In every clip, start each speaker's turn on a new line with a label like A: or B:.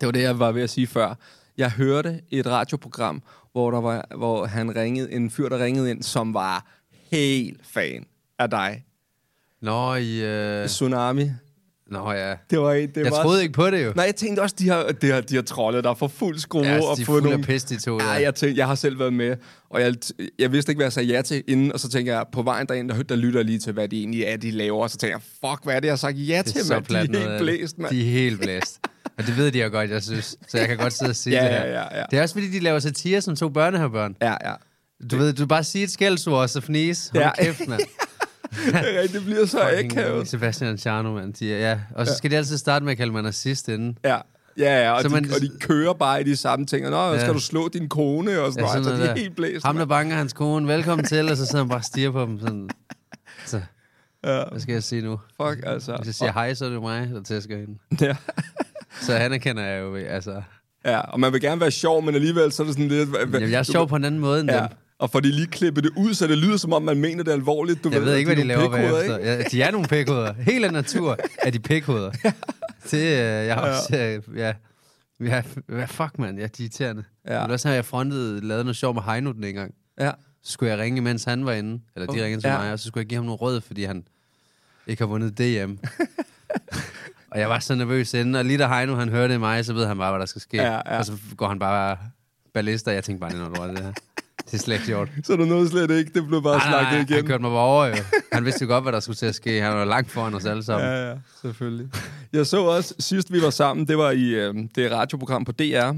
A: Det var det, jeg var ved at sige før. Jeg hørte et radioprogram, hvor, der var, hvor han ringede, en fyr, der ringede ind, som var helt fan af dig.
B: Nå, i, øh...
A: Tsunami.
B: Nå ja.
A: Det var, en- det
B: Jeg
A: var
B: troede ikke på det jo.
A: Nej, jeg tænkte også, de har, de har, de har troldet dig for fuld skrue.
B: Ja, altså,
A: og
B: de er
A: fået
B: fulde
A: nogle-
B: af pis, de to,
A: Ja,
B: ja.
A: jeg, tænkte, jeg har selv været med, og jeg, jeg vidste ikke, hvad jeg sagde ja til inden, og så tænker jeg, på vejen derind, der, der lytter jeg lige til, hvad de egentlig er, de laver, og så tænker jeg, fuck, hvad er det, jeg har sagt ja
B: Det
A: til,
B: så
A: mand? De er
B: plat noget
A: helt
B: af det.
A: blæst, mand.
B: De er helt blæst. Og det ved de jo godt, jeg synes. Så jeg kan godt sidde og sige
A: Ja,
B: det her.
A: ja, ja, ja.
B: Det er også fordi, de laver satire som to børnehavebørn.
A: Ja, ja.
B: Du ved, du bare siger et skældsord, og så fnis. Hold
A: Ja.
B: ja. kæft, mand.
A: Ja, det bliver så
B: Fucking øh,
A: akavet.
B: Sebastian Charno, mand. De, er- ja. Og så skal de altid starte med at kalde mig nazist inden.
A: Ja. Ja, ja, og,
B: Så
A: de,
B: man-
A: og de kører bare i de samme ting. Og, Nå, ja. skal
B: Ja.
A: du slå din kone? Og sådan, ja, noget. Altså, de er helt blæst.
B: Ham, der
A: mand.
B: banker hans kone. Velkommen til. Og så sidder han bare og stiger på dem. Sådan. Så. Ja. Hvad skal jeg sige nu?
A: Fuck, altså.
B: Hvis jeg siger hej, så er det jo mig, der tæsker hende.
A: Ja.
B: Så han erkender jeg jo, altså...
A: ja, og man vil gerne være sjov, men alligevel så er det sådan lidt... hva- hva-
B: Jamen, jeg er sjov på en anden måde end
A: Ja,
B: dem.
A: og får de lige klippet det ud, så det lyder, som om man mener det alvorligt. Du
B: Jeg ved ikke,
A: at
B: hvad de
A: er
B: laver
A: nogle pikhoveder,
B: bagefter. Ja, de er nogle pikhoveder. Helt af natur er de pikhoveder. Det, øh, jeg har også... Øh, ja. Ja, ja, fuck, mand. Ja, de er irriterende.
A: Ja.
B: Ja. Men også har jeg frontet, lavet noget sjov med Heino den ene gang.
A: Ja.
B: Så skulle jeg ringe, mens han var inde. Eller de
A: Okay.
B: ringede til
A: Ja.
B: ja. mig, og så skulle jeg give ham noget rød, fordi han ikke har vundet DM. og jeg var så nervøs inden. Og lige da Heino, han hørte mig, så ved han bare, hvad der skal ske.
A: Ja, ja.
B: Og så går han bare ballister. Jeg tænkte bare, det er noget lort, det her. Det er slet ikke gjort.
A: Så du nåede slet ikke, det blev bare
B: Nej, nej,
A: snakket
B: nej, han
A: igennem.
B: kørte mig bare over, jo. Han vidste jo godt, hvad der skulle til at ske. Han var langt foran os alle sammen.
A: Ja, ja, selvfølgelig. Jeg så også, sidst vi var sammen, det var i øh, det radioprogram på DR,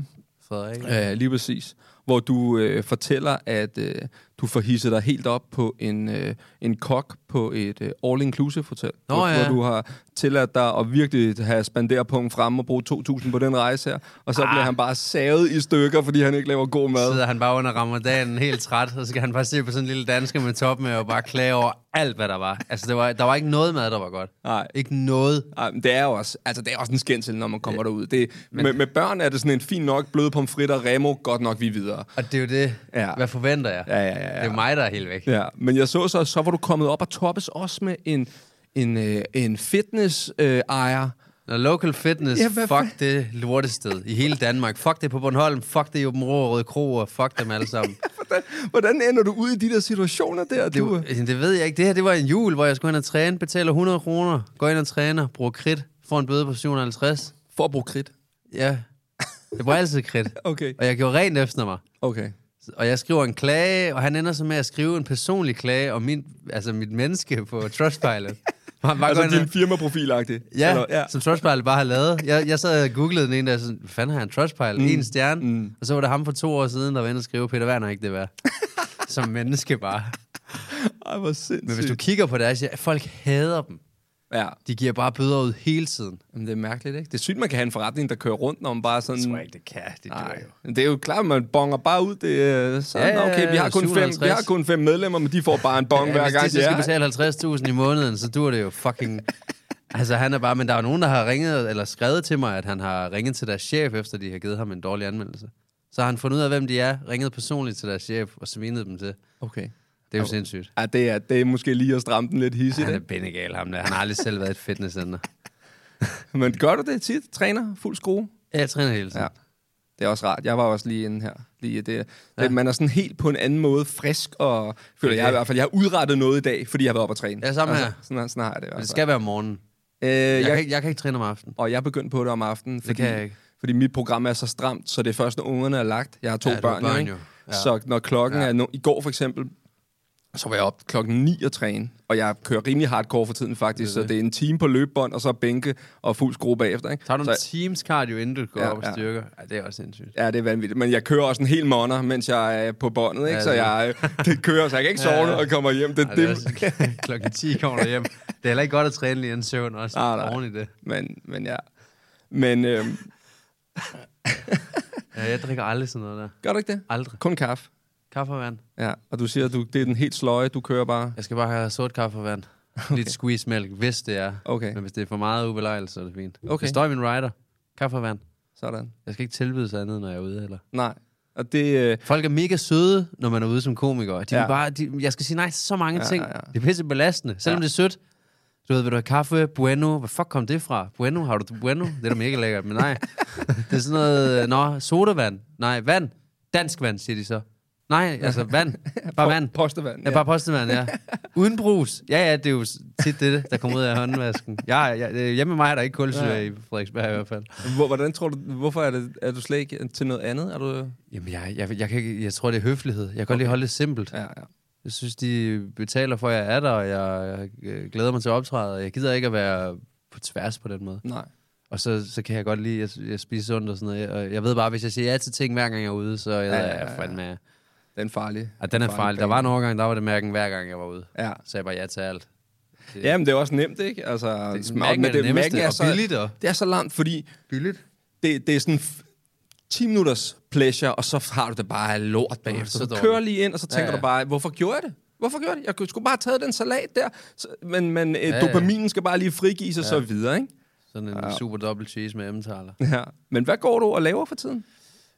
B: Frederik.
A: øh, lige præcis, hvor du øh, fortæller, at øh, du får hisset dig helt op på en, øh, en kok på et øh, all-inclusive-hotel,
B: Nå,
A: hvor,
B: ja.
A: hvor du har tilladt dig at virkelig have spanderpunkten frem og bruge 2.000 på den rejse her, og så ah. bliver han bare savet i stykker, fordi han ikke laver god mad.
B: sidder han bare under ramadanen helt træt, og så kan han bare se på sådan en lille dansker med top med og bare klage over alt, hvad der var. Altså, det var, der var ikke noget mad, der var godt.
A: Nej.
B: Ikke noget.
A: Ej, men det er jo også, altså, det er også en skændsel, når man kommer derud. Det, med, med, børn er det sådan en fin nok bløde pomfritter, Remo, godt nok vi er videre.
B: Og det er jo det.
A: Ja.
B: Hvad forventer jeg?
A: Ja, ja, ja, ja.
B: Det er mig, der er helt væk.
A: Ja, men jeg så så, så var du kommet op og toppes også med en, en, øh, en fitness-ejer. Øh, ejer.
B: Når local fitness,
A: Ja,
B: ja,
A: hvad
B: fuck det lortested i hele Danmark. Fuck det på Bornholm, fuck det i Åben Rå og Røde Kro, og fuck dem alle sammen.
A: hvordan, hvordan ender du ud i de der situationer der?
B: Det,
A: du,
B: var- det ved jeg ikke. Det her, det var en jul, hvor jeg skulle hen og træne, betaler 100 kroner, går ind og træner, bruger kridt, får en bøde på 750.
A: for at bruge kridt.
B: Ja, det var altid kridt.
A: Okay.
B: Og jeg gjorde rent efter mig.
A: Okay.
B: Og jeg skriver en klage, og han ender så med at skrive en personlig klage om min, altså mit menneske på Trustpilot. Han bare går ind
A: Altså
B: og-
A: din firmaprofilagtig.
B: Ja,
A: Eller- ja.
B: som Trustpilot bare har lavet. Jeg, jeg sad og googlede den ene dag, sådan, hvad fanden har han Trustpilot? Mm. En stjerne. Mm. Og så var det ham for to år siden, der var inde og skrive, Peter Werner er ikke det værd. som menneske bare.
A: Ej, hvor sindssygt.
B: Men hvis du kigger på deres, ja, folk hader dem.
A: Ja.
B: De giver bare bøder ud hele tiden.
A: Jamen, det er mærkeligt, ikke? Det er sygt, man kan have en forretning, der kører rundt, når man bare sådan...
B: det kan. Det
A: Nej, det er jo klart, man bonger bare ud. Det, er sådan,
B: Ja,
A: ja,
B: ja,
A: okay, vi har, kun fem, vi
B: 750.
A: har kun fem medlemmer, men de får bare en bong hver
B: Hvis de
A: gang.
B: så skal
A: Ja.
B: betale 50.000 i måneden, så dur det jo fucking... Altså, han er bare... Men der er jo nogen, der har ringet eller skrevet til mig, at han har ringet til deres chef, efter de har givet ham en dårlig anmeldelse. Så har han fundet ud af, hvem de er, ringet personligt til deres chef og svinede dem til.
A: Okay.
B: Det er jo sindssygt.
A: Ja, det er, det er måske lige at stramme den lidt hissigt.
B: Han er
A: ikke?
B: bindegal, ham der. Han har aldrig selv været i et fitnesscenter.
A: Men gør du det tit? Træner? Fuld skrue?
B: Ja, jeg træner hele tiden.
A: Ja.
B: Ja.
A: Det er også rart. Jeg var også lige inde her. Lige det, ja. Man er sådan helt på en anden måde frisk, og føler okay. jeg i hvert fald, jeg har udrettet noget i dag, fordi jeg har været oppe at træne.
B: Ja, samme
A: altså,
B: her.
A: Sådan, sådan har jeg det i hvert
B: Men
A: fald.
B: det skal være om morgenen.
A: øh,
B: Jeg,
A: jeg,
B: kan, ikke, jeg kan ikke træne om aftenen.
A: Og jeg er begyndt på det om aftenen, fordi,
B: kan jeg ikke.
A: fordi mit program er så stramt, så det er først, når ungerne er lagt. Jeg har to
B: Ja,
A: ja,
B: du har
A: børn,
B: børn
A: ikke?
B: jo. Ja.
A: Ja. Så når klokken ja. er... No- I går for eksempel, så var jeg op klokken 9 og træne, og jeg kører rimelig hardcore for tiden faktisk, det så det er en time på løbebånd, og så bænke og fuld skrue bagefter. Ikke?
B: Tager du en
A: så,
B: teams cardio, inden du går
A: Ja,
B: op og
A: ja.
B: styrker? Ja. det er også sindssygt.
A: Ja, det er vanvittigt. Men jeg kører også en hel måneder, mens jeg er på båndet, ikke?
B: Ja,
A: så
B: det-
A: jeg øh, det kører, så jeg kan ikke sove, når jeg kommer hjem. Det,
B: Ej,
A: ja,
B: det er
A: det,
B: også, klokken 10 kommer du hjem. Det er heller ikke godt at træne lige inden søvn også.
A: Nej,
B: Ah,
A: nej.
B: Oven i det.
A: men, men ja. Men øh,
B: Ja, jeg drikker aldrig sådan noget der.
A: gør du ikke det?
B: Aldrig.
A: Kun kaffe.
B: Kaffe og vand.
A: Ja, og du siger, at du, det er den helt sløje, du kører bare.
B: Jeg skal bare have sort kaffe og vand. Okay. Lidt squeeze mælk, hvis det er.
A: Okay.
B: Men hvis det er for meget ubelejligt, så er det fint.
A: Okay.
B: Det står i min rider. Kaffe og vand.
A: Sådan.
B: Jeg skal ikke tilbyde sig andet, når jeg er ude heller.
A: Nej. Og det... Øh,
B: Folk er mega søde, når man er ude som komiker. De ja.
A: Ja.
B: vil bare, de, jeg skal sige nej til så mange
A: Ja,
B: ting.
A: ja, ja.
B: Det er pisse belastende, selvom ja.
A: Ja.
B: det er sødt. Du ved, vil du have kaffe? Bueno? Hvor fuck kom det fra? Bueno? Har du bueno? Det er da mega lækkert, men nej. det er sådan noget, øh, nå, sodavand. Nej, vand. Dansk vand, siger de så. Nej, altså vand. Bare vand.
A: Postevand.
B: Ja, bare postemand, ja. Uden brus. Ja, ja, det er jo tit det, der kommer ud af håndvasken. Ja, ja, øh, hjemme med mig er der ikke kulsyre ja. i Frederiksberg i hvert fald.
A: Hvor, hvordan tror du... Hvorfor er, det, er du slet ikke til noget andet? Er du...
B: Jamen, jeg, jeg, jeg, kan ikke, jeg tror, det er høflighed. Jeg kan godt lige holde det simpelt.
A: Ja, ja.
B: Jeg synes, de betaler for, at jeg er der, og jeg, jeg øh, glæder mig til at optræde. og Jeg gider ikke at være på tværs på den måde.
A: Nej.
B: Og så, så kan jeg godt lide, at jeg, jeg spiser sundt og sådan noget. Og jeg ved bare, hvis jeg siger ja til ting, hver gang jeg er ude, så jeg, ja, ja, ja. er fandme...
A: Den er farlig.
B: Og den er fejl. Der var en overgang, der var det mærken, hver gang jeg var ude.
A: Ja.
B: Så jeg bare ja til alt.
A: Jamen, det er også nemt, ikke? Altså, det,
B: Mac'en er Øh. det nemmeste, og billigt, og-
A: Det er så langt, fordi... Billigt? Det, det er sådan f- 10 minutters pleasure, og så har du det bare af lort bagefter. Så
B: så
A: du
B: dårligt.
A: kører lige ind, og så tænker
B: Ja,
A: ja,
B: ja.
A: ja. du bare, hvorfor gjorde jeg det? Hvorfor gjorde jeg det? Jeg kunne- skulle bare have taget den salat der. Så, men men ja,
B: ja.
A: dopaminen skal bare lige frigives og så videre, ikke?
B: Sådan en ja. super dobbelt cheese med emmentaler.
A: Ja. Men hvad går du og laver for tiden?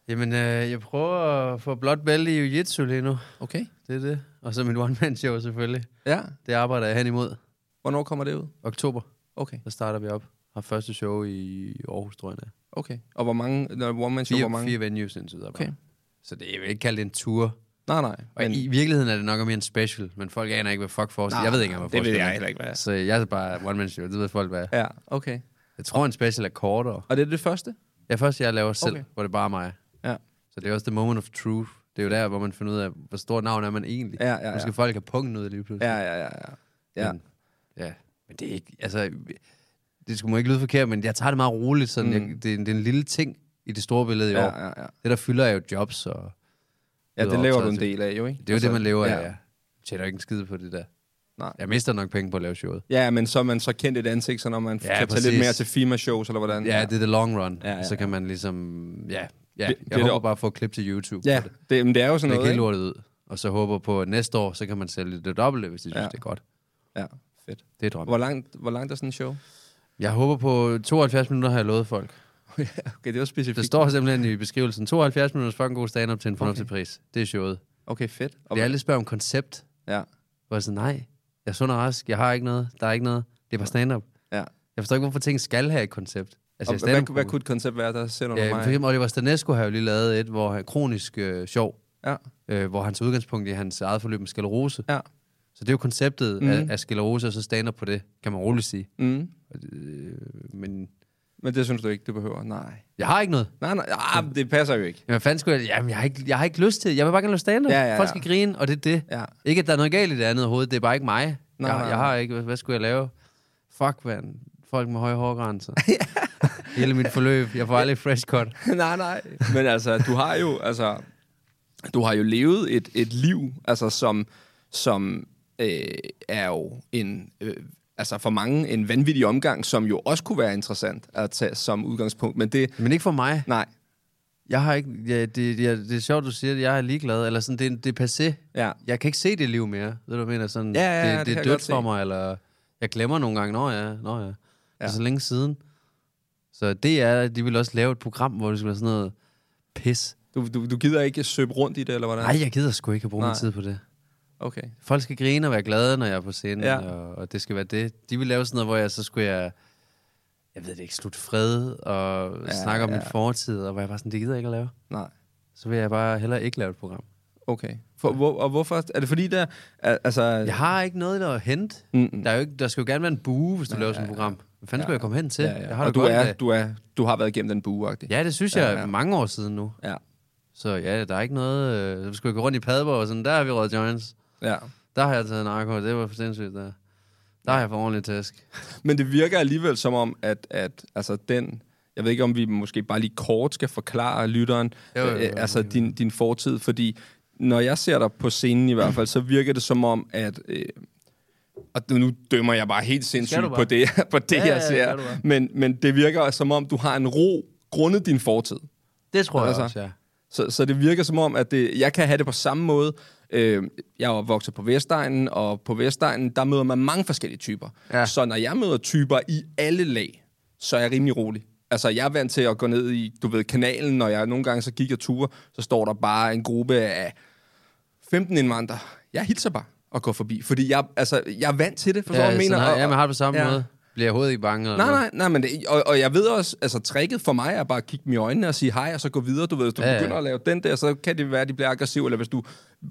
B: Jamen, øh, jeg prøver at få blåt bælte i jiu-jitsu lige nu.
A: Okay.
B: Det er det. Og så mit one-man-show selvfølgelig.
A: Ja.
B: Det arbejder jeg hen imod.
A: Hvornår kommer det ud?
B: Oktober,
A: Okay.
B: der starter vi op. Har første show i Aarhus, tror jeg. det er.
A: Okay. Og hvor mange... Når one man show, hvor
B: Fire,
A: mange?
B: fire venues indtil videre. bare.
A: Okay.
B: Så det jeg vil ikke kalde det en tour.
A: Nej, nej.
B: Og men, i virkeligheden er det nok mere en special, men folk aner ikke, hvad fuck forestiller.
A: Nej,
B: Jeg ved ikke engang, hvad
A: det ved
B: forestillingen
A: jeg
B: er.
A: heller ikke, hvad er.
B: Så jeg er bare one man show, det ved folk, hvad er.
A: Ja, okay.
B: Jeg tror, en special er kortere.
A: Og det er det første?
B: Ja, først jeg laver selv, okay.
A: Okay.
B: hvor det bare er mig.
A: Ja.
B: Så det er også the moment of truth. Det er jo der, hvor man finder ud af, hvor stort navn er man egentlig.
A: Ja, ja, ja.
B: Måske folk har punkten ud lige pludselig.
A: Ja, ja, ja. ja. ja.
B: Men, ja. men det er ikke, altså, det skulle må ikke lyde forkert, men jeg tager det meget roligt. Sådan, mm. jeg, det, er- det, er en lille ting i det store billede i
A: Ja,
B: år.
A: ja, ja.
B: Det, der fylder, er jo jobs, og
A: ja, det
B: Udover
A: laver du
B: optræden
A: en
B: til-
A: del af, jo ikke? Altså,
B: det er jo det, man lever af.
A: ja.
B: Ja. Tjener ikke en skide på det der.
A: Nej.
B: Jeg mister nok penge på at lave showet.
A: Ja, men så er man så kendt et ansigt, så når man
B: Ja,
A: ja, kan tage
B: præcis.
A: lidt mere til firma-shows, eller hvordan?
B: Ja, det er the long run. Ja,
A: Ja,
B: ja,
A: ja,
B: ja. Så kan man ligesom, ja,
A: Det-
B: ja. jeg
A: det er
B: håber
A: det-
B: bare at få et klip til YouTube.
A: ja
B: på det.
A: det, men det er jo sådan
B: Læg
A: noget,
B: hele
A: ikke?
B: lortet ud. Og så håber på, at næste år, så kan man sælge det dobbelte, hvis de synes,
A: Ja.
B: det er godt.
A: Ja, fedt.
B: Det er drømmen.
A: Hvor langt, hvor langt er sådan en show?
B: Jeg håber på 72 minutter, har jeg lovet folk.
A: okay, det var specifikt.
B: Det står simpelthen i beskrivelsen. 72 minutters fucking god stand-up til en fornuftig okay. pris. Det er showet.
A: Okay, fedt. Og,
B: Det er alle spørger om koncept.
A: ja,
B: Hvor jeg sådan, nej, jeg er sund og rask. Jeg har ikke noget. Der er ikke noget. Det er bare stand-up.
A: ja.
B: Jeg forstår ikke, hvorfor ting skal have et koncept. Altså,
A: Og
B: jeg er
A: hvad,
B: stand-up-komiker.
A: hvad kunne et koncept være, der sender
B: Ja,
A: ja,
B: for
A: mig?
B: eksempel Oliver Stanesco har jo lige lavet et, hvor han kronisk øh, sjov,
A: Ja,
B: øh, hvor hans udgangspunkt i hans eget forløb med sklerose.
A: ja. Mhm.
B: Så det er jo konceptet mm. af, af sklerose, og så stand på det, kan man roligt sige. øh,
A: Mm.
B: Men
A: Men det synes du ikke, du behøver? Nej.
B: jeg har ikke noget.
A: Nej, nej, ah, det passer jo ikke.
B: Jamen, hvad fanden skulle jeg... Jamen, jeg har ikke, jeg har ikke lyst til det. Jeg vil bare gerne lave stand-up.
A: Ja, ja, ja.
B: Folk skal grine, og det er det.
A: Ja.
B: Ikke, at der er noget galt i det andet hoved. Det er bare ikke mig.
A: Nej,
B: jeg,
A: nej,
B: jeg
A: nej.
B: har ikke... Hvad, hvad skulle jeg lave? Fuck, mand. Folk med høje hårgrænser. Hele mit forløb. Jeg får aldrig fresh cut.
A: nej, nej. Men altså, du har jo, altså, du har jo levet et, et liv, altså, som, som øh, er jo en, øh, altså for mange en vanvittig omgang, som jo også kunne være interessant at tage som udgangspunkt. Men det,
B: Men ikke for mig.
A: nej,
B: Jeg har ikke... Ja, det, ja, det er sjovt, du siger det. Jeg er ligeglad. Eller sådan, det, er- det er passé.
A: Ja.
B: Jeg kan ikke se det liv mere. Ved du, hvad jeg mener? Sådan,
A: Ja, ja, ja,
B: det,
A: det
B: det,
A: kan
B: er
A: jeg
B: dødt
A: godt se.
B: for mig, eller... Jeg glemmer nogle gange, nå ja, nå ja. ja. Det er så længe siden. Så det er, de ville også lave et program, hvor det skulle være sådan noget pis.
A: du, du, du gider ikke søbe rundt i det, eller hvordan?
B: Nej, jeg gider sgu ikke at bruge Nej. min
A: Nej.
B: tid på det.
A: Okay.
B: Folk skal grine og være glade, når jeg er på scenen, ja.
A: Ja.
B: og, og det skal være det. De ville lave sådan noget, hvor jeg så skulle jeg... jeg ved det ikke, slut fred og ja, snakke om ja. min fortid, og hvor jeg bare sådan, det gider jeg ikke at lave.
A: Nej.
B: Så vil jeg bare heller ikke lave et program.
A: Okay. For, hvor, og hvorfor? Er det fordi, der... al- Altså,
B: Jeg har ikke noget der at hente. Mm-mm. Der, er jo ikke, der skal jo gerne være en bue, hvis du ja, laver sådan et program. Hvad fanden ja, skulle jeg komme hen til?
A: ja, ja.
B: Jeg har
A: og
B: det
A: du,
B: godt
A: er,
B: med-
A: du, er, du har været igennem den bue -agtig.
B: Ja, det synes jeg ja, ja. mange år siden nu.
A: ja.
B: Så ja, der er ikke noget... Øh, så skulle jeg gå rundt i Padborg og sådan, der har vi røget joints.
A: Ja.
B: Der har jeg taget narko, det var for sindssygt. Der, der har jeg for ordentligt tæsk.
A: Men det virker alligevel som om, at, at altså, den... Jeg ved ikke, om vi måske bare lige kort skal forklare lytteren,
B: Jo, jo, jo,
A: øh,
B: jo,
A: altså Din, din fortid, fordi når jeg ser dig på scenen i hvert fald, så virker det som om, at... Øh, og nu- nu dømmer jeg bare helt sindssygt
B: du
A: på
B: bare.
A: det, på det
B: Ja,
A: jeg
B: ja, det
A: ser,
B: skal du bare.
A: men, men det virker som om, du har en ro grundet din fortid.
B: Det tror
A: Altså.
B: jeg også, ja.
A: Så, så det virker som om, at det, jeg kan have det på samme måde. Øh, jeg er opvokset på Vestegnen, og på Vestegnen, der møder man mange forskellige typer. Ja.
B: Ja.
A: Så når jeg møder typer i alle lag, så er jeg rimelig rolig. Altså, jeg er vant til at gå ned i, du ved, kanalen, når jeg nogle gange så gik og ture, så står der bare en gruppe af 15 indvandrere. Jeg hilser bare og går forbi, fordi jeg, altså, jeg er vant til det, forstår du,
B: Ja,
A: hvad jeg mener?
B: Sådan,
A: Og-
B: ja, man har det på samme
A: ja.
B: ja. måde. Bliver jeg overhovedet ikke bange? Eller
A: Nej,
B: noget?
A: nej, nej, men det, og, og jeg ved også, altså tricket for mig er bare at kigge dem i øjnene og sige hej, og så gå videre, du ved, hvis du ja,
B: Ja, ja.
A: begynder at lave den der, så kan det være, at de bliver aggressive, eller hvis du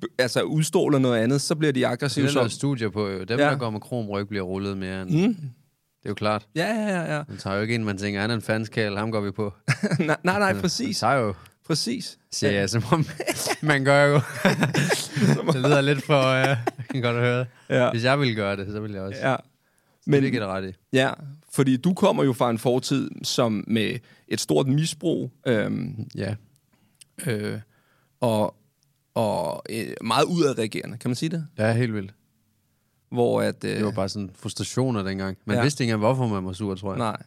A: b- altså, udstråler noget andet, så bliver de
B: Det
A: aggressive.
B: er der lavet
A: Så,
B: studier på, jo. Dem,
A: Ja.
B: ja. der går med krom ryg, bliver rullet mere end... Mm. Det er jo klart.
A: ja, ja, ja, ja.
B: Man tager jo ikke en, man tænker, han er en fanskal, ham går vi på.
A: nej, nej, nej,
B: Man
A: præcis,
B: tager jo,
A: præcis.
B: siger jeg, som om man gør jo. det lyder lidt for... Øh, jeg kan godt høre det.
A: Ja.
B: Hvis jeg ville gøre det, så ville jeg også. Ja.
A: Ja.
B: Men, det giver det ret i.
A: Ja, fordi du kommer jo fra en fortid, som med et stort misbrug, øhm,
B: Ja.
A: øh, og, og øh, meget udadreagerende, kan man sige det?
B: Ja, helt vildt.
A: Hvor at... Øh,
B: Det var bare sådan frustrationer dengang. Man
A: Ja.
B: ja. vidste ikke engang, hvorfor man var sur, tror jeg.
A: Nej,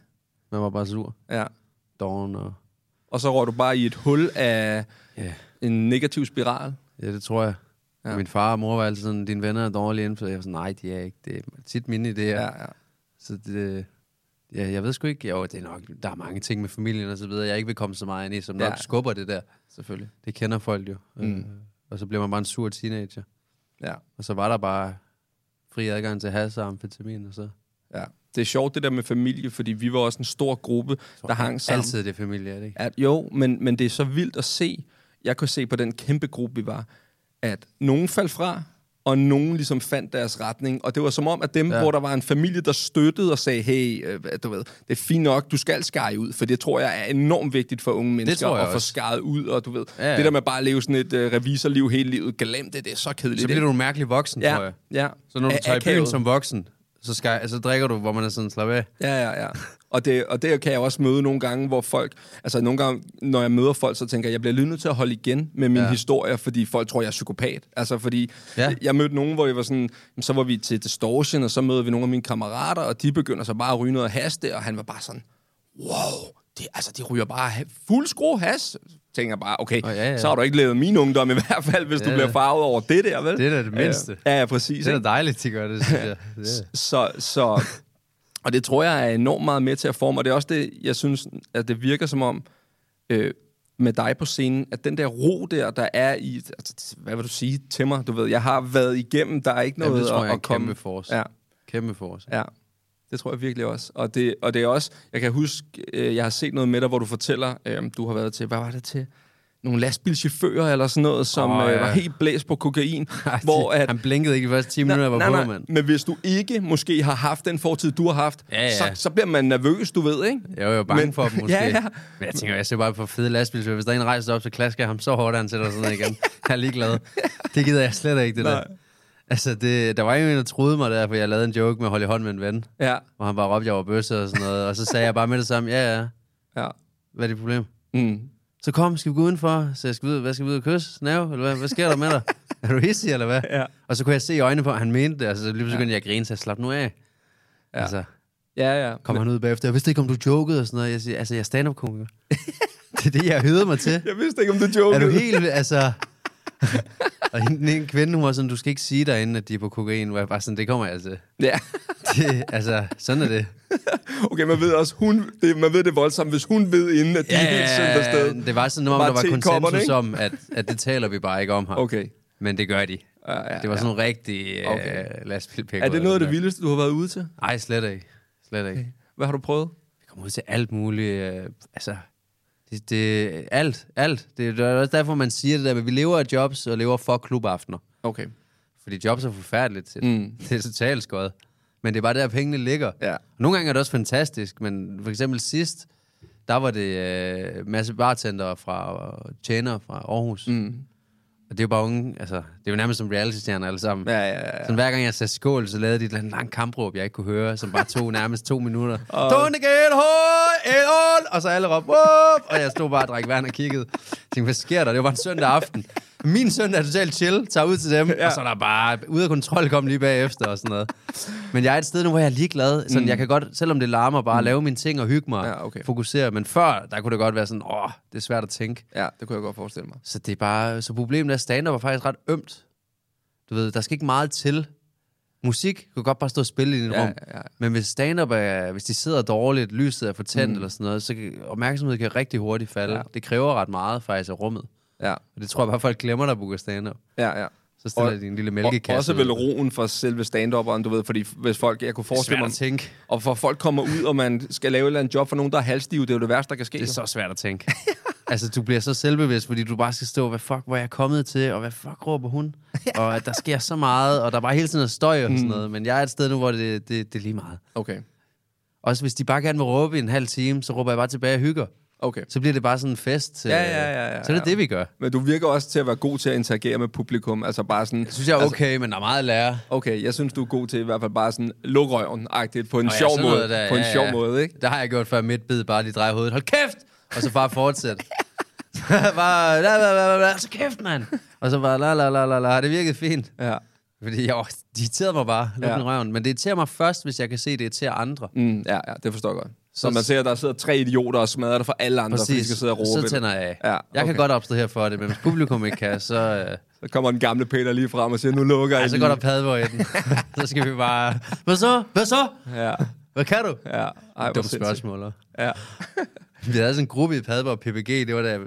B: Man var bare sur.
A: ja.
B: Dawn og...
A: Og så rører du bare i et hul af
B: Ja.
A: en negativ spiral.
B: Ja, det tror jeg. Ja. Min far og mor var altid sådan, dine venner er dårlige indflydelse. Jeg var sådan, nej, de er ikke. Det er tit mine idéer. Ja.
A: ja.
B: Så det, ja, jeg ved sgu ikke, jo, det er nok, der er mange ting med familien og så videre, jeg ikke vil komme så meget ind i, som nok
A: Ja.
B: skubber det der.
A: Selvfølgelig.
B: Det kender folk jo. Mm. Øh, og så bliver man bare en sur teenager.
A: Ja.
B: Og så var der bare fri adgang til has og amfetamin og så.
A: ja. Det er sjovt, det der med familie, fordi vi var også en stor gruppe, der hang sammen.
B: Altid det familie, er det ikke?
A: At, jo, men, men det er så vildt at se. Jeg kunne se på den kæmpe gruppe, vi var, at nogen faldt fra, og nogen ligesom fandt deres retning. Og det var som om, at dem, ja.
B: Ja.
A: hvor der var en familie, der støttede og sagde, hey, øh, hvad- du ved, det er fint nok, du skal skære ud, for det tror jeg er enormt vigtigt for unge mennesker
B: tror jeg
A: at få
B: også.
A: skæret ud, og du ved, ja,
B: Ja,
A: ja.
B: ja.
A: det der med bare at leve sådan et øh, revisorliv hele livet, glem det, det er så kedeligt.
B: Så bliver
A: ikke?
B: du en mærkelig voksen, tror
A: ja,
B: jeg.
A: ja.
B: Så når du
A: A-
B: tager i byen
A: akavet.
B: som voksen, så, skal, så drikker du, hvor man er sådan, slap af.
A: Ja, ja, ja. Og det, og det kan jeg også møde nogle gange, hvor folk... Altså nogle gange, når jeg møder folk, så tænker jeg, jeg bliver lige nødt til at holde igen med mine ja. historier, fordi folk tror, jeg er psykopat. Altså fordi... Ja.
B: Ja.
A: Jeg mødte nogen, hvor jeg var sådan... jamen, Så var vi til Distortion, og så mødte vi nogle af mine kammerater, og de begynder så bare at ryge noget has der, og han var bare sådan... Wow! Det, altså, de ryger bare ha- fuld skrue has. tænker jeg bare, okay,
B: Åh,
A: oh,
B: ja,
A: ja,
B: ja.
A: så har du ikke levet min ungdom i hvert fald, hvis ja. du
B: Ja.
A: bliver farvet over det der, vel?
B: Det er da det mindste.
A: Ja, ja præcis.
B: Det er
A: ikke?
B: da dejligt, de gør det, synes jeg. Det er-
A: Så, så, og det tror jeg er enormt meget med til at forme, og det er også det, jeg synes, at det virker som om, øh, med dig på scenen, at den der ro der, der er i, altså, hvad vil du sige til mig, du ved, jeg har været igennem, der er ikke noget
B: Jamen, det tror
A: at,
B: jeg er
A: at
B: en
A: komme.
B: kæmpe force.
A: Ja,
B: Kæmpe for os.
A: ja. Det tror jeg virkelig også. Og det, og det er også, jeg kan huske, øh, jeg har set noget med dig, hvor du fortæller, øh, du har været til, hvad var det til? Nogle lastbilchauffører eller sådan noget, som
B: Åh,
A: oh, ja. øh,
B: ja.
A: var helt blæst på kokain. hvor at,
B: Han blinkede ikke de første 10 minutter, jeg var på, mand.
A: men hvis du ikke måske har haft den fortid, du har haft,
B: Ja, ja.
A: Så, så bliver man nervøs, du ved, ikke?
B: Jeg var jo bange
A: Men-
B: men, for dem måske.
A: Ja, ja.
B: Men jeg tænker, jeg ser bare på fede lastbilsfører. Hvis der er en der rejser op, så klasker jeg ham så hårdt, at han sætter sig ned igen. jeg er ligeglad. Det gider jeg slet ikke, det
A: Nej.
B: der. Altså, det, der var en, der troede mig der, for jeg lavede en joke med at holde i hånd med en ven.
A: Ja,
B: Hvor han bare råbte, jeg var bøsse og sådan noget. Og så sagde jeg bare med det samme, ja, ja,
A: ja.
B: hvad er dit problem?
A: Mm.
B: Så kom, skal vi gå udenfor? Så jeg skal vi ud, hvad skal vi ud og kysse? Snæv? Eller hvad, hvad sker der med dig? Er du hissig, eller hvad?
A: Ja.
B: Og så kunne jeg se i øjnene på, at han mente det. Altså, så lige pludselig begyndte jeg at grine, så jeg slap nu af. Ja. Altså,
A: Ja, ja.
B: kom han ud bagefter. Jeg vidste ikke, om du jokede og sådan noget. Jeg siger, altså, jeg er stand-up-komiker. det er det, jeg høvede mig til.
A: Jeg vidste ikke, om du jokede.
B: Er du helt, altså... og hende, den ene kvinde, hun var sådan, du skal ikke sige derinde, at de er på kokain. Hvor jeg bare sådan, det kommer jeg altså.
A: Ja.
B: Det, altså, sådan er det.
A: Okay, man ved også, hun, det, man ved det voldsomt, hvis hun ved inden, at de er helt sødt afsted.
B: det var sådan, om
A: Bare
B: der var
A: tekopperne,
B: konsensus
A: ikke?
B: om, at, at det taler vi bare ikke om her.
A: Okay.
B: Men det gør de.
A: Ja, ja,
B: det var sådan nogle rigtige
A: Okay.
B: okay. øh, lastbilpækker.
A: Er det noget af det vildeste, du har været ude til?
B: Nej, slet ikke. Slet ikke.
A: Hvad har du prøvet?
B: Vi kommer ud til alt muligt. Øh, altså, det, det, alt, alt. Det, det er også derfor, man siger det der, men vi lever af jobs og lever for klubaftener.
A: Okay.
B: Fordi jobs er forfærdeligt. Mm. Det er totalt skøjet. Men det er bare der, pengene ligger.
A: Ja.
B: Nogle gange er det også fantastisk, men for eksempel sidst, der var det øh, masse bartender fra og tjener fra Aarhus. Mm. Og det er jo bare unge, altså, det er jo nærmest som reality-stjerner alle sammen.
A: Ja, ja, ja.
B: Sådan, hver gang jeg sagde skål, så lavede de et eller andet langt kampråb, jeg ikke kunne høre, som bare tog nærmest to minutter. Tone Gale, høj, et ål! Og så alle råb, Wop! og jeg stod bare og drak vand og kiggede. Jeg tænkte, hvad sker der? Det var bare en søndag aften. Min søndag er totalt chill, tager ud til dem, ja. og så er der bare ude af kontrol, kom lige bagefter og sådan noget. Men jeg er et sted nu, hvor jeg er ligeglad. Sådan, mm. Jeg kan godt, selvom det larmer, bare lave mine ting og hygge mig,
A: Mm. Ja, okay.
B: fokusere. Men før, der kunne det godt være sådan, åh, det er svært at tænke.
A: Ja, det kunne jeg godt forestille mig.
B: Så det er bare... Så problemet er, at stand-up er faktisk ret ømt. Du ved, der skal ikke meget til. Musik kan godt bare stå og spille i dit
A: Ja,
B: rum.
A: ja, ja.
B: Men hvis stand-up er... Hvis de sidder dårligt, lyset er for tændt mm. eller sådan noget, så kan, opmærksomhed kan rigtig hurtigt falde. Ja. Det kræver ret meget faktisk af rummet.
A: Ja,
B: Og det tror jeg bare, folk glemmer, der booker stand-up.
A: ja, ja.
B: Så stiller de en lille mælkekasse.
A: Og, også vel
B: ud.
A: roen for selve stand du ved, fordi hvis folk, jeg kunne forestille
B: svært
A: mig,
B: at tænke.
A: og for folk kommer ud, og man skal lave et eller andet job for nogen, der er halvstive, det er jo det værste, der kan ske.
B: Det er så svært at tænke. altså, du bliver så selvbevidst, fordi du bare skal stå, hvad fuck var jeg kommet til, og hvad fuck råber hun? og at der sker så meget, og der er bare hele tiden noget støj og
A: Mm.
B: sådan noget. Men jeg er et sted nu, hvor det, det, det er lige meget.
A: Okay,
B: Også hvis de bare gerne vil råbe i en halv time, så råber jeg bare tilbage og hygger.
A: okay.
B: Så bliver det bare sådan en fest. øh,
A: Ja, ja, ja, ja,
B: Så er det
A: ja.
B: det, vi gør.
A: Men du virker også til at være god til at interagere med publikum, altså bare sådan...
B: Jeg synes, jeg er okay, altså, men der er meget at lære.
A: Okay, jeg synes, du er god til i hvert fald bare sådan lukrøven-agtigt på en
B: Nå ja,
A: sjov
B: sådan
A: måde.
B: noget der,
A: på en
B: ja,
A: sjov
B: ja.
A: måde, ikke?
B: Det har jeg gjort før midtbid, bare lige drejer hovedet. Hold kæft! Og så bare fortsætte. bare, la, la, la, la, la, så kæft, mand! Og så bare, la, la, la, la, la, har det virkede fint.
A: Ja.
B: Fordi jeg var- de irriterede mig bare, lidt
A: Ja.
B: ja. røven. Men det irriterer mig først, hvis jeg kan se, det irriterer andre.
A: Mm, ja, ja, det forstår jeg godt. Så
B: Så-
A: man ser, at der sidder tre idioter og smadrer dig for alle andre, fordi de skal sidde og råbe.
B: så tænder jeg af.
A: Ja,
B: Jeg kan
A: okay.
B: godt opstå her for det, men hvis publikum ikke kan, så, øh,
A: Så kommer den gamle Peter lige frem og siger, nu lukker jeg
B: ej, så
A: lige.
B: går der padvor i den. så skal vi bare, hvad så? Hvad så?
A: Ja,
B: Hvad kan du?
A: ja. Ej, hvor
B: Dumt
A: sindssygt.
B: spørgsmål. hva'?
A: Ja.
B: Vi havde sådan en gruppe i Padborg og PPG, det var da...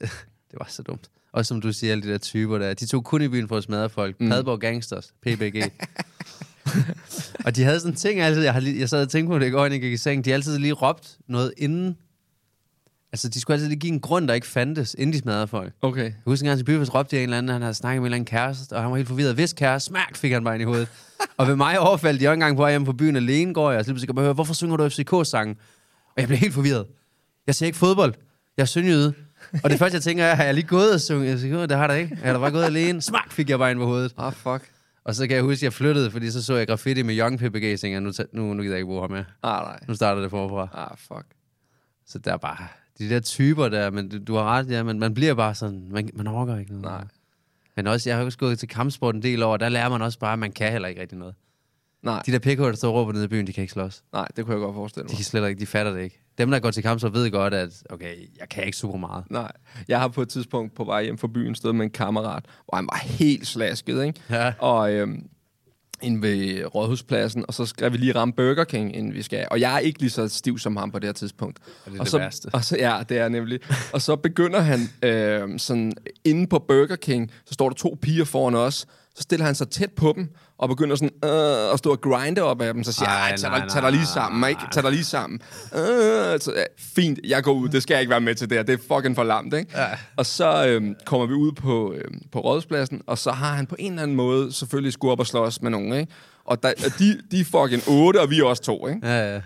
B: Det var så dumt. Og som du siger, alle de der typer der, de tog kun i byen for at smadre folk. Mm. Padborg Gangsters, PPG. og de havde sådan en ting altid, jeg, har lige, jeg sad og tænkte på det i går, inden jeg gik i seng, de har altid lige råbt noget inden. Altså, de skulle altid lige give en grund, der ikke fandtes, inden de smadrede folk.
A: Okay.
B: Jeg husker engang til byfest råbte jeg en eller anden, han havde snakket med en eller anden kæreste, og han var helt forvirret. Hvis kæreste, smak, fik han bare ind i hovedet. og ved mig overfaldt de også engang på vej hjemme på byen alene, går jeg, og så lige pludselig kan man høre, hvorfor synger du FCK-sangen? Og jeg blev helt forvirret. Jeg ser ikke fodbold. Jeg er sønderjyde. Og det første, jeg tænker, er, har jeg lige gået og sunget FCK? Det har der ikke. Jeg har da bare gået alene. Smak, fik jeg bare ind på hovedet.
A: Ah, fuck.
B: Og så kan jeg huske, at jeg flyttede, fordi så så jeg graffiti med Young PPG, og tænkte, jeg, nu, ta- nu, nu gider jeg ikke bruge ham mere.
A: Ah, nej.
B: Nu starter det forfra.
A: Ah, fuck.
B: Så der er bare de der typer der, men du, du har ret, ja, men man bliver bare sådan, man, man orker ikke noget.
A: Nej.
B: Men også, jeg har også gået til kampsport en del år, og der lærer man også bare, at man kan heller ikke rigtig noget.
A: Nej,
B: De der pikker, der står og råber nede i byen, de kan ikke slås.
A: nej, det kunne jeg godt forestille
B: De
A: mig.
B: kan slet ikke, de fatter det ikke. Dem, der går til kampsport, ved godt, at okay, jeg kan ikke super meget.
A: Nej, jeg har på et tidspunkt på vej hjem fra byen stået med en kammerat, hvor han var helt slasket, ikke?
B: Ja.
A: Og øhm, ind ved Rådhuspladsen, og så skal vi lige ramme Burger King, inden vi skal. Og jeg er ikke lige så stiv som ham på det her tidspunkt.
B: det er
A: og
B: det
A: så,
B: værste.
A: Og så, ja, det er nemlig. Og så begynder han øhm, sådan, inde på Burger King, så står der to piger foran os, så stiller han sig tæt på dem, og begynder sådan øh, at stå og grinde op af dem, så siger
B: Ej,
A: jeg, tag,
B: nej,
A: dig- tag dig lige
B: nej,
A: sammen, ikke?
B: nej."
A: Tag dig lige sammen. Øh, så, ja, fint, jeg går ud, det skal jeg ikke være med til det her, det er fucking for lamt, ikke? Ja. Og så øhm, kommer vi ud på, øhm, på rådspladsen, og så har han på en eller anden måde selvfølgelig skulle op og slås med nogen, ikke? Og der, og de, de er fucking otte, og vi er også to, ikke?
B: Ja, ja.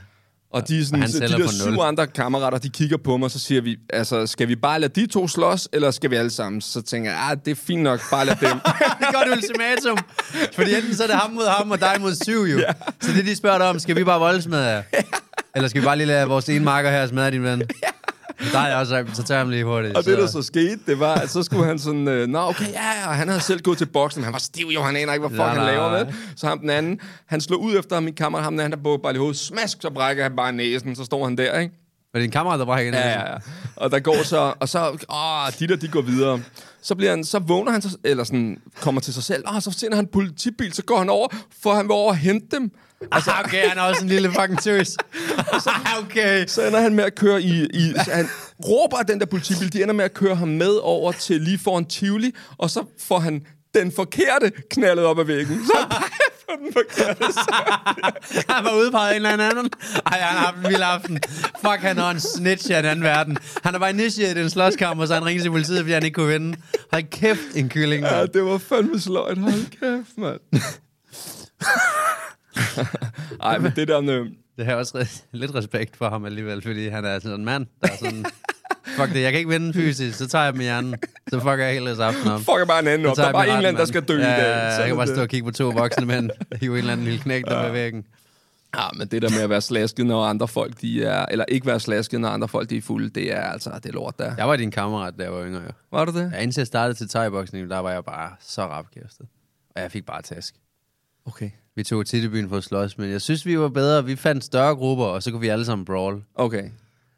A: Og de, er
B: Og
A: sådan,
B: han
A: så de
B: tæller
A: der
B: på nul.
A: syv andre kammerater, de kigger på mig, så siger vi, altså, skal vi bare lade de to slås, eller skal vi alle sammen? Så tænker jeg, ah, det er fint nok, bare lad dem.
B: det er godt ultimatum. Fordi enten så er det ham mod ham, og dig mod syv jo. Ja. Så det, de spørger dig om, skal vi bare voldes med jer? Eller skal vi bare lige lade vores ene marker her smadre din ven? Der er jeg også, sagt, så tager jeg ham lige hurtigt.
A: Og det, der så skete, det var, at så skulle han sådan... Øh, Nå, okay, ja, ja, og han havde selv gået til boksen, men han var stiv, jo, han aner ikke, hvad fuck
B: Nej,
A: han
B: nej.
A: laver med. Så ham den anden, han slog ud efter ham i kammeren, ham den anden, der bukkede bare lige hovedet, smask, så brækker han bare næsen, så står han der, ikke?
B: Var det en kammerat, der var herinde?
A: Ja, ja, ja. Og der går så, og så, åh, de der, de går videre. Så, bliver han, så vågner han, så, eller sådan, kommer til sig selv, og så finder han en politibil, så går han over, for han vil over og hente dem.
B: Altså, okay, han er også en lille fucking tøs. ah, okay.
A: Så ender han med at køre i... i så han råber af den der politibil, de ender med at køre ham med over til lige foran Tivoli, og så får han den forkerte knaldet op ad væggen. Så han peger på på den forkerte side.
B: Han var udpeget af en eller anden. Ej, han har haft en vild aften. Fuck, han er en snitch af en anden verden. Han har bare initieret en slåskamp, og så har han ringet til politiet, fordi han ikke kunne vinde. Hold kæft, en kylling.
A: Ja,
B: mand.
A: det var fandme sløjt. Hold kæft, mand. Ej, men det der med...
B: Det har jeg også re- lidt respekt for ham alligevel, fordi han er sådan en mand, der er sådan... Fuck det, jeg kan ikke vinde fysisk, så tager jeg dem i hjernen. Så fucker jeg hele aften op.
A: Fucker bare en anden op. Der er bare en eller anden, der skal dø
B: ja,
A: i dag.
B: Ja, jeg
A: Sådan
B: kan bare
A: det.
B: stå og kigge på to voksne mænd, hive en eller anden lille knægt op ad væggen.
A: Ja, Ah, men det der med at være slasket, når andre folk de er... Eller ikke være slasket, når andre folk de er fulde, det er altså det er lort, der.
B: Jeg var din kammerat, da jeg var yngre. Jo.
A: Var du det?
B: Ja, indtil jeg startede til thai-boksning, der var jeg bare så rapkæftet. Og jeg fik bare tæsk.
A: Okay.
B: Vi tog tit i byen for at slås, men jeg synes, vi var bedre. Vi fandt større grupper, og så kunne vi alle sammen brawl.
A: Okay.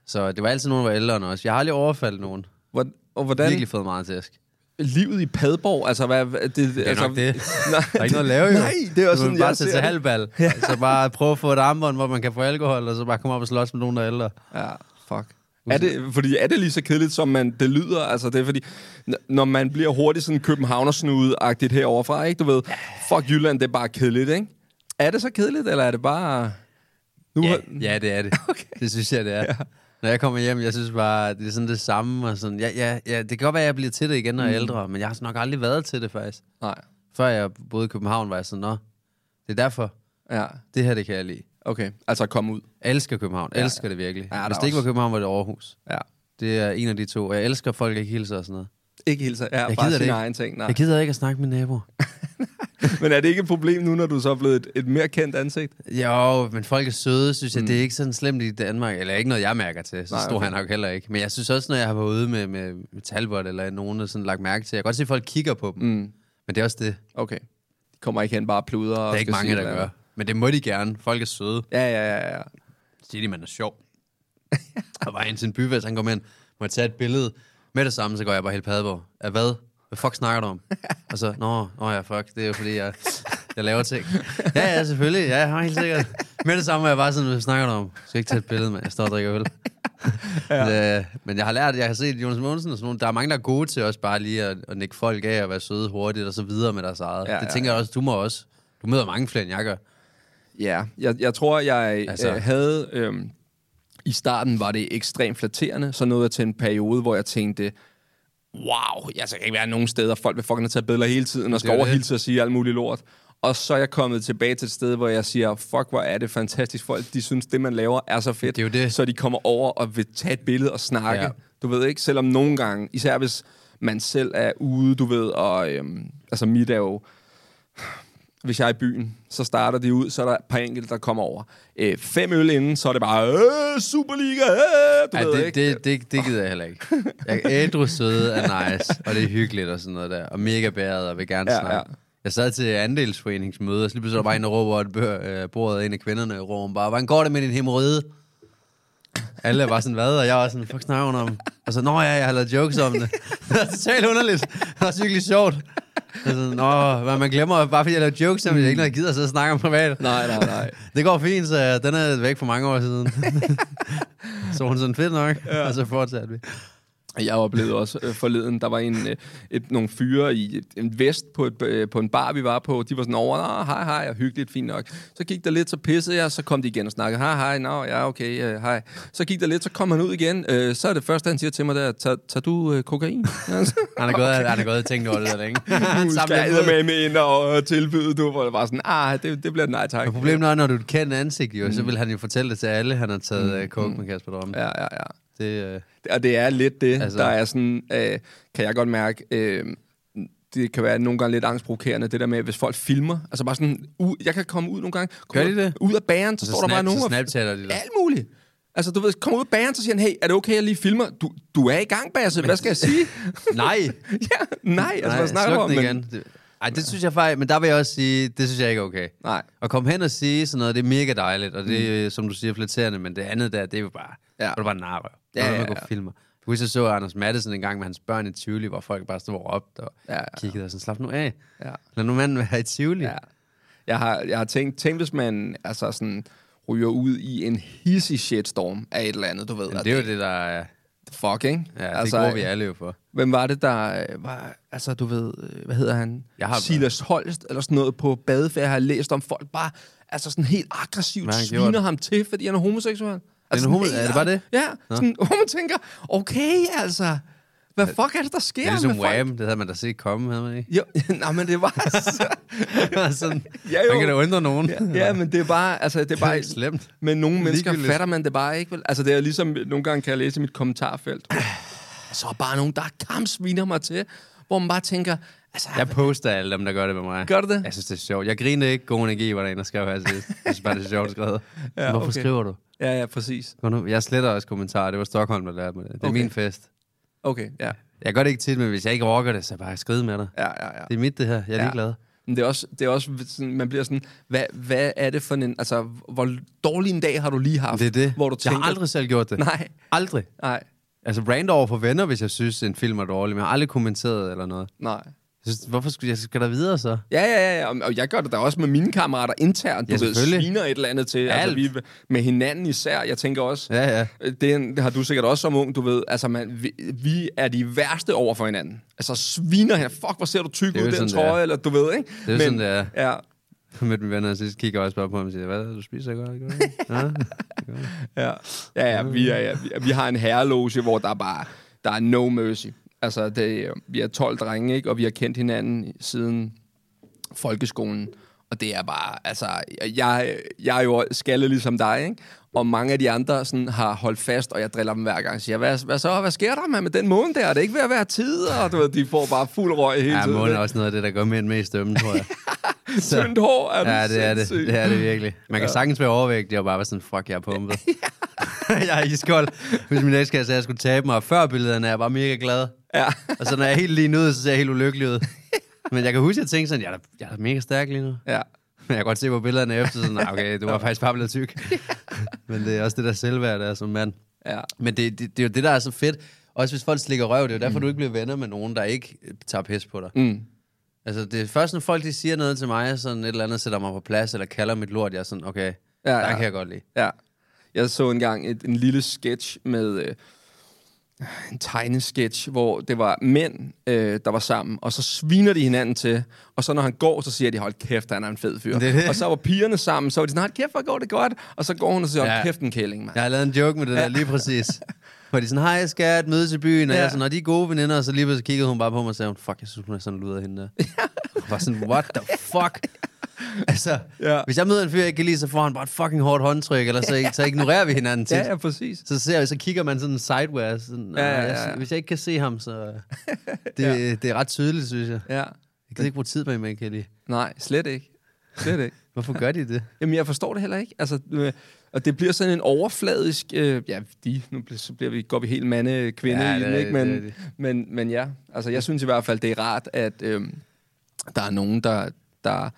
B: Så det var altid nogen, der var ældre end os. Jeg har aldrig overfaldt nogen.
A: Hvor, og hvordan...
B: Den... Virkelig fået meget tæsk.
A: livet i Padborg, altså hvad... hvad- Det, det
B: er
A: altså,
B: nok det.
A: Nej,
B: Der er ikke noget at lave, jo.
A: Nej, det er
B: Du
A: også sådan,
B: vil bare
A: jeg
B: tage
A: ser
B: til
A: det.
B: halvbal. Ja. Så bare prøve at få et armbånd, hvor man kan få alkohol, og så bare komme op og slås med nogen, der er ældre.
A: Ja, fuck. Er det, fordi er det lige så kedeligt, som man, det lyder? Altså, det er fordi, n- når man bliver hurtigt sådan københavnersnude-agtigt heroverfra, ikke? Du ved, fuck Jylland, det er bare kedeligt, ikke? Er det så kedeligt, eller er det bare... Nu
B: Ja,
A: har-
B: ja det er det. Okay. Det synes jeg, det er. Ja. Når jeg kommer hjem, jeg synes bare, det er sådan det samme. Og sådan. Ja, ja, ja, det kan godt være, at jeg bliver til det igen, når
A: Mm.
B: jeg er ældre, men jeg har sådan nok aldrig været til det, faktisk.
A: Nej,
B: Før jeg boede i København, var jeg sådan, nå, det er derfor.
A: ja,
B: Det her, det kan jeg lide.
A: okay. Altså, at komme ud.
B: Jeg elsker København. Jeg elsker det virkelig.
A: Ja, der
B: Ja, Hvis
A: er
B: det ikke var
A: også-
B: København, var det Aarhus.
A: Ja.
B: Det er en af de to. Og jeg elsker, at folk ikke hilser og sådan noget.
A: Ikke helt så... Ja,
B: Jeg
A: bare
B: gider det
A: sin
B: ikke.
A: egen ting. Nej.
B: Jeg gider ikke at snakke med naboer.
A: Men er det ikke et problem nu, når du så er blevet et, et mere kendt ansigt?
B: Jo, men folk er søde, synes jeg. Mm. Det er ikke sådan slemt i Danmark. Eller ikke noget, jeg mærker til. Så
A: Nej,
B: Nej, stod
A: okay.
B: han nok heller ikke. Men jeg synes også, når jeg har været ude med, med, med Talbot eller nogen, der sådan lagt mærke til. Jeg kan godt se, at folk kigger på dem. Mm. Men det er også det.
A: Okay. De kommer ikke hen bare og pluder og
B: Der er
A: skal
B: ikke mange,
A: sige,
B: der
A: hvad-
B: gør. Men det må de gerne. Folk er søde.
A: Ja, ja, ja, ja.
B: Siger de, man er sjov. og var en til en byfest, han kom ind. Må jeg tage et billede? Med det samme, så går jeg bare helt Padborg. Af hvad? Hvad fuck snakker du om? Og så, nå, nå ja, fuck, det er jo fordi, jeg, jeg laver ting. Ja, ja, selvfølgelig, ja, ja, helt sikkert. Med det samme var jeg bare sådan, hvad snakker du om? Jeg skal ikke tage et billede, mand, jeg står og drikker øl. ja. øh, men jeg har lært, jeg har set Jonas Mogensen og sådan nogle, der er mange, der er gode til også bare lige at, at nikke folk af og være søde hurtigt og så videre med deres eget.
A: Ja,
B: Ja, det
A: ja,
B: tænker jeg også, du må også. Du møder mange flere, end jeg gør.
A: Ja, jeg, jeg tror, jeg altså.
B: Altså.
A: øh, havde... Øhm, I starten var det ekstremt flatterende, så nåede jeg til en periode, hvor jeg tænkte, wow, jeg skal ikke være nogen steder, folk vil fucking have taget billeder hele tiden, og
B: er
A: skal
B: jo
A: overhilse og sige alt muligt lort. Og så er jeg kommet tilbage til et sted, hvor jeg siger, fuck, hvor er det fantastisk. Folk, de synes, det man laver er så fedt.
B: Det er jo det.
A: Så de kommer over og vil tage et billede og snakke. Ja.
B: Ja.
A: Du ved ikke, selvom nogle gange, især hvis man selv er ude, du ved, og øhm, altså mit er jo, hvis jeg er i byen, så starter de ud, så er der et par enkelte, der kommer over. Øh, fem øl inden, så er det bare, øh, Superliga, øh, du
B: Ej,
A: ved
B: det,
A: ikke.
B: Det, det, det gider jeg heller ikke. Jeg ædru søde er nice, og det er hyggeligt og sådan noget der. Og mega bæret og vil gerne
A: Ja,
B: ja, snakke.
A: ja.
B: Ja. Jeg sad til andelsforeningsmøde, og så lige pludselig var der bare en, der råber et bør, øh, bordet, en af kvinderne råber bare, hvordan går det med din hemorrhoide? Alle var sådan, hvad? Og jeg var sådan, fuck snakker hun om? Og så, nå ja, jeg har lavet jokes om det. det er totalt underligt. Det var virkelig sjovt. Så sådan, nå, hvad man glemmer, bare fordi jeg laver jokes om det, jeg ikke noget, jeg gider at sidde og snakke om privat.
A: Nej, nej, nej.
B: Det går fint, så den er væk for mange år siden. så var hun sådan, fedt nok, ja. og så fortsatte vi.
A: Jeg oplevede også øh, forleden, der var en, øh, et, nogle fyre i et, en vest på, et, øh, på en bar, vi var på. De var sådan over, "Nå, hej, hej, og hyggeligt, fint nok. Så gik der lidt, så pissede jeg, så kom de igen og snakkede, hej, hej, nå, ja, okay, øh, hej. Så gik der lidt, så kom han ud igen. Øh, så er det første, han siger til mig, der, "Tag- tager du øh, kokain?
B: Han er gået, okay. han er gået og tænkt over det der længe.
A: Nu
B: Han
A: skal
B: samler
A: jeg
B: dem ud.
A: med med ind og tilbyde, du, hvor det var sådan, ah, det, det bliver et nej tak.
B: Men Problemet er, når du er et kendt ansigt, jo, så vil han jo fortælle det til alle, han har taget øh, coke med Kasper Drømme.
A: Mm. Ja, ja, ja.
B: Det, øh,
A: Og det er lidt det, altså,
B: Altså-
A: der er sådan, øh, kan jeg godt mærke, øh, det kan være nogle gange lidt angstprovokerende, det der med, hvis folk filmer. Altså bare sådan, u- jeg kan komme ud nogle gange.
B: Gør
A: kommer
B: de det?
A: Ud af bageren, så,
B: så,
A: står der
B: snap,
A: bare nogen
B: så
A: og
B: snapchatter de der.
A: alt muligt. Altså, du ved, kommer ud af bageren, så siger han, hey, er det okay, jeg lige filmer? Du, du er i gang, Basse, hvad skal jeg sige?
B: Nej!
A: ja, nej, altså, nej,
B: Nej,
A: hvad snakker du
B: sluk
A: om?
B: den
A: Men-
B: igen. Det- Ej, det synes jeg faktisk, men der vil jeg også sige, det synes jeg ikke er okay.
A: Nej. Mm.
B: At komme hen og sige sådan noget, det er mega dejligt, og det er, som du siger, flatterende, men det andet der, det er jo bare,
A: Ja.
B: ja. det er bare narre.
A: Ja,
B: Ja, ja,
A: ja,
B: ja.
A: ja.
B: filmer. Jeg husker, jeg så Anders Madsen en gang med hans børn i Tivoli, hvor folk bare stod og råbte og
A: Ja,
B: ja,
A: ja,
B: ja.
A: ja.
B: kiggede og sådan, slap nu af.
A: Ja.
B: Ja. Lad nu manden være i Tivoli.
A: Ja. Jeg har, jeg har tænkt, tænkt, hvis man altså sådan, ryger ud i en hissig shitstorm af et eller andet, du ved.
B: Men
A: at
B: det er jo det, der er
A: fuck, ikke?
B: Ja, det altså, går vi alle jo for.
A: Hvem var det, der øh, var, altså du ved, øh, hvad hedder han?
B: Jeg har-
A: Silas Holst eller sådan noget på badeferie, jeg har læst om folk bare, altså sådan helt aggressivt
B: Hvad har han
A: sviner
B: gjort?
A: ham til, fordi han er homoseksuel. Altså,
B: en
A: sådan
B: homo-
A: helt
B: er det bare det?
A: Ja, sådan, hvor man tænker, okay altså, hvad fuck er det, der sker
B: Det er ligesom
A: med folk?
B: Wham, det havde man da set komme, havde man ikke?
A: Jo, nej, men det var så...
B: sådan,
A: Ja,
B: ja,
A: jo.
B: man kan da undre nogen.
A: Ja, men det er bare... Altså, det er bare
B: Det er slemt.
A: Men nogle mennesker
B: Ligegyldigt.
A: fatter man det bare ikke, vel? Altså, det er ligesom... Nogle gange kan jeg læse i mit kommentarfelt. Så er bare nogen, der kampsviner mig til, hvor man bare tænker... Altså,
B: Jeg poster alle dem, der gør det med mig.
A: Gør du det?
B: Jeg synes, det er sjovt. Jeg griner ikke. God energi var der en, der skrev her til sidst. Jeg synes bare, det er sjovt skrevet. ja, Hvorfor
A: okay.
B: skriver du?
A: ja, ja, præcis.
B: Gå nu. Jeg sletter også kommentarer. Det var Stockholm, der lærte mig det. Det er
A: Okay.
B: okay. min fest.
A: Okay, ja.
B: Jeg gør det ikke tit, men hvis jeg ikke rocker det, så bare skride med dig.
A: Ja, ja, ja.
B: Det er mit, det her. Jeg er
A: Ja.
B: ligeglad.
A: Men det er også, det er også sådan, man bliver sådan, hvad, hvad er det for en, altså, hvor dårlig en dag har du lige haft?
B: Det er det.
A: Hvor du tænker,
B: Jeg har aldrig selv gjort det.
A: Nej.
B: Aldrig.
A: Nej,
B: Altså, rant over for venner, hvis jeg synes, en film er dårlig, men jeg har aldrig kommenteret eller noget.
A: nej.
B: Jeg synes, hvorfor skulle jeg skal der videre så?
A: Ja, ja, ja, ja. og- Og jeg gør det da også med mine kammerater internt. Du
B: Ja,
A: ved,
B: selvfølgelig.
A: sviner et eller andet til. Altså,
B: Alt.
A: vi, med hinanden især. Jeg tænker også,
B: Ja, ja.
A: øh, det, er en- det har du sikkert også som ung, du ved. Altså, man, vi, vi er de værste over for hinanden. Altså, sviner her. Fuck, hvor ser du tyk
B: er jo
A: ud, den
B: sådan, det er.
A: trøje, eller du ved, ikke?
B: Det er jo sådan, det er.
A: Ja,
B: Med mine venner sidst kigger jeg også bare på ham og siger, hvad er det, du spiser godt? Gør du det?" Ja.
A: ja. ja, ja, vi, er, ja vi, vi har en herreloge, hvor der er bare der er no mercy. Altså, det, er- vi er 12 drenge, ikke? og vi har kendt hinanden siden folkeskolen. Og det er bare, altså, jeg, jeg er jo skaldet ligesom dig, ikke? Og mange af de andre sådan, har holdt fast, og jeg driller dem hver gang. Jeg siger, hvad, hvad så? Hvad sker der mand, med den måne der? Er det ikke ved at være tid? Og du ved, de får bare fuld røg hele
B: Ja,
A: tiden.
B: månen er også noget af det, der gør mænd mest dømme, tror jeg. Så-
A: Tyndt hår, er du
B: ja, det er det.
A: sindssyg?
B: Det er det virkelig. Man kan sagtens være overvægtig og bare være sådan, fuck, jeg er pumpet. jeg er iskold. Hvis min ekskæreste sagde, at jeg skulle tabe mig, og før billederne er jeg bare mega glad.
A: Ja.
B: Og så når jeg er helt lige nu, så ser jeg helt ulykkelig ud. Men jeg kan huske, at jeg tænkte sådan, jeg er da, jeg er da mega stærk lige nu.
A: Ja.
B: Men jeg kan godt se på billederne efter, sådan, "Nå, okay, du var faktisk bare blevet tyk. Men det er også det der selvværd, der er som mand.
A: Ja.
B: Men det, det, det er jo det, der er så fedt. Også hvis folk slikker røv, det er jo derfor, du ikke bliver venner med nogen, der ikke øh, tager pis på dig. Mm. Altså, det er først, når folk de siger noget til mig, sådan et eller andet sætter mig på plads, eller kalder mit lort, jeg er sådan, okay, ja, der
A: ja.
B: kan jeg godt lide.
A: Ja. Jeg så engang et, en lille sketch med... Øh, en tegnesketch, hvor det var mænd, øh, der var sammen, og så sviner de hinanden til, og så når han går, så siger de, hold kæft, han er en fed fyr.
B: Det er det.
A: Og så var pigerne sammen, så var de sådan, hold kæft, hvor går det godt, og så går hun og siger, hold
B: Ja.
A: kæft, en kælling, mand.
B: Jeg har lavet en joke med det der lige præcis. Hvor de sådan, hej skat, mødes i byen, og
A: Ja.
B: jeg er sådan, og de er gode veninder, og så lige pludselig kiggede hun bare på mig og sagde, fuck, jeg synes, hun er sådan luder hende der. Jeg var sådan, what the fuck? Altså,
A: Ja.
B: ja. hvis jeg møder en fyr, jeg ikke kan lide, så får han bare et fucking hårdt håndtryk, eller så, så ignorerer vi hinanden tit.
A: Ja, ja, præcis.
B: Så, ser, så kigger man sådan sideways. Sådan,
A: Ja,
B: ja,
A: ja,
B: ja,
A: ja, ja.
B: Jeg, hvis jeg ikke kan se ham, så... Det, ja. det er ret tydeligt, synes jeg.
A: Ja.
B: Jeg kan ikke bruge tid på, man kan lide.
A: Nej, slet ikke. Slet ikke.
B: Hvorfor gør de det?
A: Jamen, jeg forstår det heller ikke. Altså, øh, og det bliver sådan en overfladisk... Øh, ja, de, nu bliver, så bliver vi, går vi helt mande-kvinde
B: Ja,
A: ja, i
B: det
A: den,
B: er
A: ikke?
B: det,
A: Men,
B: det er det.
A: Men, men ja, altså, jeg synes i hvert fald, det er rart, at øh, der er nogen, der... der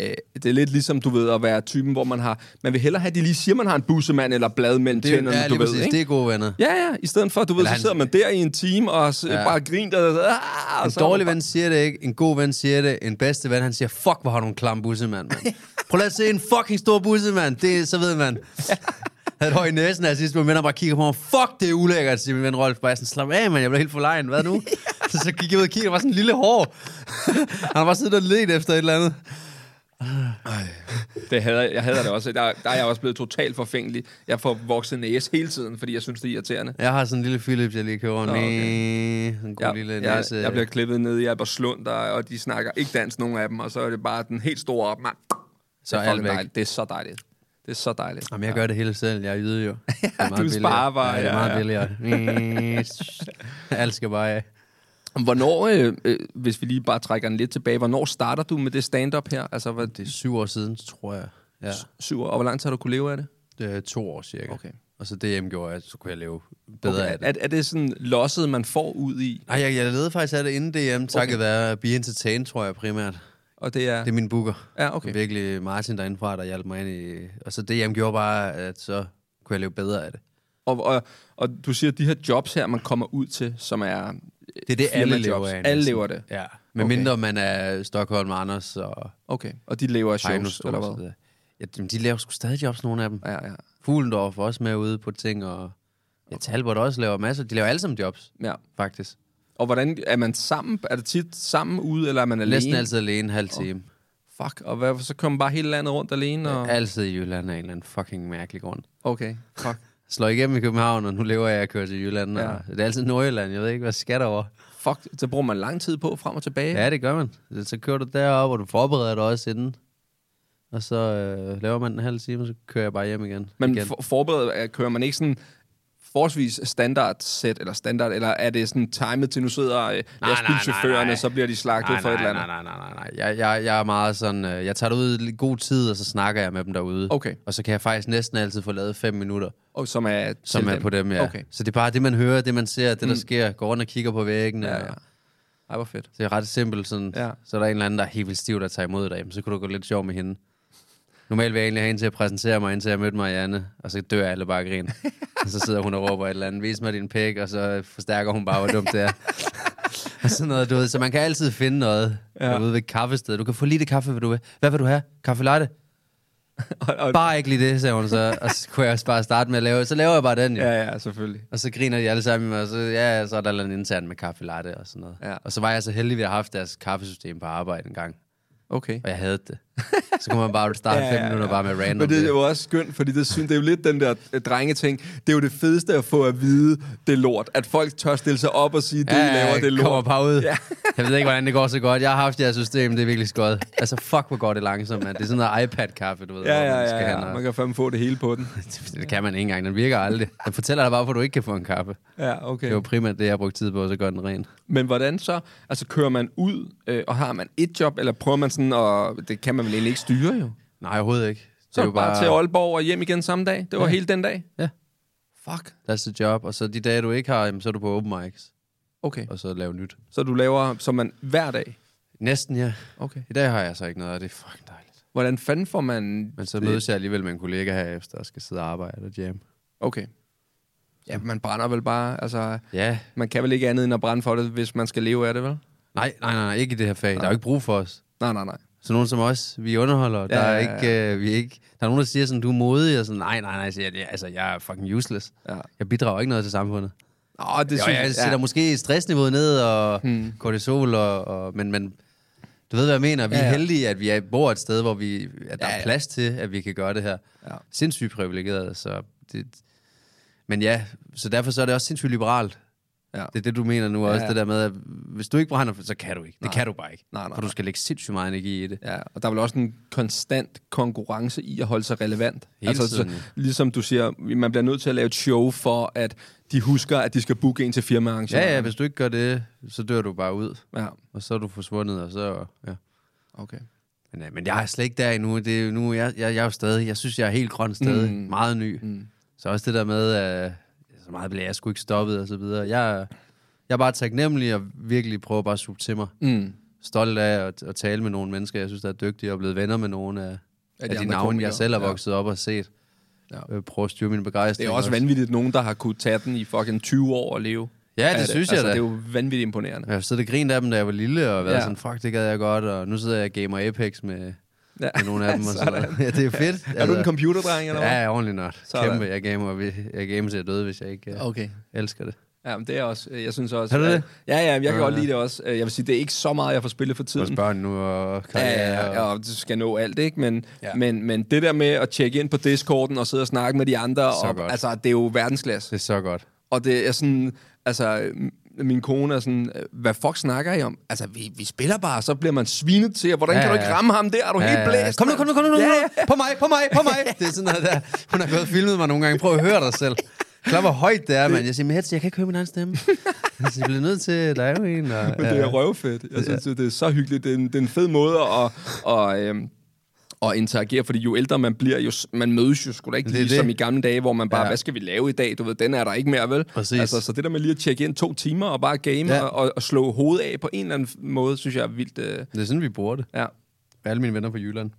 A: øh, det er lidt ligesom, du ved, at være typen, hvor man har... Man vil hellere have, at de lige siger, man har en bussemand eller blad mellem
B: Det, er-
A: tænderne, du
B: ja, lige
A: ved,
B: præcis.
A: ikke?
B: Det er gode venner.
A: Ja, ja, i stedet for, du ved,
B: Eller
A: så
B: han-
A: sidder man der i en time og ja. bare griner. Og, ah, og
B: En
A: så-
B: dårlig ven siger det ikke, en god ven siger det, en bedste ven, han siger, fuck, hvor har du en klam bussemand, mand. Prøv lige at se en fucking stor bussemand, det, så ved man. Jeg havde et høj i næsen af sidste, min ven bare kigger på mig, fuck, det er ulækkert, siger min ven Rolf, bare sådan, slap af, mand, jeg blev helt forlegen, hvad nu? så, så gik jeg ud og kiggede, der var sådan en lille hår. han var bare siddet og let efter et eller andet.
A: Det hader, jeg hader det også. Der, der er jeg også blevet totalt forfængelig. Jeg får vokset næse hele tiden, fordi jeg synes, det er irriterende.
B: Jeg har sådan en lille Philips, jeg lige køber. Oh,
A: okay.
B: okay. En god
A: Jeg,
B: lille
A: jeg,
B: næse.
A: jeg bliver klippet ned i Albertslund, der, og de snakker ikke dansk, nogen af dem, og så er det bare den helt store op. Man. det
B: Så er
A: er,
B: alt
A: fucking
B: væk.
A: dejligt. Det er så dejligt. Det er så dejligt.
B: Jamen, jeg gør det hele selv. Jeg yder jo. Det er
A: Du sparer bare,
B: Ja, det er
A: ja, ja.
B: meget billigere. Alt skal bare af.
A: Hvornår, øh, øh, hvis vi lige bare trækker den lidt tilbage, hvornår starter du med det stand-up her? Altså, hvad, det
B: Det er syv år siden, tror jeg. Ja,
A: syv år, og hvor lang tid har du kunne leve af det?
B: det er to år cirka.
A: Okay.
B: Og så DM gjorde jeg, så kunne jeg leve bedre okay. af det.
A: Er, er det sådan losset, man får ud i?
B: Nej, jeg, jeg levede faktisk af det inden DM, takket okay. være Be Entertain, tror jeg primært.
A: Og det er...
B: Det er min booker.
A: Ja, okay.
B: Det er virkelig Martin derindefra, der hjalp mig ind i... Og så DM gjorde bare, at så kunne jeg leve bedre af det.
A: Og, og, og du siger, at de her jobs her, man kommer ud til, som er... øh,
B: Det er det, alle lever
A: firmajobs.
B: af.
A: Alle
B: næsten.
A: lever det.
B: Ja.
A: Okay.
B: Med okay. mindre man er Stockholm, Anders og
A: Okay, og de lever af shows,
B: Heino
A: eller hvad?
B: Ja, de, de laver sgu stadig jobs, nogle af dem.
A: Ja, ja.
B: Fuglendorf var også med ude på ting, og Ja, Talbot også laver masser. De laver alle sammen jobs,
A: Ja.
B: faktisk.
A: Og hvordan, er man sammen? Er det tit sammen ude, eller er man alene?
B: Næsten altid alene en halv time.
A: Fuck, og hvad, så kommer man bare hele landet rundt alene? Og...
B: Altid i Jylland af en eller anden fucking mærkelig grund.
A: Okay, fuck.
B: Slår igennem i København, og nu lever jeg at køre til Jylland. Ja.
A: Ja.
B: Og det er altid Nordjylland, jeg ved ikke, hvad jeg skat over.
A: Fuck, så bruger man lang tid på frem og tilbage.
B: Ja, det gør man. Så kører du derop, og du forbereder dig også inden. Og så øh, laver man en halv time, og så kører jeg bare hjem igen.
A: Men
B: igen.
A: for, forbereder, er- kører man ikke sådan forholdsvis standard sæt eller standard, eller er det sådan timet til, nu sidder øh, lastbilchaufførerne, så bliver de slagtet
B: nej,
A: for et
B: nej,
A: eller andet?
B: Nej, nej, nej, nej. Jeg, jeg, jeg er meget sådan, øh, jeg tager det ud i god tid, og så snakker jeg med dem derude.
A: Okay.
B: Og så kan jeg faktisk næsten altid få lavet fem minutter,
A: Og som er,
B: som
A: til
B: er på dem, ja.
A: Okay. Mm.
B: Så det er bare det, man hører, det man ser, det der sker. Går rundt og kigger på væggene.
A: Ja, ja.
B: og-
A: Ej, hvor fedt.
B: Det er ret simpelt. Sådan, ja.
A: Ja.
B: Så er der en eller anden, der er helt vildt stiv, der tager imod dig. Jamen, så kunne du gå lidt sjov med hende. Normalt vil jeg egentlig have hende til at præsentere mig, indtil jeg mødte Marianne, og så dør alle bare af grin. og så sidder hun og råber et eller andet, vis mig din pæk, og så forstærker hun bare, hvor dumt det er. og sådan noget, du ved. Så man kan altid finde noget ja. derude ved et kaffested. Du kan få lige det kaffe, vil du vil. Hvad vil du have? Kaffe latte?
A: Og, og,
B: Bare ikke lige det, sagde hun så. Og så kunne jeg også bare starte med at lave, så laver jeg bare den, jo.
A: ja, ja, selvfølgelig.
B: Og så griner de alle sammen, og så, ja, så er der en intern med kaffe latte og sådan noget.
A: Ja.
B: Og så var jeg så heldig, at vi har haft deres kaffesystem på arbejde en gang,
A: Okay.
B: og jeg havde det. så kunne man bare starte ja, fem minutter bare med random.
A: Men det er jo også skønt, fordi det, synes, det er jo lidt den der øh, drengeting. Det er jo det fedeste at få at vide, det er lort. At folk tør stille sig op og sige, det ja, I laver, det er
B: kommer
A: lort.
B: bare ud. Ja. jeg ved ikke, hvordan det går så godt. Jeg har haft jeres system, det er virkelig skødt. Altså, fuck, hvor går det langsomt, mand. Det er sådan noget iPad-kaffe, du ved.
A: Ja,
B: hvor
A: ja,
B: man skal
A: ja,
B: have
A: ja.
B: noget.
A: Man kan fandme få det hele på den.
B: Det kan man ikke engang. Den virker aldrig. Den fortæller dig bare, hvorfor du ikke kan få en kaffe.
A: Ja, okay.
B: Det var primært det, jeg brugte tid på, og så gør den ren.
A: Men hvordan så? Altså, kører man ud, øh, og har man et job, eller prøver man sådan, og det kan man vel egentlig ikke styre jo?
B: Nej, overhovedet ikke.
A: Så er det bare til Aalborg og hjem igen samme dag. Det var
B: Ja.
A: ja. hele den dag.
B: Ja.
A: Fuck.
B: That's the job. Og så de dage, du ikke har, jamen, så er du på open mics.
A: Okay.
B: og så lave nyt.
A: Så du laver, som man hver dag.
B: Næsten, ja.
A: Okay.
B: I dag har jeg så ikke noget, og det er fucking dejligt.
A: Hvordan fanden får man...
B: Men så mødes jeg alligevel med en kollega herefter, og skal sidde og arbejde og jam.
A: Okay. Ja, man brænder vel bare, altså...
B: Ja.
A: Man kan vel ikke andet end at brænde for det, hvis man skal leve af det, vel?
B: Nej, nej, nej, nej ikke i det her fag. Nej. Der er jo ikke brug for os.
A: Nej, nej, nej.
B: Så nogen som os, vi underholder. Ja, der, er
A: ja, ja.
B: ikke, øh, vi er ikke, der er nogen, der siger sådan, du er modig, og sådan, nej, nej, nej, siger jeg, "Ja, altså, jeg er fucking useless.
A: Ja.
B: Jeg bidrager ikke noget til samfundet.
A: Åh, det
B: Jo, jeg sætter ja. måske stressniveauet ned, og hmm. kortisol, og, og, men, men du ved, hvad jeg mener. Vi ja,
A: Ja,
B: ja. er
A: ja.
B: heldige, at vi er, bor et sted, hvor vi, at der ja,
A: Ja,
B: er
A: ja.
B: plads til, at vi kan gøre det her. Ja.
A: Ja.
B: Sindssygt privilegeret, så det, men ja, så derfor så er det også sindssygt liberalt. Ja.
A: Ja.
B: Det er det, du mener nu ja, også,
A: ja.
B: det der med, at hvis du ikke brænder, for- så kan du ikke. Nej. Det kan du bare ikke.
A: Nej, nej,
B: for du
A: nej.
B: skal lægge sindssygt meget energi i det.
A: Ja, og der er vel også en konstant konkurrence i at holde sig relevant.
B: Hele tiden, ja.
A: Så, ligesom du siger, man bliver nødt til at lave et show for, at de husker, at de skal booke en til firmaarrangementer.
B: Ja, ja, hvis du ikke gør det, så dør du bare ud.
A: ja.
B: Og så er du forsvundet, og så... Ja.
A: Okay.
B: Men, øh, men jeg er slet ikke der endnu. Det er, jo nu jeg, jeg, jeg er jo stadig, jeg synes, jeg er helt grøn stadig. Mm. Meget ny. Mm. Så også det der med, at så meget blev jeg sgu ikke stoppet og så videre. Jeg, er- jeg er bare taknemmelig og virkelig prøver bare at suge til mig. Mm. Stolt af at, at, tale med nogle mennesker, jeg synes, der er dygtige og er blevet venner med nogle af, af,
A: de
B: de,
A: andre
B: navne,
A: komikere.
B: jeg selv har
A: Ja.
B: vokset op og set.
A: Ja.
B: Ja. Prøv at styre min begejstring.
A: Det er også vanvittigt, nogen der har kunne tage den i fucking 20 år og leve.
B: Ja, det
A: af
B: synes jeg
A: altså,
B: da.
A: Det er jo vanvittigt imponerende.
B: Jeg har siddet og grint af dem, da jeg var lille, og været ja.
A: Ja.
B: sådan, fuck, det gad jeg godt, og nu sidder jeg og gamer Apex med,
A: Ja.
B: med nogle af dem. Og sådan. noget. Ja, det er fedt. Altså,
A: Er du en computerdreng, eller hvad?
B: Ja, jeg er ordentlig nørd.
A: Sådan.
B: Kæmpe, jeg gamer, vi- jeg gamer til at døde, hvis jeg ikke uh,
A: Okay.
B: elsker det.
A: Ja, men det er også, øh, jeg synes også...
B: Er du det?
A: Ja, ja, jeg kan
B: Ja,
A: godt
B: ja.
A: lide det også. Øh, Jeg vil sige, det er ikke så meget, jeg får spillet for
B: Vores
A: tiden.
B: børn nu og
A: Ja,
B: karriere.
A: ja, ja,
B: og-
A: og du skal nå alt, ikke? Men,
B: Ja.
A: ja. men, men det der med at tjekke ind på Discorden og sidde og snakke med de andre,
B: Så
A: og,
B: godt.
A: altså, det er jo verdensklasse.
B: Det er så godt.
A: Og det er sådan, altså, m- min kone er sådan, øh, hvad fuck snakker I om? Altså, vi, vi spiller bare, og så bliver man svinet til, og hvordan
B: Ja,
A: ja, kan du
B: ja.
A: ikke ramme ham der? Er du ja, helt blæst?
B: Kom nu, kom nu, kom nu, kom
A: Ja,
B: nu.
A: ja.
B: På mig, på mig, på mig. Det er sådan noget der. Hun har gået og filmet mig nogle gange. Prøv at høre dig selv. Klar, hvor højt det er, mand. Jeg siger, men Hetz, jeg kan ikke høre min egen stemme. Så jeg bliver nødt til at lave en. Og,
A: Men det er røvfedt. Jeg synes, det er så hyggeligt. Det er en, det er en fed måde at, og, øhm, at interagere, fordi jo ældre man bliver, jo, s- man mødes jo sgu da ikke
B: Det er
A: lige som i
B: det.
A: gamle dage, hvor man bare,
B: Ja.
A: ja. hvad skal vi lave i dag? Du ved, den er der ikke mere, vel?
B: Præcis.
A: Altså, så det der med lige at tjekke ind to timer og bare game
B: Ja.
A: ja. og, og, og slå hovedet af på en eller anden f- måde, synes jeg er vildt. Øh,
B: Det er sådan, vi bruger det.
A: ja,
B: Alle mine venner fra Jylland.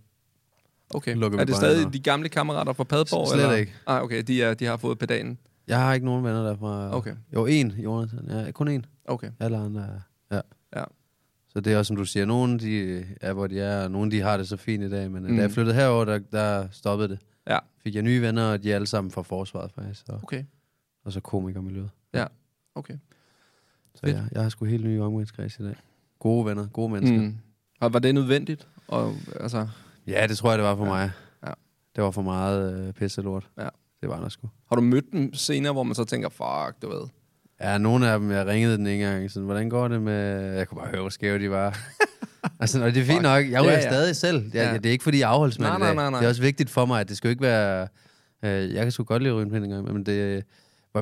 A: okay.
B: Lukker vi
A: Er det
B: bare ind,
A: stadig
B: og-
A: de gamle kammerater fra Padborg?
B: S- slet
A: eller?
B: ikke.
A: Nej, okay, de, er, de har fået pedalen.
B: Jeg har ikke nogen venner derfra.
A: Okay.
B: Jo, en, Jonathan. Ja, kun en.
A: Okay,
B: Alle andre. er- Ja.
A: ja.
B: Så det er også, som du siger, nogen de øh, er, hvor de er, og nogen de har det så fint i dag, men mm. da jeg flyttede herover, der, der stoppede det.
A: Ja,
B: Fik jeg nye venner, og de er alle sammen fra forsvaret faktisk. Og,
A: okay.
B: og så komikermiljøet.
A: Ja, okay.
B: Så jeg, jeg har sgu helt nye omgangskreds i dag. Gode venner, gode mennesker. Mm.
A: Mm. Og var det nødvendigt? Og, altså,
B: Ja, det tror jeg, det var for ja. mig.
A: Ja.
B: Det var for meget øh, pisse lort.
A: Ja.
B: Det var der sgu.
A: har du mødt dem senere, hvor man så tænker, fuck, du ved.
B: Ja, nogle af dem, jeg ringede den ikke engang, sådan, hvordan går det med... Jeg kunne bare høre, hvor skæve de var. altså, og det er fint nok, jeg ryger
A: Ja,
B: ja,
A: ja.
B: ja. stadig selv. Jeg,
A: Ja.
B: ja. Det er ikke, fordi jeg er afholdsmand
A: Nej,
B: i
A: nej,
B: dag.
A: nej, nej.
B: Det er også vigtigt for mig, at det skal jo ikke være... Øh, jeg kan sgu godt lide at ryge en pind engang, men det,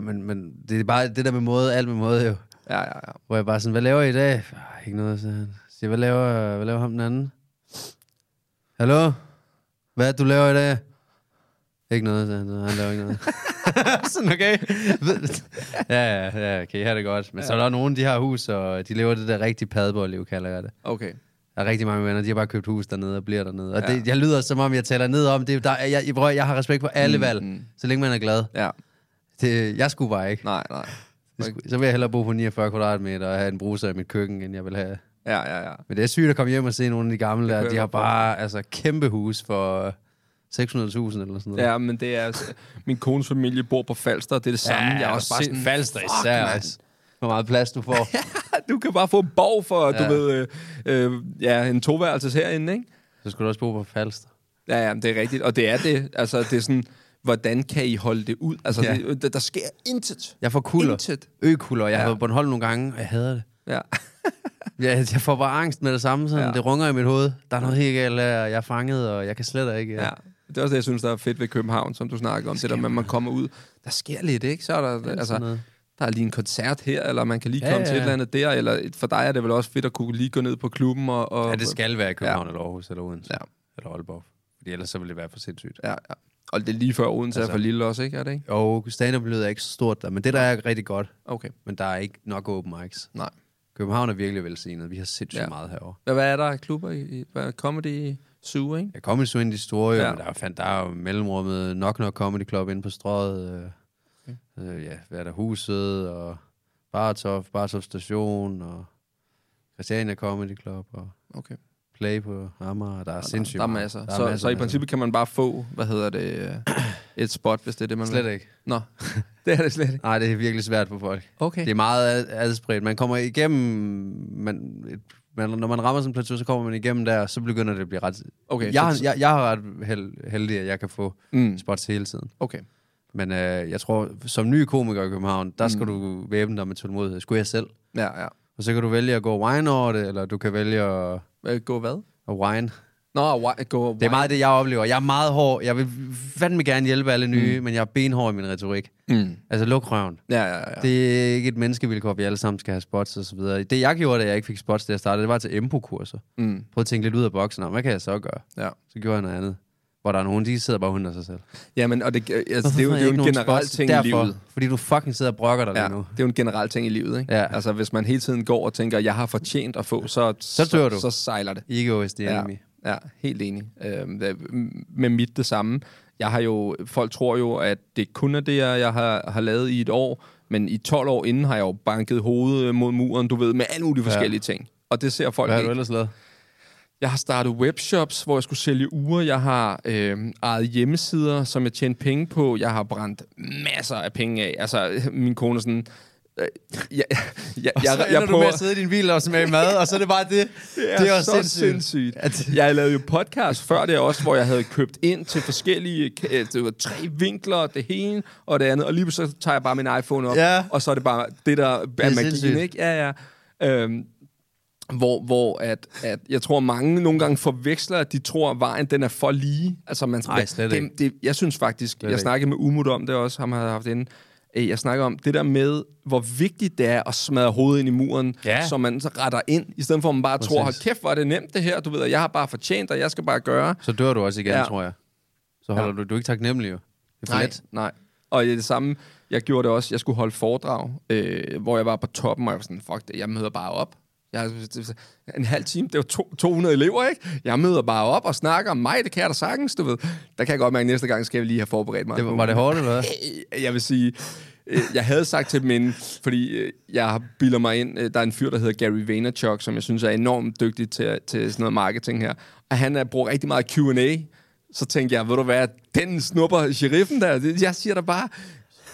B: men, men det er bare det der med måde, alt med måde jo.
A: Ja, ja, ja.
B: Hvor jeg bare sådan, hvad laver I i dag? "Ah, Ikke noget, sagde han. Så siger, jeg, hvad laver, hvad laver ham den anden? Hallo? Hvad er det, du laver i dag? Ikke noget, sagde han. Så han laver ikke noget. sådan, okay. ja, ja, ja, okay, her er det godt. Men ja. så er der nogen, de har hus, og de lever det der rigtige padborg kalder jeg det.
A: Okay.
B: Der er rigtig mange venner, de har bare købt hus dernede og bliver dernede. Og
A: Ja.
B: ja. det, jeg lyder, som om jeg taler ned om det. Der, jeg, jeg, prøv, at- jeg har respekt for alle valg, så længe man er glad.
A: Ja,
B: Det, jeg skulle bare ikke.
A: nej, nej.
B: Det skulle- Så vil jeg hellere bo på 49 kvadratmeter og have en bruser i mit køkken, end jeg vil have
A: Ja, ja, ja.
B: men det er sygt at komme hjem og se nogle af de gamle
A: kunne
B: der.
A: jeg
B: De har
A: godt forstå.
B: bare altså, kæmpe hus for øh, 600.000 eller sådan noget.
A: Ja, men det er... Altså, min kones familie bor på Falster, det er det
B: Mm,
A: samme. jeg er også bare sådan,
B: Falster
A: fuck,
B: især
A: mand.
B: også. Hvor meget plads du får.
A: du kan bare få en borg for, ja.
B: Ja.
A: du ved, øh, øh, ja, en toværelses herinde, ikke?
B: Så skulle du også bo på Falster.
A: Ja, ja, men det er rigtigt. Og det er det. Altså, det er sådan, hvordan kan I holde det ud? Altså, ja.
B: Ja.
A: det, der, der sker intet.
B: Jeg får kulder.
A: Intet.
B: Økuller. Jeg har
A: Ja.
B: været på Bornholm nogle gange, og jeg hader det.
A: Ja.
B: Jeg, jeg får bare angst med det samme. Sådan.
A: Ja.
B: Ja. Det runger i mit hoved. Der er noget helt galt, her, og jeg er fanget, og jeg kan slet ikke...
A: ja. Det er også det, jeg synes, der er fedt ved København, som du snakker om. Det der med, at man kommer ud. Der sker lidt, ikke? Så er der, altså,
B: sådan noget.
A: der er lige en koncert her, eller man kan lige
B: Ja,
A: komme ja, ja. til
B: ja,
A: et
B: ja.
A: eller andet der. Eller for dig er det vel også fedt at kunne lige gå ned på klubben og... og
B: ja det skal være i København
A: Ja.
B: ja. eller Aarhus eller Odense.
A: Ja.
B: Eller Aalborg. Fordi ellers så ville det være for sindssygt.
A: Ja, ja. Og det er lige før Odense altså. er
B: Altså.
A: for lille også, ikke? Er det ikke?
B: Og stand er ikke så stort der, men det der er rigtig godt.
A: Okay.
B: Men der er ikke nok open mics.
A: Nej.
B: København er virkelig velsignet. Vi har sindssygt
A: Ja.
B: ja. meget herovre.
A: Hvad, hvad er der af klubber? i- i- Hvad er comedy zoo, ikke?
B: Jeg kom i Swing de store,
A: Ja.
B: ja. men der er, fandt, der er jo mellemrummet Knock Knock Comedy Club inde på strøget. Øh, øh, ja, hvad er der? Huset og Bartov, Bartov Station og Christiania Comedy Club og
A: Okay.
B: Play på Amager. Der er sindssygt
A: der er
B: meget.
A: masser.
B: Der
A: så, masser. Så i
B: masser.
A: princippet kan man bare få, hvad hedder det, øh, et spot, hvis det er det, man vil.
B: Slet ikke.
A: Nå, det er det slet ikke.
B: Nej, det er virkelig svært for folk.
A: Okay.
B: Det er meget ad- adspredt. Man kommer igennem... Man, et, man, når man rammer sådan en plateau, så kommer man igennem der, og så begynder det at blive ret...
A: Okay,
B: jeg,
A: så-
B: har- jeg, jeg er ret held, heldig, at jeg kan få
A: Mm.
B: mm. spots hele tiden.
A: Okay.
B: Men øh, jeg tror, som ny komiker i København, der
A: Mm.
B: skal du væbne dig med tålmodighed. Skulle jeg selv.
A: Ja, ja.
B: Og så kan du vælge at gå wine over det, eller du kan vælge at,
A: Øh, Gå hvad?
B: at wine.
A: Nå, why, gå
B: Det er meget det, jeg oplever. Jeg er meget hård. Jeg vil fandme gerne hjælpe alle nye, mm. men jeg er benhård i min retorik.
A: Mm.
B: Altså, luk røven.
A: Ja, ja, ja. Det...
B: Det er ikke et menneskevilkår, vi alle sammen skal have spots og så videre. Det, jeg gjorde, da jeg ikke fik spots, da jeg startede, det var til empokurser.
A: Mm.
B: Prøv at tænke lidt ud af boksen. Nå, Hvad kan jeg så gøre?
A: Ja.
B: Så gjorde jeg noget andet. Hvor der er nogen, de sidder bare og hunder sig selv.
A: Jamen, og det, altså, det er jo, det er
B: Hvorfor har
A: jo
B: jeg
A: en
B: ikke nogen
A: generel
B: spots?
A: ting i
B: Derfor,
A: livet.
B: Fordi du fucking sidder og brokker dig
A: Ja,
B: lige nu.
A: det er jo en generel ting i livet, ikke?
B: Ja.
A: Altså, hvis man hele tiden går og tænker, jeg har fortjent at få, så, så, så,
B: dør du.
A: så sejler det.
B: Ego is the enemy.
A: Ja, ja helt enig. Øhm, det- m- med mit det samme. Jeg har jo, folk tror jo, at det kun er det, jeg jeg har, har lavet i et år, men i 12 år inden har jeg jo banket hovedet mod muren, du ved, med alle mulige forskellige ting. Og det ser folk
B: Hvad har
A: ikke.
B: du ellers lavet?
A: Jeg har startet webshops, hvor jeg skulle sælge uger. Jeg har øh, ejet hjemmesider, som jeg tjente penge på. Jeg har brændt masser af penge af. Altså, min kone er sådan... Øh, jeg, jeg, jeg,
B: Jeg, så
A: jeg,
B: ender jeg du med
A: prøver-
B: at sidde i din bil og smage mad, og så er det bare det.
A: det er, det er så sindssygt. sindssygt. At... Jeg lavede jo podcast før det også, hvor jeg havde købt ind til forskellige, øh, det var tre vinkler, det ene og det andet, og lige pludselig så tager jeg bare min iPhone op,
B: Ja.
A: og så er det bare det, der er, er magien,
B: sindssygt.
A: ikke? Ja, ja. Øhm, hvor, hvor at, at jeg tror, mange nogle gange forveksler, at de tror, at vejen den er for lige. Altså, man,
B: Nej, slet
A: det,
B: ikke.
A: det, jeg synes faktisk, jeg
B: ikke.
A: snakkede med Umut om det også, ham har jeg haft inde, Øh, jeg snakker om det der med, hvor vigtigt det er at smadre hovedet ind i muren,
B: Ja.
A: så man så retter ind, i stedet for at man bare tror, hold
B: Præcis.
A: kæft, hvor er det nemt det her, du ved, og jeg har bare fortjent, og jeg skal bare gøre.
B: Så dør du også igen,
A: Ja.
B: ja. tror jeg. Så holder ja. du, du er ikke taknemmelig, jo. Det er for let.
A: nej. Og det, det samme, jeg gjorde det også, jeg skulle holde foredrag, øh, hvor jeg var på toppen, og jeg var sådan, fuck det, jeg møder bare op. Jeg, en halv time, det var to, 200 elever, ikke? Jeg møder bare op og snakker om mig, det kan jeg da sagtens, du ved. Der kan jeg godt mærke, at næste gang skal jeg lige have forberedt mig.
B: Det, var- var det hårdt, eller hvad?
A: Øh, Jeg vil sige, øh, jeg havde sagt til dem inden, fordi øh, jeg har- bilder mig ind, øh, der er en fyr, der hedder Gary Vaynerchuk, som jeg synes er enormt dygtig til, til sådan noget marketing her, og han er, bruger rigtig meget Q&A, så tænkte jeg, ved du hvad, den snupper sheriffen der, Det- jeg siger da bare,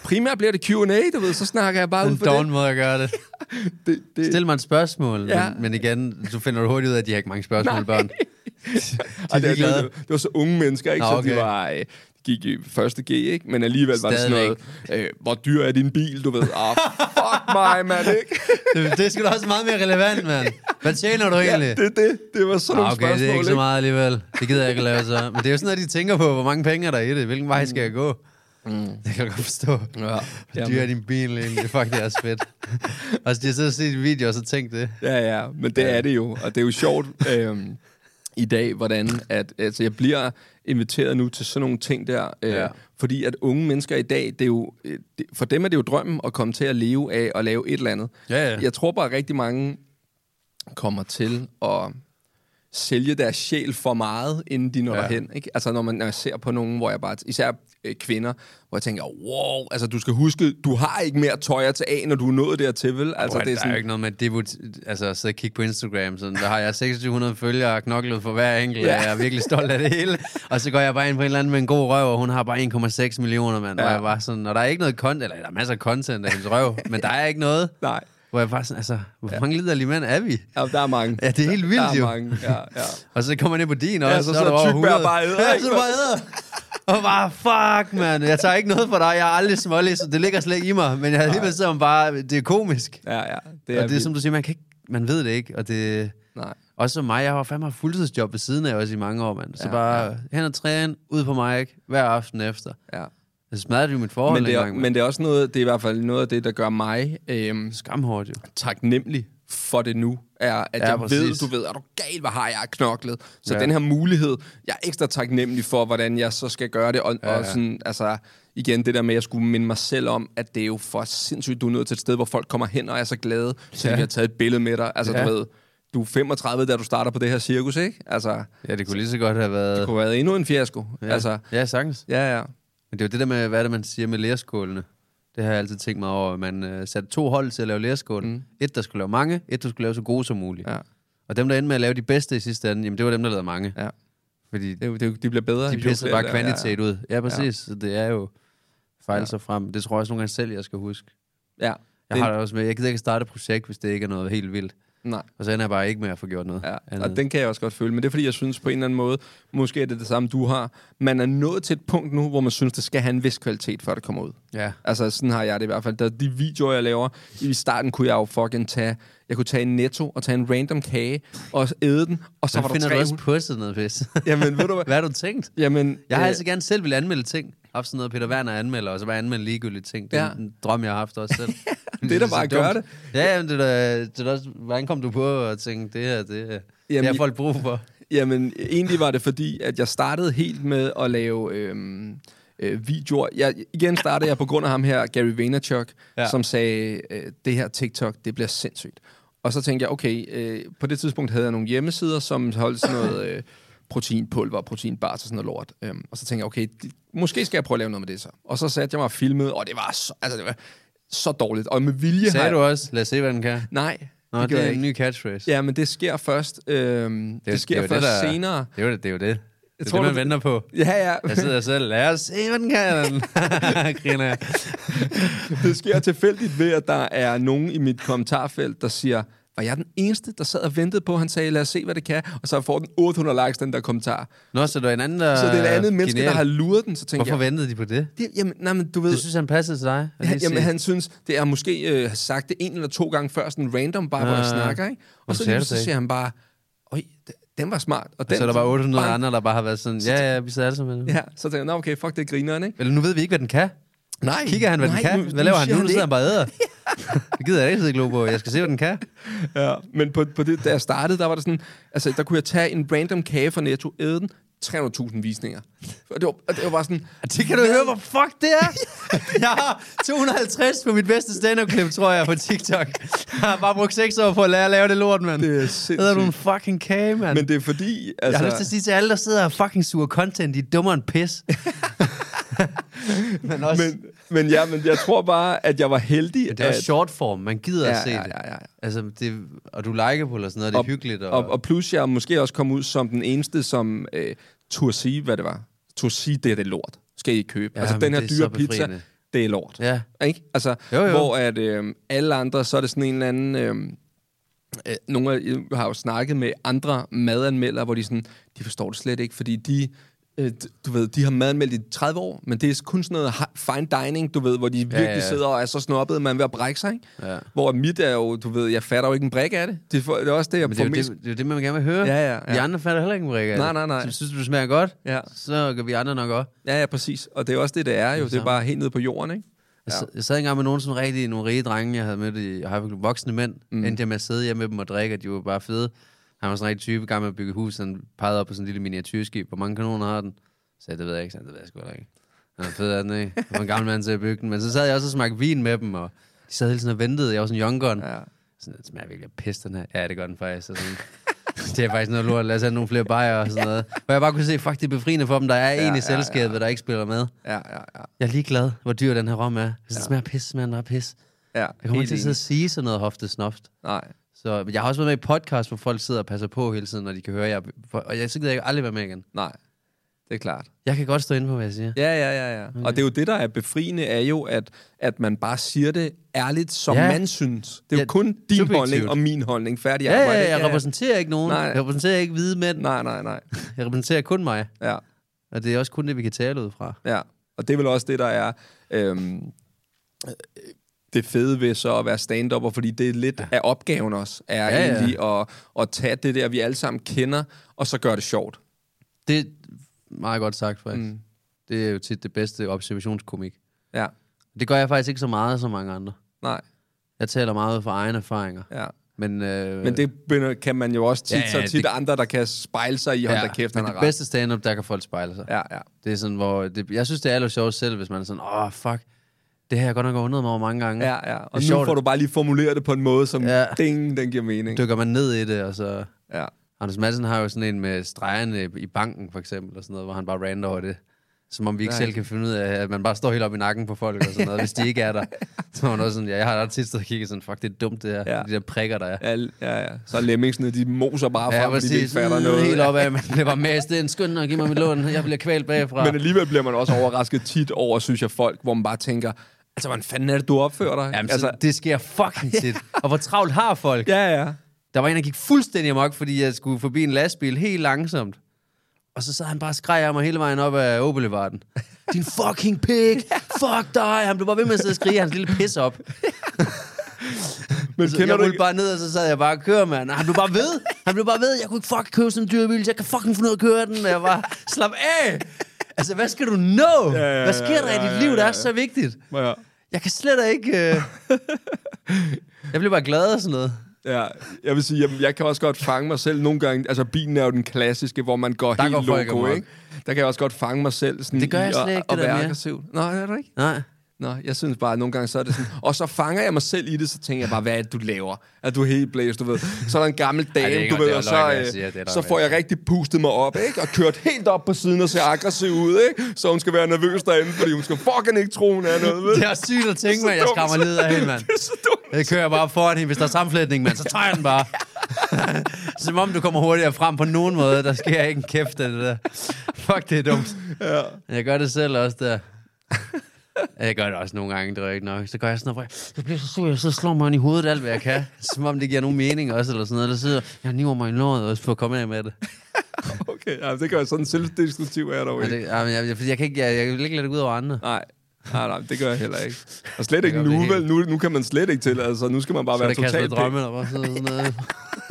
A: primært bliver det Q&A, du ved, så snakker jeg bare ud
B: Den
A: for
B: dogne måde at gøre det.
A: det. det, det
B: Stil mig et spørgsmål,
A: Ja.
B: ja. men, men igen, så finder du hurtigt ud af, at de har ikke mange spørgsmål,
A: Nej.
B: Nej. børn.
A: Ej, det,
B: ligeglade.
A: det, det var så unge mennesker, ikke?
B: Nå,
A: Nå, okay. Så
B: okay.
A: de var, øh, gik i første G, ikke? Men alligevel var det sådan noget, øh, hvor dyr er din bil, du ved. Ah, fuck mig, mand, ikke?
B: Det, det er sgu da også meget mere relevant, mand. Hvad tjener du egentlig?
A: Ja, det, er det, det var sådan
B: Nå,
A: nogle
B: okay,
A: spørgsmål,
B: det er ikke så
A: ikke?
B: meget alligevel. Det gider jeg ikke at lave så. Men det er jo sådan, at de tænker på, hvor mange penge er der i det. Hvilken vej skal jeg gå? Mm. Det kan jeg godt forstå. Ja. Hvor dyr er din bil egentlig? Fuck, det er også fedt. og så de har siddet og set en video, og så tænkt det.
A: Ja, ja, men det er det jo, og det er jo sjovt øhm, i dag, hvordan at, altså, jeg bliver inviteret nu til sådan nogle ting der, øh, ja.
B: Ja.
A: fordi at unge mennesker i dag, det er jo, øh, det, for dem er det jo drømmen at komme til at leve af og lave et eller andet.
B: Ja, ja.
A: Jeg tror bare, at rigtig mange kommer til at sælge deres sjæl for meget, inden de når ja.
B: Ja.
A: derhen. Ikke? Altså når man når jeg ser på nogen, hvor jeg bare, især øh, kvinder, hvor jeg tænker, wow, altså du skal huske, du har ikke mere tøjer til A, når du er nået dertil, vel? Altså,
B: Altså, det er sådan... Der er jo ikke noget med at debut- altså, at sidde og kigge på Instagram. Sådan, der har jeg 2600 følgere og knoklet for hver enkelt,
A: Ja.
B: ja. og jeg er virkelig stolt af det hele. Og så går jeg bare ind på en eller anden med en god røv, og hun har bare 1,6 millioner, mand. Ja. Og jeg var sådan, og der er ikke noget content, eller der er masser af content af hendes røv, men der er ikke noget.
A: Nej.
B: Hvor jeg bare sådan, altså, hvor mange liderlige mænd er vi?
A: Ja, der er mange.
B: Ja, det er helt vildt
A: der er
B: jo.
A: Mange. Ja, ja.
B: Og så kommer man ind på din også,
A: Ja,
B: og
A: så
B: så, så er
A: sidder
B: der over
A: tyk bær
B: 100.
A: bare og æder,
B: Ja,
A: ikke?
B: så bare æder. Og bare, fuck, mand. Jeg tager ikke noget for dig. Jeg er aldrig smålig, så det ligger slet ikke i mig. Men jeg alligevel så bare, det er komisk.
A: ja, ja.
B: Det er og det er
A: vildt.
B: som du siger, man, kan ikke, man ved det ikke, og det...
A: Nej.
B: Også som mig, jeg har fandme haft fuldtidsjob ved siden af også i mange år, mand. Så
A: Ja,
B: ja, bare ja. hen og træne, ud på mig, ikke? Hver aften efter.
A: Ja.
B: Så smadrede vi mit forhold
A: Men, det er,
B: engang, mand.
A: men det er også noget, det er i hvert fald noget af det, der gør mig øhm,
B: Skamhårdt jo.
A: taknemmelig for det nu, er, at ja,
B: Ja,
A: jeg præcis.
B: præcis.
A: ved, du ved, er du gal, hvad har jeg knoklet? Så ja.
B: Ja.
A: den her mulighed, jeg er ekstra taknemmelig for, hvordan jeg så skal gøre det, og, ja, ja. og sådan, altså, igen, det der med, at jeg skulle minde mig selv om, at det er jo for sindssygt, du er nødt til et sted, hvor folk kommer hen og er så glade, så ja. de har taget et billede med dig. Altså, ja.
B: Ja.
A: du ved, du er 35, da du starter på det her cirkus, ikke? Altså,
B: Ja, det kunne lige så godt have været...
A: det kunne have været endnu en fiasko. Ja.
B: ja.
A: Altså,
B: ja, sagtens.
A: ja, ja.
B: Men det er jo det der med, hvad er det, man siger med lærskålene. Det har jeg altid tænkt mig over. Man øh, satte to hold til at lave lærskål. Mm. Et, der skulle lave mange. Et, der skulle lave så gode som muligt.
A: Ja.
B: Og dem, der endte med at lave de bedste i sidste ende, jamen det var dem, der lavede mange.
A: Ja.
B: Fordi
A: Det, er jo- det, er jo- de bliver bedre.
B: de
A: jo
B: pisser
A: flere
B: bare
A: der-
B: kvantitet ud. Ja, præcis. Ja. Så det er jo fejl sig frem. Det tror jeg også nogle gange selv, jeg skal huske.
A: Ja. ja.
B: Jeg
A: Den-
B: har det også med, jeg gider ikke starte et projekt, hvis det ikke er noget helt vildt.
A: Nej.
B: Og så ender jeg bare ikke med at få gjort noget.
A: Ja, og
B: andet.
A: den kan jeg også godt føle, men det er fordi, jeg synes på en eller anden måde, måske er det det samme, du har. Man er nået til et punkt nu, hvor man synes, det skal have en vis kvalitet, før det kommer ud.
B: Ja.
A: Altså, sådan har jeg det i hvert fald. Da de videoer, jeg laver, i starten kunne jeg jo fucking tage, jeg kunne tage en netto og tage en random kage og æde den, og så
B: så
A: var der
B: finder du
A: tre...
B: også pusset noget pis.
A: Jamen, ved du hvad?
B: hvad har du tænkt?
A: Jamen,
B: Jeg har
A: øh,
B: altså gerne selv vil anmelde ting. Haft sådan noget, Peter Werner anmelder, og så bare anmelde ligegyldige ting. Det er
A: Ja.
B: ja. en drøm, jeg har haft også selv.
A: Det er da bare at gøre
B: dumt. Ja, jamen, det er da, det er da også, hvordan kom du på at tænke, det her, det, jamen, det
A: Jamen,
B: har
A: I-
B: folk brug for?
A: Jamen, egentlig var det fordi, at jeg startede helt med at lave øhm, øh, videoer. Jeg, igen startede jeg på grund af ham her, Gary Vaynerchuk, ja.
B: Ja.
A: som sagde, øh, det her TikTok, det bliver sindssygt. Og så tænkte jeg, okay, øh, på det tidspunkt havde jeg nogle hjemmesider, som holdt sådan noget øh, proteinpulver, proteinbars og sådan noget lort. Øhm, og så tænkte jeg, okay, det, måske skal jeg prøve at lave noget med det så. Og så satte jeg mig og filmede, og det var så, altså, det var så dårligt. Og med vilje har
B: Sagde
A: jeg-
B: du også, lad os se, hvad den kan.
A: Nej,
B: Nå,
A: det
B: det,
A: gjorde
B: det er
A: jeg
B: en
A: ikke.
B: ny catchphrase.
A: Ja, men det sker først, øhm, det, det sker
B: er jo
A: det først
B: der-
A: senere.
B: Det er jo det, det, er jo det. det, er
A: tror,
B: det man
A: du-
B: venter på.
A: Ja, ja.
B: Jeg sidder selv, lad os se, hvad den kan. Griner jeg.
A: det sker tilfældigt ved, at der er nogen i mit kommentarfelt, der siger, var jeg den eneste, der sad og ventede på, han sagde, lad os se, hvad det kan, og så får den 800 likes, den der kommentar.
B: Nå, så der er en anden, der...
A: Så det er et andet menneske, der har luret den, så tænker
B: Hvorfor
A: jeg...
B: ventede de på det?
A: Det, jamen, nej, men du ved...
B: Du synes, han passede til dig? at
A: han,
B: lige
A: jamen,
B: sige-
A: han synes, det er måske øh, sagt det en eller to gange før, sådan random, bare hvor jeg
B: Ah.
A: snakker, ikke? Og
B: Hvorfor
A: så,
B: sagde
A: lige,
B: du
A: så
B: det ikke?
A: siger han bare, øj, d- den Altså, var smart. Og,
B: Og
A: den,
B: så er der bare 800
A: bang.
B: andre, der bare har været sådan, ja, ja, vi sidder alle sammen med det."
A: Ja, så tænker jeg, nå okay, fuck, det er grineren, ikke?
B: Eller nu ved vi ikke, hvad den kan.
A: Nej,
B: Kigger han, hvad
A: nej,
B: den kan?
A: nu-
B: hvad laver han
A: siger
B: nu? Nu
A: det
B: sidder han bare og æder. Det gider jeg ikke sidde og glo på. Jeg skal se, hvad den kan.
A: Ja, men på, på det, da jeg startede, der var det sådan, altså der kunne jeg tage en random kage fra Netto, æde den, 300.000 visninger. Og det var, og det var bare sådan,
B: Det kan du høre, hvor fuck det er. Jeg har 250 på mit bedste stand-up-klip, tror jeg, på TikTok. Jeg har bare brugt 6 år på at lære at lave det lort, mand.
A: Det er
B: Hedder du en
A: sindssygt.
B: fucking kage, mand.
A: men det er fordi,
B: Jeg
A: altså,
B: har lyst til at sige til alle, der sidder og fucking suger content, de er dummere end pis. men også, men,
A: men, men, ja, men jeg tror bare, at jeg var heldig,
B: det er også
A: at-
B: short form, man gider
A: Ja,
B: at se
A: ja,
B: det.
A: ja, ja, ja.
B: Altså, det, og du liker på det og sådan noget, det er hyggeligt. Og,
A: og, og plus, jeg måske også kom ud som den eneste, som øh, turde sige, hvad det var. Turde sige, det er det lort. Skal I købe. Ja,
B: Ja,
A: altså,
B: men
A: den her
B: det er
A: dyre
B: så
A: pizza.
B: befriende.
A: det er lort.
B: Ja.
A: Ikke? Altså,
B: Jo, jo.
A: hvor at øh, alle andre, så er det sådan en eller anden... Øh, øh, nogle af jer har jo snakket med andre madanmeldere, hvor de sådan, de forstår det slet ikke, fordi de, øh, du ved, de har madanmeldt i 30 år, men det er kun sådan noget hi- fine dining, du ved, hvor de virkelig ja,
B: ja.
A: ja. sidder og er så snobbede, at man er ved at brække sig, ikke?
B: Ja.
A: Hvor mit er jo, du ved, jeg fatter jo ikke en brik af det. Det er, for, det er også det, jeg
B: Men
A: får
B: det er,
A: mest...
B: jo det, det er jo det, man gerne vil høre.
A: Ja, ja, ja.
B: De andre fatter heller ikke en brik af
A: Nej,
B: det.
A: nej, nej.
B: Så synes du, det smager godt,
A: Ja.
B: så gør vi andre nok også.
A: Ja, ja, præcis. Og det er også det, det er jo. Det er bare helt nede på jorden, ikke?
B: Jeg, sad, jeg sad engang med nogle sådan rigtige, nogle rige drenge, jeg havde mødt i Hyperclub. Voksne mænd. Mm. Endte jeg med at sidde hjemme med dem og drikke, og de var bare fede. Han var sådan en rigtig type, gammel med at bygge hus, han pegede op på sådan en lille miniatyrskib. Hvor mange kanoner har den? Så sagde jeg, det ved jeg ikke. Så sagde han, det ved jeg sgu heller ikke. Han er fed af den, ikke? Han var en gammel mand til at bygge den. Men så sad jeg også og smagte vin med dem, og de sad hele tiden og ventede. Jeg var sådan en young gun. Ja. Sådan, den smager virkelig af pis, den her. Ja, det gør den faktisk. Og sådan, det er faktisk noget lort. Lad os have nogle flere bajer og sådan noget. Hvor jeg bare kunne se, fuck, det er befriende for dem. Der er en i selskabet, der ikke spiller med.
A: Ja, ja, ja.
B: Jeg er ligeglad, hvor dyr den her rom er. Hvis ja. det smager af pis, smager den bare af pis.
A: ja
B: Jeg kommer
A: helt
B: ikke til at sidde
A: enig.
B: og sige sådan noget hofte snoft.
A: Nej.
B: Så men jeg har også været med i podcast, hvor folk sidder og passer på hele tiden, når de kan høre jer. For- Og jeg synes, jeg kan aldrig være med igen.
A: Nej, det er klart.
B: Jeg kan godt stå inde på, hvad jeg siger.
A: Ja, ja, ja, ja. Okay. Og det er jo det, der er befriende, er jo, at, at man bare siger det ærligt, som
B: Ja.
A: ja. man synes. Det er ja,
B: Ja,
A: jo kun din
B: subjektivt.
A: holdning og min holdning. Færdig
B: Ja,
A: arbejde,
B: ja,
A: ikke?
B: jeg repræsenterer ikke nogen.
A: Nej.
B: Jeg repræsenterer ikke hvide mænd.
A: Nej, nej, nej.
B: Jeg repræsenterer kun mig.
A: Ja,
B: Og det er også kun det, vi kan tale ud fra.
A: ja. Og det er vel også det, der er... Øhm, øh, det fede ved så at være stand-upper, fordi det er lidt ja. af opgaven også, er ja,
B: Ja, ja.
A: egentlig ja. At, at tage det der, vi alle sammen kender, og så gøre det sjovt.
B: Det er meget godt sagt, faktisk. Mm. Det er jo tit det bedste observationskomik.
A: Ja,
B: Det gør jeg faktisk ikke så meget som mange andre.
A: nej,
B: Jeg taler meget ud fra egne erfaringer.
A: ja.
B: Men, øh,
A: Men det begynder- kan man jo også tit,
B: Ja,
A: ja,
B: ja,
A: så tit
B: det-
A: det... andre, der kan spejle sig i, hold da kæft, han
B: men det
A: har ret.
B: bedste stand-up, der kan folk spejle sig.
A: Ja, ja.
B: Det er sådan, hvor... Det, jeg synes, det er aller sjovt selv, hvis man er sådan, åh, oh, fuck, det her har jeg godt nok undret mig over mange gange.
A: Ja, ja.
B: Det er
A: Og nu
B: sjovt,
A: får
B: at-
A: du bare lige formuleret det på en måde, som
B: Ja.
A: ja. ding, den giver mening.
B: Dykker man ned i det, og så...
A: Ja.
B: Anders Madsen har jo sådan en med stregerne i banken, for eksempel, og sådan noget, hvor han bare rander over det. Som om vi ikke
A: Nej.
B: selv kan finde ud af, at man bare står helt op i nakken på folk og sådan noget, hvis de ikke er der. Så er man også sådan, ja, jeg har ret tit stået og kigget sådan, fuck, det er dumt det her, ja.
A: Ja.
B: de der prikker, der er.
A: Ja, ja, ja. Så er lemmingsene, de moser bare frem, fordi de ikke fatter
B: Mm,
A: noget.
B: Helt op af, man bliver bare mast ind, skynd dig, giv mig mit lån, jeg bliver kvalt bagfra.
A: Men alligevel bliver man også overrasket tit over, synes jeg, folk, hvor man bare tænker, altså, hvordan fanden er det, du opfører dig?
B: Jamen, altså,
A: altså,
B: så, det sker fucking tit. Og hvor travlt har folk?
A: Ja, ja.
B: Der var en, der gik fuldstændig amok, fordi jeg skulle forbi en lastbil helt langsomt. Og så sad han bare og skreg af mig hele vejen op ad Åbelevarden. Din fucking pig! Fuck dig! Han blev bare ved med at sidde og skrige hans lille pis op.
A: Men
B: Så
A: kender
B: jeg
A: du
B: rullede
A: ikke...
B: bare ned, og så sad jeg bare og kører, mand. Og Han blev bare ved. Han blev bare ved. Jeg kunne ikke fucking købe sådan en dyrebil, så jeg kan fucking finde ud af at køre den. Og jeg bare, slap af! Altså, hvad skal du nå?
A: ja, ja,
B: Hvad sker der
A: ja,
B: i dit
A: ja,
B: liv, der
A: ja,
B: er
A: ja.
B: så vigtigt?
A: Ja,
B: Jeg kan slet ikke... Øh... Jeg blev bare glad og sådan noget.
A: Ja, jeg vil sige, jamen, jeg kan også godt fange mig selv nogle gange. Altså, bilen er jo den klassiske, hvor man går
B: Der
A: helt
B: går folk
A: loco,
B: amok.
A: ikke? Der kan jeg også godt fange mig selv sådan
B: Det gør
A: i
B: jeg
A: at-
B: slet ikke,
A: at
B: det der
A: være
B: mere.
A: aggressiv. Nej, er du ikke?
B: Nej.
A: Nå, jeg synes bare, at nogle gange så er det sådan... Og så fanger jeg mig selv i det, så tænker jeg bare, hvad er det, du laver? Er du helt blæst, du ved? Så er der en gammel
B: det er
A: dame,
B: ikke-
A: du ved,
B: det er
A: og
B: løgn,
A: så,
B: hvad jeg
A: øh,
B: siger, det er der
A: så
B: med.
A: får jeg rigtig pustet mig op, ikke? Og kørt helt op på siden og ser aggressiv ud, ikke? Så hun skal være nervøs derinde, fordi hun skal fucking ikke tro, hun er noget, ved
B: Det
A: du?
B: er også sygt at tænke, man. Jeg
A: dumt.
B: skræmmer lidt af hende, mand.
A: Det er så dumt.
B: Jeg kører bare op foran hende. Hvis der er sammenflætning, mand, så tager jeg den bare. Som om du kommer hurtigere frem på nogen måde. Der sker ikke en kæft af det der. Fuck, det er dumt. Ja. Jeg gør det selv også der. Jeg gør det også nogle gange, det er ikke nok. Så gør jeg sådan noget, hvor jeg- jeg bliver så sur, jeg sidder og slår mig ind i hovedet alt, hvad jeg kan. Som om det giver nogen mening også, eller sådan noget. Der sidder, jeg niver mig i låret også for at komme af med det.
A: Okay, ja, det gør jeg sådan selvdestruktiv er jeg dog
B: Men
A: ikke.
B: det ja, men jeg, fordi jeg, kan ikke, jeg, jeg vil ikke lade det gå ud over andre.
A: Nej. Nej, nej, det gør jeg heller ikke. Og slet ikke
B: gør vi
A: nu,
B: helt.
A: vel? Nu, nu kan man slet ikke til, altså. Nu skal man bare
B: Så er
A: være
B: det kastet
A: totalt
B: drømme, eller hvad? Sådan noget.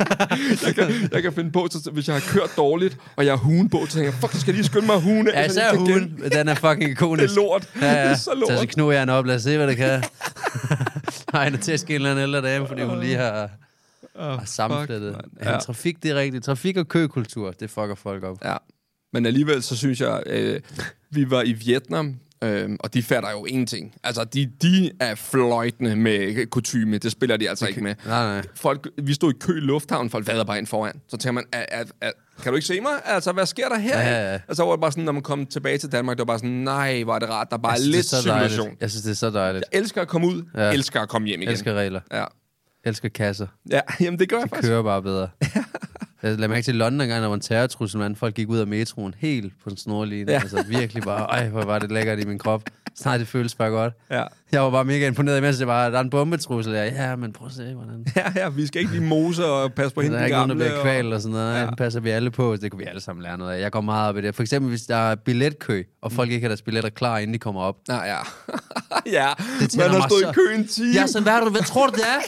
A: jeg, kan, jeg kan finde på, så, hvis jeg har kørt dårligt, og jeg har huen på, så tænker jeg, fuck, så skal jeg lige skynde mig at altså, huen af,
B: Ja,
A: så jeg
B: især
A: ikke kan
B: hun. Den er fucking ikonisk.
A: Det er lort.
B: Ja, ja.
A: Det er så lort.
B: Så, så knur jeg hende op. Lad os se, hvad det kan. Nej, det tæsk en eller anden ældre dame, fordi hun lige har, har sammenflettet.
A: mand.
B: ja.
A: Ja.
B: men Trafik, det er rigtigt. Trafik og køkultur, det fucker folk op.
A: Ja, men alligevel så synes jeg, øh, vi var i Vietnam, øh, og de fatter jo ingenting. Altså, de, de er fløjtende med kutume, det spiller de altså ikke med.
B: nej, nej.
A: Folk, vi stod i kø i lufthavnen, folk vader bare ind foran. Så tænker man, "Er- er- er- kan du ikke se mig? Altså, hvad sker der her?
B: Ja, ja, ja.
A: Og så var det bare sådan, når man kom tilbage til Danmark, det var bare sådan, nej, var det rart, der bare er
B: Jeg synes, Altså, det
A: lidt
B: så dejligt.
A: simulation.
B: Jeg synes, det er så dejligt.
A: Jeg elsker at komme ud,
B: Ja.
A: ja. elsker at komme hjem igen.
B: Jeg elsker regler.
A: Ja.
B: elsker kasser.
A: ja, jamen det gør jeg faktisk.
B: Kører bare bedre. Jeg lader mærke til i London engang, der var en terrortrussel, mand. Folk gik ud af metroen helt på en snorline. Ja.
A: Ja.
B: Altså virkelig bare, ej, hvor var det lækkert i min krop. Nej, det føles bare godt.
A: Ja.
B: Jeg var bare mega imponeret, imens jeg bare, der er en bombetrussel. Jeg, ja, men prøv at se, hvordan...
A: Ja, ja, vi skal ikke lige mose og passe på hende,
B: Der er ikke nogen, der bliver
A: og-
B: kvalt og sådan noget.
A: Ja.
B: Ja. Den passer vi alle på. Det kunne vi alle sammen lære noget af. Jeg går meget op i det. For eksempel, hvis der er billetkø, og
A: Mm.
B: folk ikke har deres billetter klar, inden de kommer op.
A: Nej, ja. ja,
B: Det
A: man
B: tænder
A: har
B: mig
A: stået
B: så-
A: i køen en time.
B: Jeg er sådan, hvad, har du, hvad tror du, det er?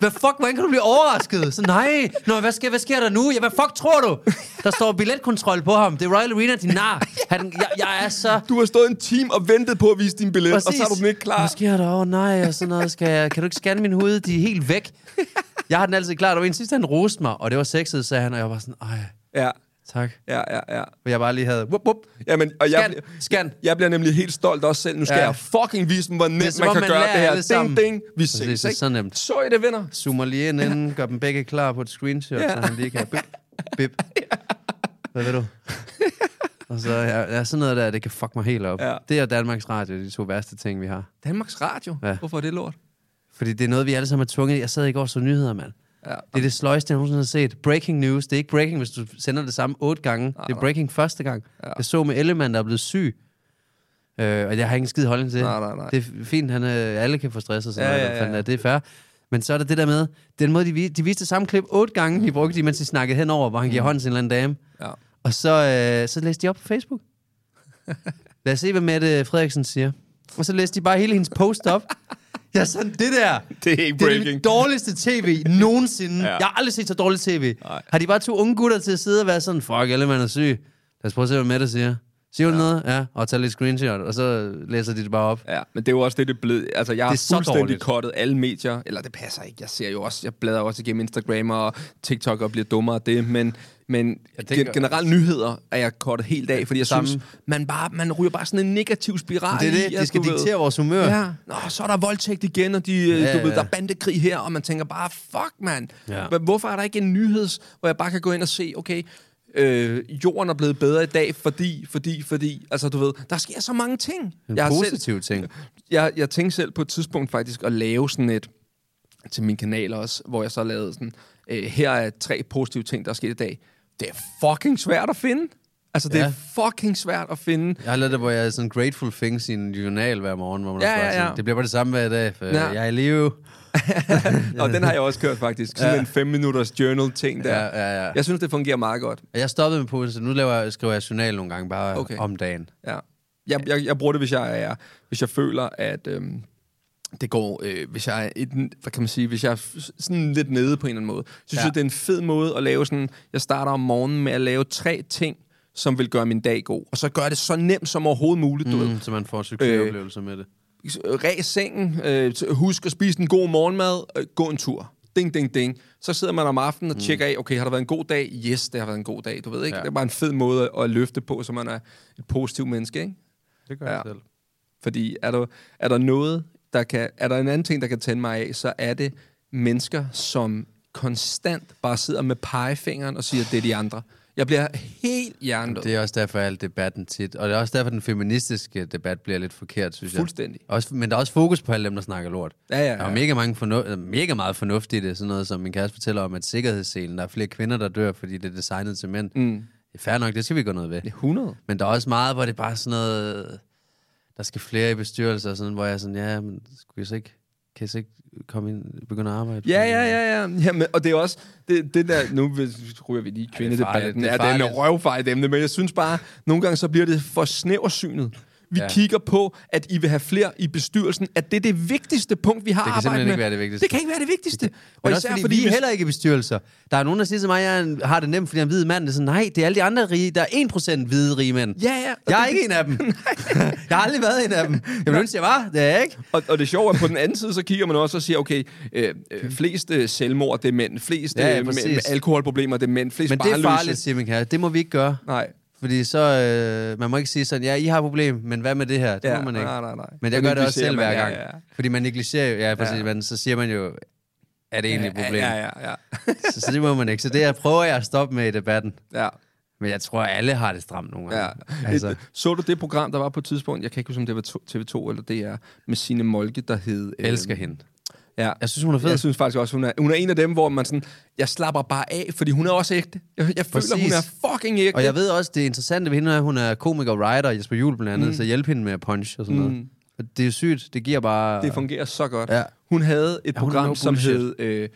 B: Hvad fuck, hvordan kan du blive overrasket? Så nej, Nå, hvad, sker, hvad sker der nu? Ja, hvad fuck tror du? Der står billetkontrol på ham. Det er Royal Arena, din nar. Han, jeg, jeg er så...
A: Du har stået en time og ventet på at vise din billet, og så har du den ikke klar.
B: Hvad sker der? Åh oh, nej, og sådan noget. Skal jeg, kan du ikke scanne min hoved? De er helt væk. Jeg har den altid klar. Der var en sidste, han roste mig, og det var sexet, sagde han, og jeg var sådan, ej,
A: Ja,
B: tak.
A: ja, ja, ja.
B: Men jeg bare lige havde, wup, wup.
A: Jamen, og jeg,
B: Scan, scan.
A: jeg bliver nemlig helt stolt også selv. Nu skal ja.
B: Ja.
A: jeg fucking vise dem, hvor nemt
B: som
A: man
B: om,
A: kan
B: man
A: gøre
B: lærer
A: det her.
B: alle
A: Ding,
B: sammen.
A: ding. Vi
B: Præcis,
A: ses,
B: det er
A: ikke?
B: så nemt.
A: Så I det, venner.
B: zoomer lige ind inden, gør dem begge klar på et screenshot, ja. så han lige kan bip, bip. Hvad ved du? Og så ja, ja, sådan noget der, det kan fuck mig helt op.
A: Ja.
B: Ja. Det og Danmarks Radio, de to værste ting, vi har.
A: Danmarks Radio.
B: Ja.
A: Hvorfor er det lort?
B: Fordi det er noget, vi alle sammen er tvunget i. Jeg sad i går og så nyheder, mand.
A: Ja.
B: Det er det sløjeste, jeg nogensinde har set. Breaking news. Det er ikke breaking, hvis du sender det samme otte gange. det er breaking første gang. Ja. Jeg så med Ellemann, der er blevet syg. Øh, og jeg har ingen skid holdning til det.
A: Nej, nej, nej.
B: Det er fint, han, øh, alle kan få stress og
A: Ja,
B: sådan noget.
A: ja,
B: hvad
A: ja,
B: fanden
A: ja.
B: er Det er fair. Men så er der det der med, den måde, de, vi- de viste det samme klip otte gange, de brugte de, mens de snakkede henover, hvor han giver hånd til en eller anden dame.
A: Mm. Ja.
B: Og så, øh, så læste de op på Facebook. Lad os se, hvad Mette Frederiksen siger. Og så læste de bare hele hendes post op. Ja, sådan det der.
A: Det er ikke
B: Det er
A: breaking.
B: det dårligste tv nogensinde.
A: Ja.
B: Ja. Jeg har aldrig set så dårligt tv.
A: Nej.
B: Har de bare to unge gutter til at sidde og være sådan, fuck, alle mand er syg. Lad os prøve at se, hvad Mette siger. Siger hun ja. noget? Ja. Og tager lidt screenshot, og så læser de det bare op.
A: Ja, men det er jo også det, det blev. Altså, jeg har
B: Det er så
A: fuldstændig
B: dårligt.
A: kottet alle medier. Eller det passer ikke. Jeg ser jo også, jeg bladrer også igennem Instagram og TikTok og bliver dummere af det. Men, men
B: tænker-
A: gen- generelt nyheder er jeg kottet helt af, fordi jeg Samme.
B: Samme.
A: synes, man, bare, man ryger bare sådan en negativ spiral
B: Det er det.
A: i,
B: De
A: at
B: skal
A: du ved-
B: diktere vores humør.
A: Ja. Nå, så er der voldtægt igen, og de, ja,
B: Ja,
A: du ved,
B: ja.
A: der er bandekrig her, og man tænker bare, fuck mand,
B: Ja.
A: ja. hvorfor er der ikke en nyheds, hvor jeg bare kan gå ind og se, okay, øh, jorden er blevet bedre i dag, fordi, fordi, fordi, altså du ved, der sker så mange ting.
B: En
A: har selv-
B: positiv ting.
A: jeg, jeg tænkte selv på et tidspunkt faktisk at lave sådan et til min kanal også, hvor jeg så lavede sådan, øh, her er tre positive ting, der er sket i dag. Det er fucking svært at finde. Altså, det
B: Ja.
A: er fucking svært at finde.
B: Jeg har lavet det, hvor jeg er sådan grateful things i en journal hver morgen, hvor man
A: Ja,
B: også bare
A: ja,
B: sådan,
A: ja.
B: Det bliver bare det samme hver dag, for
A: Ja.
B: ja. jeg er i live.
A: Og den har jeg også kørt faktisk. Sådan ja. en fem minutters journal-ting der.
B: Ja, ja, ja.
A: Jeg synes, det fungerer meget godt.
B: Og jeg stoppede med posen, nu laver jeg, skriver jeg journal nogle gange bare
A: Okay.
B: okay. om dagen.
A: Ja. Jeg, jeg, jeg bruger det, hvis jeg er, hvis jeg føler, at øhm, det går, øh, hvis jeg er, i den- hvad kan man sige, hvis jeg er f- sådan lidt nede på en eller anden måde. Så synes ja.
B: Ja.
A: jeg, det er en fed måde at lave sådan, jeg starter om morgenen med at lave tre ting, som vil gøre min dag god. Og så gør det så nemt som overhovedet muligt, mm. du ved.
B: Mm, så man får en succesoplevelse øh. med det.
A: Ræs sengen, øh, t- husk at spise en god morgenmad, øh, gå en tur. Ding, ding, ding. Så sidder man om aftenen og tjekker af, okay, har der været en god dag? Yes, det har været en god dag, du ved ikke? Mm. Ja.
B: Ja.
A: Det er bare en fed måde at, at løfte på, så man er et positivt menneske, ikke?
B: Det gør
A: Ja.
B: jeg selv.
A: Fordi er der, er der noget, der kan... Er der en anden ting, der kan tænde mig af, så er det mennesker, som konstant bare sidder med pegefingeren og siger, det er de andre. Jeg bliver helt hjernedød.
B: Det er også derfor, al debatten tit... Og det er også derfor, den feministiske debat bliver lidt forkert, synes jeg.
A: Fuldstændig.
B: Også, men der er også fokus på alle dem, der snakker lort.
A: Ja, ja, ja.
B: Der er mega, mange fornu- øh, mega meget fornuft i det. Sådan noget, som min kæreste fortæller om, at sikkerhedsselen, der er flere kvinder, der dør, fordi det er designet til mænd. Mm. Det er fair nok, det skal vi gøre noget ved.
A: 100.
B: Men der er også meget, hvor det er bare sådan noget... Der skal flere i bestyrelser, og sådan, hvor jeg er sådan, ja, men skulle jeg så ikke, kan jeg så ikke komme ind, begynde at arbejde?
A: Ja, ja, ja, ja. Jamen, og det er også, det, det der, nu hvis- ryger vi lige i kvindedebatten,
B: farligt, det
A: ja,
B: er
A: det er en
B: farligt.
A: røvfejt emne, men jeg synes bare, nogle gange så bliver det for snæversynet. Vi ja.
B: Ja.
A: kigger på, at I vil have flere i bestyrelsen, at det er det vigtigste punkt, vi har
B: kan
A: arbejdet
B: simpelthen
A: med.
B: ikke være det vigtigste.
A: Det kan ikke være det vigtigste.
B: Men også fordi, fordi vi er
A: hvis-
B: heller ikke i bestyrelser. Der er nogen, der siger til mig, at jeg er en- har det nemt, fordi jeg er en hvid mand. Det er sådan, nej, det er alle de andre rige. Der er 1% hvide rige mænd.
A: Ja, ja. Og
B: Jeg er
A: det-
B: ikke en af dem. jeg har aldrig været en af dem. Jeg ville ønske, jeg var. Det er jeg ikke.
A: Og, og det sjove er, på den anden side, så kigger man også og siger, okay, øh, øh, flest øh, selvmord, det er mænd. Flest
B: Ja, ja,
A: ja, øh, med,
B: præcis.
A: med alkoholproblemer, det er mænd. Flest
B: Men det er
A: barnløse.
B: farligt, siger min kære. Det må vi ikke gøre.
A: Nej.
B: Fordi så, øh, man må ikke sige sådan, ja, I har et problem, men hvad med det her? Det
A: Ja,
B: må man ikke.
A: nej, nej, nej.
B: Men
A: Så
B: jeg gør det også
A: negligerer
B: selv
A: man,
B: hver
A: ja,
B: gang.
A: ja, ja.
B: Fordi man negligerer jo, ja, præcis,
A: Ja.
B: ja. Men så siger man jo, er det egentlig et problem?
A: Ja, ja, ja.
B: Så, så det må man ikke. Så det jeg prøver jeg at stoppe med i debatten.
A: ja.
B: Men jeg tror, alle har det stramt nogle
A: Ja.
B: gange. Altså,
A: Et, så du det program, der var på et tidspunkt, jeg kan ikke huske, om det var to- TV2 eller DR, med sine Molke, der hed... Øh,
B: elsker hende.
A: Ja.
B: Jeg synes, hun er fed.
A: Jeg synes faktisk også, hun er, hun er en af dem, hvor man sådan, jeg slapper bare af, fordi hun er også ægte. Jeg, jeg føler, hun
B: Præcis.
A: er fucking ægte.
B: Og jeg ved også, det interessante ved hende er, at hun er komiker og writer, Jesper Juhl blandt andet, mm. så hjælp hende med at punch og sådan noget. Og det er jo sygt. Det giver bare...
A: Det fungerer så godt.
B: Ja.
A: Hun havde et ja,
B: Ja, hun er
A: program,
B: no
A: som
B: bullshit.
A: hed øh,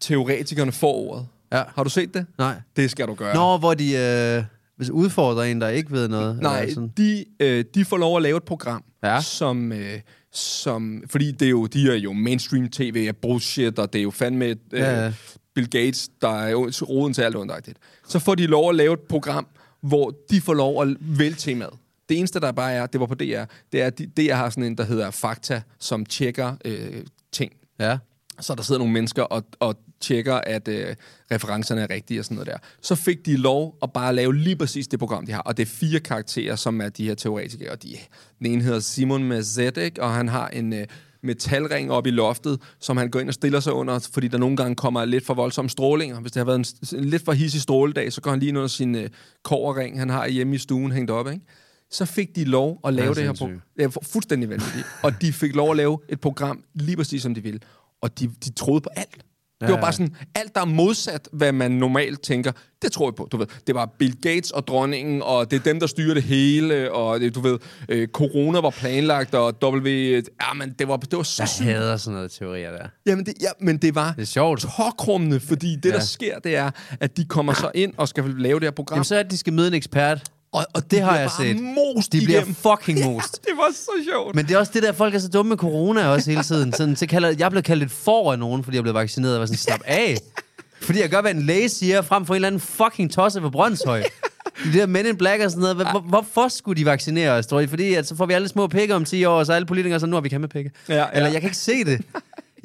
A: Teoretikerne for ordet.
B: Ja.
A: Har du set det?
B: Nej.
A: Det skal du gøre.
B: Nå, hvor de øh, hvis udfordrer en, der ikke ved noget.
A: Nej,
B: eller sådan.
A: de, øh, de får lov at lave et program,
B: Ja.
A: som, øh, som... Fordi det er jo, de er jo mainstream tv er bullshit, og det er jo fandme øh,
B: Ja,
A: ja,
B: ja.
A: ja. Bill Gates, der er jo roden til alt underagtigt. Så får de lov at lave et program, hvor de får lov at vælge temaet. Det eneste, der bare er, det var på DR, det er, at de- DR har sådan en, der hedder Fakta, som tjekker øh, ting.
B: Ja.
A: Så der sidder nogle mennesker og, og tjekker, at øh, referencerne er rigtige og sådan noget der. Så fik de lov at bare lave lige præcis det program, de har. Og det er fire karakterer, som er de her teoretikere. Og de, den ene hedder Simon Mazetek, og han har en øh, metalring op i loftet, som han går ind og stiller sig under, fordi der nogle gange kommer lidt for voldsomme strålinger. Hvis det har været en, s- en lidt for hissig stråledag, så går han lige ind under sin øh, koverring, han har hjemme i stuen hængt op, ikke? Så fik de lov at lave
B: Ja,
A: det, det her
B: sindssygt.
A: program. Det er fu- fuldstændig vanvittigt. og de fik lov at lave et program lige præcis, som de ville. Og de, de troede på alt. Det var bare sådan, alt der er modsat, hvad man normalt tænker, det tror jeg på, du ved. Det var Bill Gates og dronningen, og det er dem, der styrer det hele, og det, du ved, øh, corona var planlagt, og W... Ja, men det var, det var så sygt.
B: Jeg hader sådan noget teorier der.
A: Jamen, det, ja, men det var
B: Det er sjovt. Ah.
A: tåkrummende, fordi det, ja. der sker, det er, at de kommer så ind og skal lave det her program.
B: Jamen, så er det, de skal møde en ekspert.
A: og, og
B: det har
A: bliver
B: jeg
A: bare
B: set.
A: Most
B: De bliver
A: igennem.
B: fucking
A: Ja,
B: most.
A: det var så sjovt.
B: Men det er også det der, folk er så dumme med corona også hele tiden. Sådan, så kalder, jeg blev kaldt et for af nogen, fordi jeg blev vaccineret. Jeg var sådan, slap af. Fordi jeg gør, hvad en læge siger, frem for en eller anden fucking tosse på Brøndshøj. De der Men in Black og sådan noget. Hvor- Hvor, hvorfor skulle de vaccinere os, tror I? Fordi at så får vi alle små pikke om 10 år, og så er alle politikere sådan, nu har vi kæmpe pikke.
A: Ja, ja.
B: Eller jeg kan ikke se det.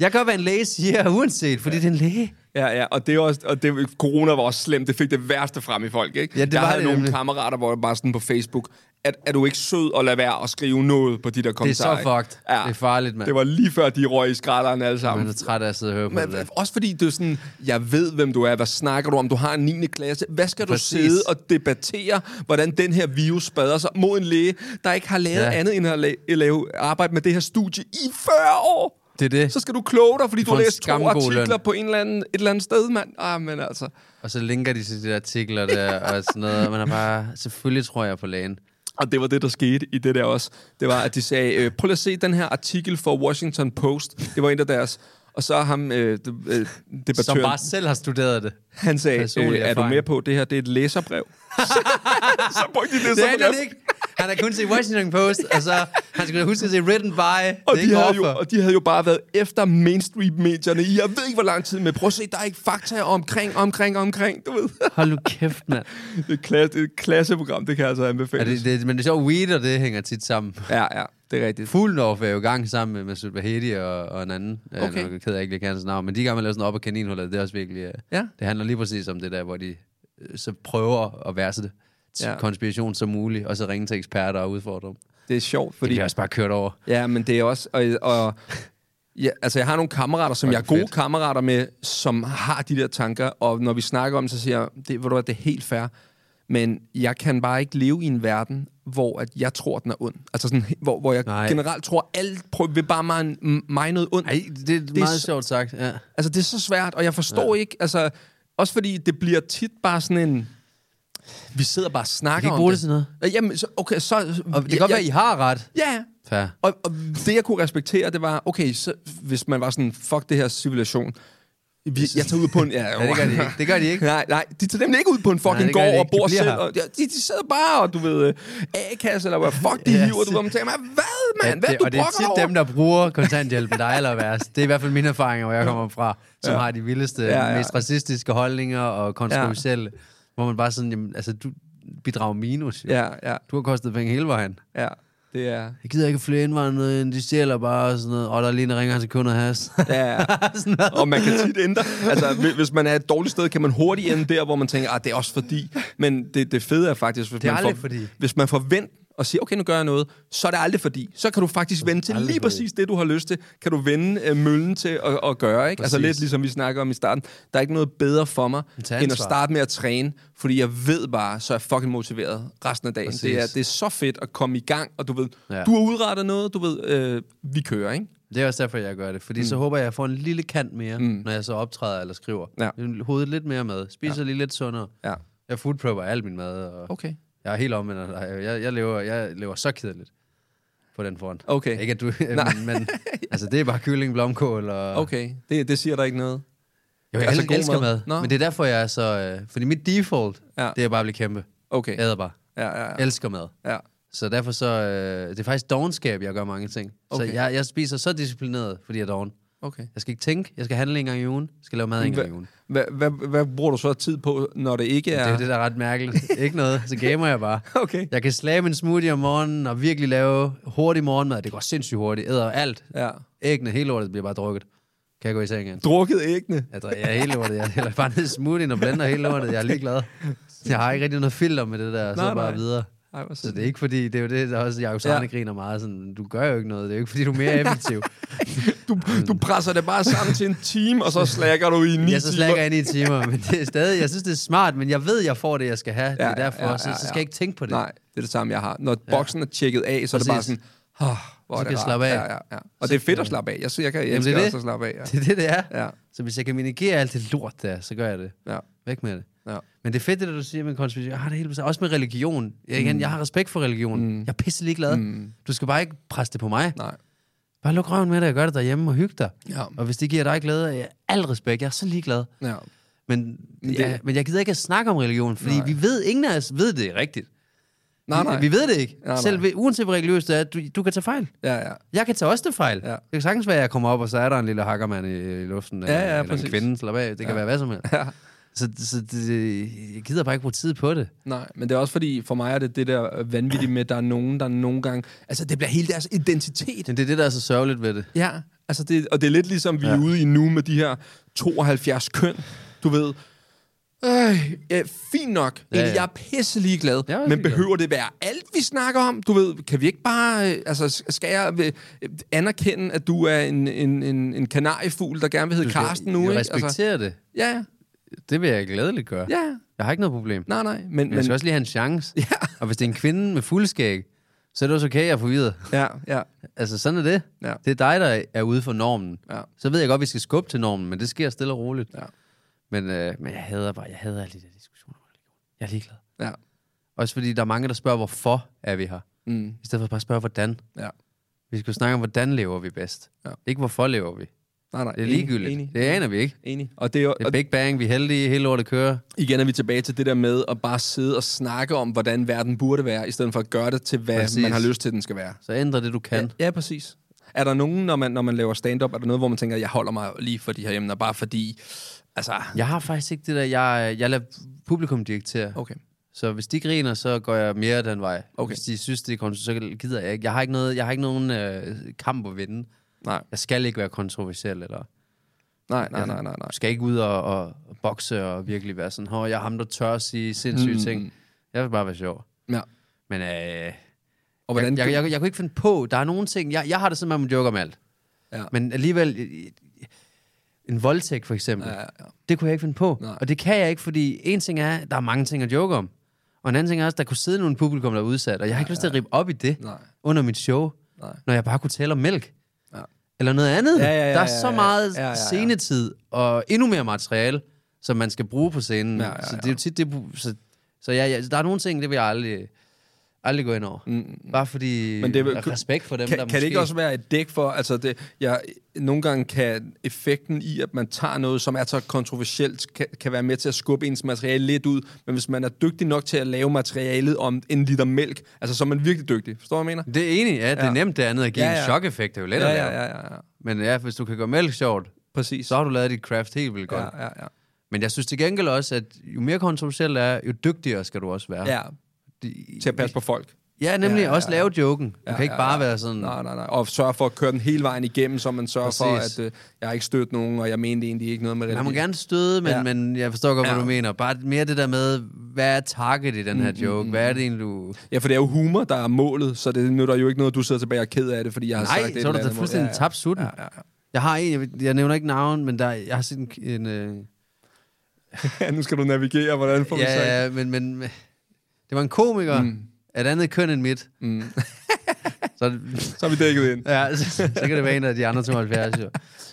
B: Jeg gør, hvad en læge siger, uanset, fordi det er en læge.
A: Ja, ja, og, det er også, og det, corona var også slemt. Det fik det værste frem i folk, ikke?
B: Ja, det
A: jeg
B: var
A: havde
B: det
A: nogle
B: nemlig.
A: kammerater, hvor jeg bare sådan på Facebook, at er du ikke sød at lade være at skrive noget på de der
B: Det er
A: kommentarer?
B: så
A: ikke?
B: fucked. Ja. Det er farligt, mand.
A: Det var lige før, de røg i skralderen alle sammen.
B: Man er træt af at sidde og høre på det.
A: Men,
B: der.
A: også fordi det er sådan, jeg ved, hvem du er. Hvad snakker du om? Du har en 9. klasse. Hvad skal
B: Præcis.
A: du sidde og debattere, hvordan den her virus spreder sig mod en læge, der ikke har lavet
B: Ja.
A: ja. andet end at la- at lave arbejde med det her studie i 40 år?
B: Det er det.
A: Så skal du kloge dig, fordi du
B: får
A: har
B: en
A: læst to
B: skamgod
A: artikler
B: løn.
A: løn. på en eller anden, et eller andet sted, mand. Ah, men altså.
B: Og så linker de til de der artikler der, og sådan noget. og Man er bare, selvfølgelig tror jeg på lægen.
A: Og det var det, der skete i det der også. Det var, at de sagde, øh, prøv lige at se den her artikel for Washington Post. Det var en af deres. Og så ham, øh, de, øh, debattøren,
B: Som bare selv har studeret det.
A: han sagde,
B: personlig
A: øh, er du
B: erfaring."
A: med på, det her det er et læserbrev? så brugte de det,
B: Det
A: som
B: er
A: læs-
B: det ikke. Han har kun set Washington Post, og så han skulle huske at se written by.
A: Og
B: det er
A: de,
B: ikke
A: havde jo,
B: offer.
A: og de havde jo bare været efter mainstream-medierne i, jeg ved ikke, hvor lang tid, men prøv at se, der er ikke fakta omkring, omkring, omkring, du ved.
B: Hold nu kæft, mand.
A: det er et, klasse, det er et klasseprogram, det kan jeg altså anbefale.
B: Er det, det, men det er sjovt, weed og det hænger tit sammen.
A: Ja, ja, det er rigtigt.
B: Fuglendorf er jo i gang sammen med Masoud Vahedi og, og en anden. Okay. Jeg
A: Okay.
B: er nok ked af, at jeg ikke lige kan hans navn, men de er i gang med at lave sådan op og kaninhullet. Det er også virkelig... øh,
A: Ja.
B: Det handler lige præcis om det der, hvor de øh, så prøver at være så det. Ja.
A: Ja.
B: konspiration som muligt, og så ringe til eksperter og udfordre dem.
A: Det er sjovt,
B: Fordi... Det
A: fordi...
B: bliver også bare kørt over.
A: Ja, men det er også... Og, og, ja, altså, jeg har nogle kammerater, som jeg er gode
B: fedt.
A: kammerater med, som har de der tanker, og når vi snakker om det, så siger jeg, det, ved du hvad, det er helt fair, men jeg kan bare ikke leve i en verden, hvor at jeg tror, den er ond. Altså sådan, hvor, hvor jeg
B: Nej.
A: Nej. generelt tror, alt prøv, vil bare mig, mig noget ondt.
B: Ej, det er det meget
A: s-
B: sjovt sagt. Ja.
A: Altså, det er så svært, og jeg forstår ja. ikke, altså... Også fordi det bliver tit bare sådan en... Vi sidder bare og snakker
B: ikke
A: om
B: bruge
A: det.
B: det til noget.
A: Jamen, så, okay, så...
B: Og det kan godt være, I har ret.
A: Ja,
B: Fair.
A: og, og det, jeg kunne respektere, det var, okay, så, hvis man var sådan, fuck det her civilisation. Vi, jeg tager ud på en... Ja,
B: Ja, det gør de ikke. Det gør de ikke.
A: Nej, nej, de tager nemlig ikke ud på en
B: Nej, det
A: fucking
B: gør de
A: gård og
B: ikke. De
A: bor
B: bliver
A: selv.
B: her.
A: Og, ja, de, de sidder bare, og du ved, øh, A-kasse eller hvad fuck de
B: Ja,
A: yes. hiver, og du
B: se-
A: kommer til mig, hvad, mand? Hvad
B: det,
A: du
B: og det er
A: brokker
B: tit
A: over?
B: dem, der bruger kontanthjælpen, der er allerværst. Det er i hvert fald mine erfaringer, hvor jeg kommer fra, som ja. har de vildeste, ja,
A: Ja,
B: ja.
A: ja.
B: mest racistiske holdninger og kontroversielle. Ja. Hvor man bare sådan, jamen, altså, du bidrager minus. jo.
A: Ja, ja,
B: Du har kostet penge hele vejen.
A: ja. Det er...
B: Jeg gider ikke flere indvandrere, end de stjæler bare og sådan noget. Og der er lige en, der ringer, han skal kun have has.
A: Ja,
B: Sådan noget.
A: og man kan tit ændre. Altså, hvi- hvis man er et dårligt sted, kan man hurtigt ende der, hvor man tænker, at det er også fordi. Men det, det fede er faktisk, hvis,
B: Det er
A: man,
B: aldrig fordi.
A: hvis man får vendt og siger, okay, nu gør jeg noget, så er det aldrig fordi. Så kan du faktisk vende til
B: Aldrig
A: lige
B: fordi.
A: præcis det, du har lyst til. Kan du vende øh, møllen til at, at gøre, ikke? Altså
B: Præcis.
A: lidt ligesom vi snakker om i starten. Der er ikke noget bedre for mig,
B: Tag
A: end at
B: ansvar.
A: starte med at træne, fordi jeg ved bare, så er jeg fucking motiveret resten af dagen.
B: Præcis.
A: Det er, det er så fedt at komme i gang, og du ved,
B: Ja.
A: ja. du har udrettet noget, du ved, øh, vi kører, ikke?
B: Det er også derfor, jeg gør det. Fordi mm. så håber jeg, at jeg får en lille kant mere, mm. når jeg så optræder eller skriver.
A: Ja.
B: Hovedet lidt mere med. Spiser ja. lige lidt sundere.
A: Ja.
B: Jeg foodprepper al min mad. Og
A: Okay.
B: altså, Jeg er helt omvendt af dig. Jeg, jeg, lever, jeg lever så kedeligt. på den front.
A: Okay.
B: Ikke at du... men, men, altså, det er bare kylling, blomkål og...
A: Okay, det, det siger der ikke noget.
B: Jo, jeg
A: Altså,
B: altså,
A: god
B: elsker
A: mad.
B: mad,
A: Nå.
B: mad men det er derfor, jeg er så... Øh, fordi mit default,
A: Ja.
B: ja. det er bare at blive kæmpe.
A: Okay.
B: Jeg æder bare.
A: Ja, ja, ja.
B: Elsker mad.
A: Ja.
B: Så derfor så... Øh, det er faktisk dogenskab, jeg gør mange ting. Okay.
A: Okay.
B: Så jeg, jeg spiser så disciplineret, fordi jeg er doven.
A: Okay.
B: Jeg skal ikke tænke, jeg skal handle en gang i ugen, jeg skal lave mad en gang i ugen.
A: Hvad, hvad, hvad bruger du så tid på, når det ikke
B: Ja.
A: er...
B: Det er det, der er ret mærkeligt. Ikke noget, så gamer jeg bare.
A: Okay.
B: Jeg kan slage min smoothie om morgenen og virkelig lave hurtig morgenmad. Det går sindssygt hurtigt. Jeg æder alt.
A: Ja.
B: Æggene, hele lortet bliver bare drukket. Kan jeg gå i seng igen?
A: Drukket æggene.
B: Jeg, drik, jeg er helt lortet. Jeg hælder bare ned i smoothien og blander hele lortet. Jeg er ligeglad. Jeg har ikke rigtig noget filter med det der, og så
A: Nej,
B: nej, bare
A: nej.
B: videre.
A: Ej, hvor
B: Så det er ikke fordi, det er jo det, der også Jacob Sarne
A: Ja.
B: ja. griner meget sådan, du gør jo ikke noget, det er jo ikke fordi, du er mere effektiv.
A: Du, du presser det bare sammen til en time, og så slækker du i ni
B: jeg så
A: timer.
B: slækker ind i timer, men det er stadig, jeg synes, det er smart, men jeg ved, jeg får det, jeg skal have. Det
A: Ja,
B: er
A: ja,
B: derfor,
A: ja,
B: så,
A: ja,
B: så skal
A: ja.
B: jeg ikke tænke på det.
A: Nej, det er det samme, jeg har. Når boksen er tjekket af, så er det bare
B: Præcis.
A: sådan, oh, hvor er
B: Så kan
A: det
B: jeg
A: rart."
B: slappe af.
A: Ja, ja, ja. Og det er fedt at slappe af. Jeg, jeg, kan, jeg
B: Jamen,
A: elsker
B: det er det.
A: også at slappe af. Ja.
B: Det er det, det er.
A: Ja.
B: Så hvis jeg kan minimere alt det lort der, så gør jeg det.
A: Ja.
B: Væk med det.
A: Ja.
B: Men det er fedt, det der, du siger med konspiration. Jeg har det hele på sig. Også med religion. Jeg,
A: Mm.
B: igen, jeg har respekt for religion. Mm. Jeg er pisse ligeglad. Mm. Du skal bare ikke presse det på mig.
A: Nej.
B: Bare luk røven med det og gør det derhjemme og hygge dig.
A: Ja.
B: Og hvis det giver dig glæde, jeg, al respekt, jeg er så ligeglad.
A: Ja.
B: Men,
A: Men det-
B: det... ja, men jeg gider ikke at snakke om religion, fordi
A: Nej.
B: Nej. vi ved, ingen af os ved det rigtigt.
A: Nej,
B: vi,
A: nej.
B: vi ved det ikke.
A: Nej, nej.
B: Selv ved- uanset hvor religiøst det er, du, du kan tage fejl.
A: Ja, ja.
B: Jeg kan tage også det fejl.
A: Ja.
B: Ja. Det kan sagtens være, at jeg kommer op, og så er der en lille hakkermand i, i luften,
A: ja,
B: eller, eller en
A: præcis.
B: kvinde, slap af. Det kan ja. være hvad som helst. Ja. Så, så det, jeg gider bare ikke bruge tid på det.
A: Nej, men det er også fordi, for mig er det det der vanvittige med, at der er nogen, der nogle gange... Altså, det bliver hele deres identitet.
B: Men det er det, der er så sørgeligt ved det.
A: Ja, altså det, og det er lidt ligesom, vi ja. er ude i nu med de her 72 køn, du ved. Øh, ja, fint nok. Ja,
B: Ja,
A: ja.
B: ja.
A: Jeg er pisse ligeglad.
B: Jeg er
A: Ja,
B: også
A: men
B: ligeglad.
A: behøver det være alt, vi snakker om? Du ved, kan vi ikke bare... øh, Altså, skal jeg øh, anerkende, at du er en, en, en, en kanariefugl, der gerne vil hedde Karsten nu?
B: jeg
A: ikke? Altså,
B: respekterer det.
A: ja, ja.
B: Det vil jeg glædeligt gøre.
A: Ja.
B: Jeg har ikke noget problem.
A: Nej, nej. Men,
B: Men jeg skal
A: men,
B: også lige have en chance.
A: Ja.
B: Og hvis det er en kvinde med fuldskæg, så er det også okay, jeg er forvirret.
A: ja, ja.
B: Altså, sådan er det.
A: Ja.
B: Det er dig, der er ude for normen.
A: Ja.
B: Så ved jeg godt, at vi skal skubbe til normen, men det sker stille og roligt.
A: Ja.
B: Men, øh, men jeg hader bare, jeg hader alle de der diskussioner om religion. Jeg er ligeglad.
A: Ja,
B: Også fordi der er mange, der spørger, hvorfor er vi her?
A: mm,
B: I stedet for bare at spørge, hvordan.
A: ja.
B: Vi skal jo snakke om, hvordan lever vi bedst.
A: Ja.
B: Ikke hvorfor lever vi.
A: Nej, nej.
B: Det er ligegyldigt.
A: Enig,
B: Det aner vi ikke.
A: enig. Og det er, jo-
B: Det
A: og
B: er Big Bang, vi er heldige, hele lortet kører.
A: igen er vi tilbage til det der med at bare sidde og snakke om, hvordan verden burde være, i stedet for at gøre det til, hvad præcis.
B: Præcis.
A: man har lyst til, den skal være.
B: Så ændre det, du kan.
A: Ja, ja, præcis. Er der nogen, når man, når man laver stand-up, er der noget, hvor man tænker, jeg holder mig lige for de her emner, bare fordi, altså...
B: Jeg har faktisk ikke det der, jeg, jeg lader publikum direktere.
A: Okay.
B: Så hvis de griner, så går jeg mere den vej.
A: Okay.
B: Hvis de synes, det er kontroversielt, så gider jeg ikke. Jeg har ikke, noget, jeg har ikke nogen øh, kamp at vinde.
A: Nej,
B: Jeg skal ikke være kontroversiel, eller
A: nej, nej, nej, nej, nej.
B: jeg skal ikke ud og, og, og bokse og virkelig være sådan, hår, jeg er ham, der tør at sige sindssyge mm. ting. Jeg vil bare være sjov.
A: Ja.
B: Men øh,
A: Og
B: Hvordan
A: hvordan...
B: jeg, jeg, jeg, jeg kunne ikke finde på, der er nogle ting, jeg, jeg har det sådan, at man joker om alt.
A: Ja.
B: Men alligevel, øh, øh, en voldtægt for eksempel,
A: Ja, ja, ja.
B: det kunne jeg ikke finde på.
A: Nej.
B: Og det kan jeg ikke, fordi en ting er, der er mange ting at joke om. Og en anden ting er også, der kunne sidde nogle publikum, der er udsat, og jeg har ikke lyst til at rippe op i det
A: Nej.
B: under mit show,
A: Nej.
B: når jeg bare kunne tale om mælk.
A: Ja.
B: Eller noget andet.
A: Ja, ja, ja,
B: der
A: ja,
B: er så
A: ja.
B: meget
A: Ja, ja, ja.
B: scenetid og endnu mere materiale, som man skal bruge på scenen.
A: Ja, ja, ja.
B: Så det er jo tit, det, så, så ja, ja, der er nogle ting, det vil jeg aldrig, aldrig gå ind over. Mm, bare fordi
A: Men
B: Men
A: det
B: det
A: vil-
B: respekt for dem,
A: kan,
B: der
A: kan det ikke
B: måske-
A: også være et dæk for, altså det, jeg, nogle gange kan effekten i, at man tager noget, som er så kontroversielt, kan, kan være med til at skubbe ens materiale lidt ud, men hvis man er dygtig nok til at lave materialet om en liter mælk, altså så er man virkelig dygtig. Forstår du, hvad jeg mener?
B: Det er enig, ja. Det er
A: Ja.
B: nemt, det andet at give
A: Ja,
B: ja, ja.
A: ja.
B: en chok-effekt. Det er jo let at lave.
A: ja, ja, ja.
B: Men ja, hvis du kan gøre mælk sjovt,
A: Præcis.
B: så har du lavet dit craft helt vildt godt.
A: ja, ja, ja.
B: Men jeg synes til gengæld også, at jo mere kontroversielt det er, jo dygtigere skal du også være.
A: Ja, til at passe på folk.
B: ja nemlig
A: Ja,
B: ja,
A: ja,
B: ja, også lave joken. Du
A: Ja,
B: ja, kan ikke
A: ja,
B: bare
A: ja.
B: være sådan...
A: Nej, nej, nej. Og sørge for at køre den hele vejen igennem, så man sørger
B: Præcis.
A: for, at øh, jeg har ikke stødt nogen, og jeg mente egentlig ikke noget med det.
B: Man må gerne støde, men,
A: Ja.
B: ja. men jeg forstår godt, hvad
A: Ja.
B: ja. Mm, du mener. Bare mere det der med, hvad er target i den her joke? Hvad er det egentlig, du...
A: Ja, for det er jo humor, der er målet, så det nytter jo ikke noget, du sidder tilbage og er ked af det, fordi jeg har sagt
B: Nej,
A: det.
B: så er du da fuldstændig ja, ja. tabt sutten. Ja, ja, ja. Jeg har en, jeg, ved- jeg nævner ikke navn, men der, jeg har set en... en øh,
A: Ja, nu skal du navigere, hvordan får vi sagt
B: ja, ja, men, men det var en komiker mm. af et andet køn end mit. Mm. så,
A: Så er vi dækket ind.
B: ja, altså, så, så kan det være en af de andre 72, jo.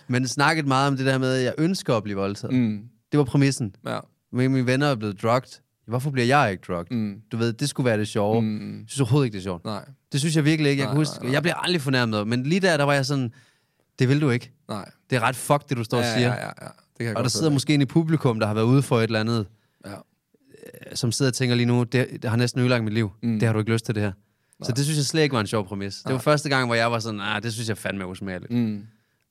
B: Men snakket meget om det der med, at jeg ønsker at blive voldtaget. Mm. Det var præmissen.
A: Ja.
B: Men mine venner er blevet drugt. Hvorfor bliver jeg ikke drugged? Mm. Du ved, det skulle være det sjove. Mm. Jeg synes overhovedet ikke, det er sjovt.
A: Nej.
B: Det synes jeg virkelig ikke. Jeg, nej, kan huske, nej, nej. jeg bliver aldrig fornærmet, men lige der, der var jeg sådan, det vil du ikke.
A: Nej.
B: Det er ret fuck, det du står og
A: Ja,
B: siger.
A: ja, ja, ja. Det kan jeg
B: Og der
A: godt
B: sidder
A: følge.
B: måske en i publikum, der har været ude for et eller andet,
A: Ja.
B: øh, som sidder og tænker lige nu, det, det har næsten ødelagt mit liv. Mm. Det har du ikke lyst til, det her. Så det synes jeg slet ikke var en sjov præmis. Det var første gang, hvor jeg var sådan, nej, det synes jeg fandme er usmageligt.
A: Mm.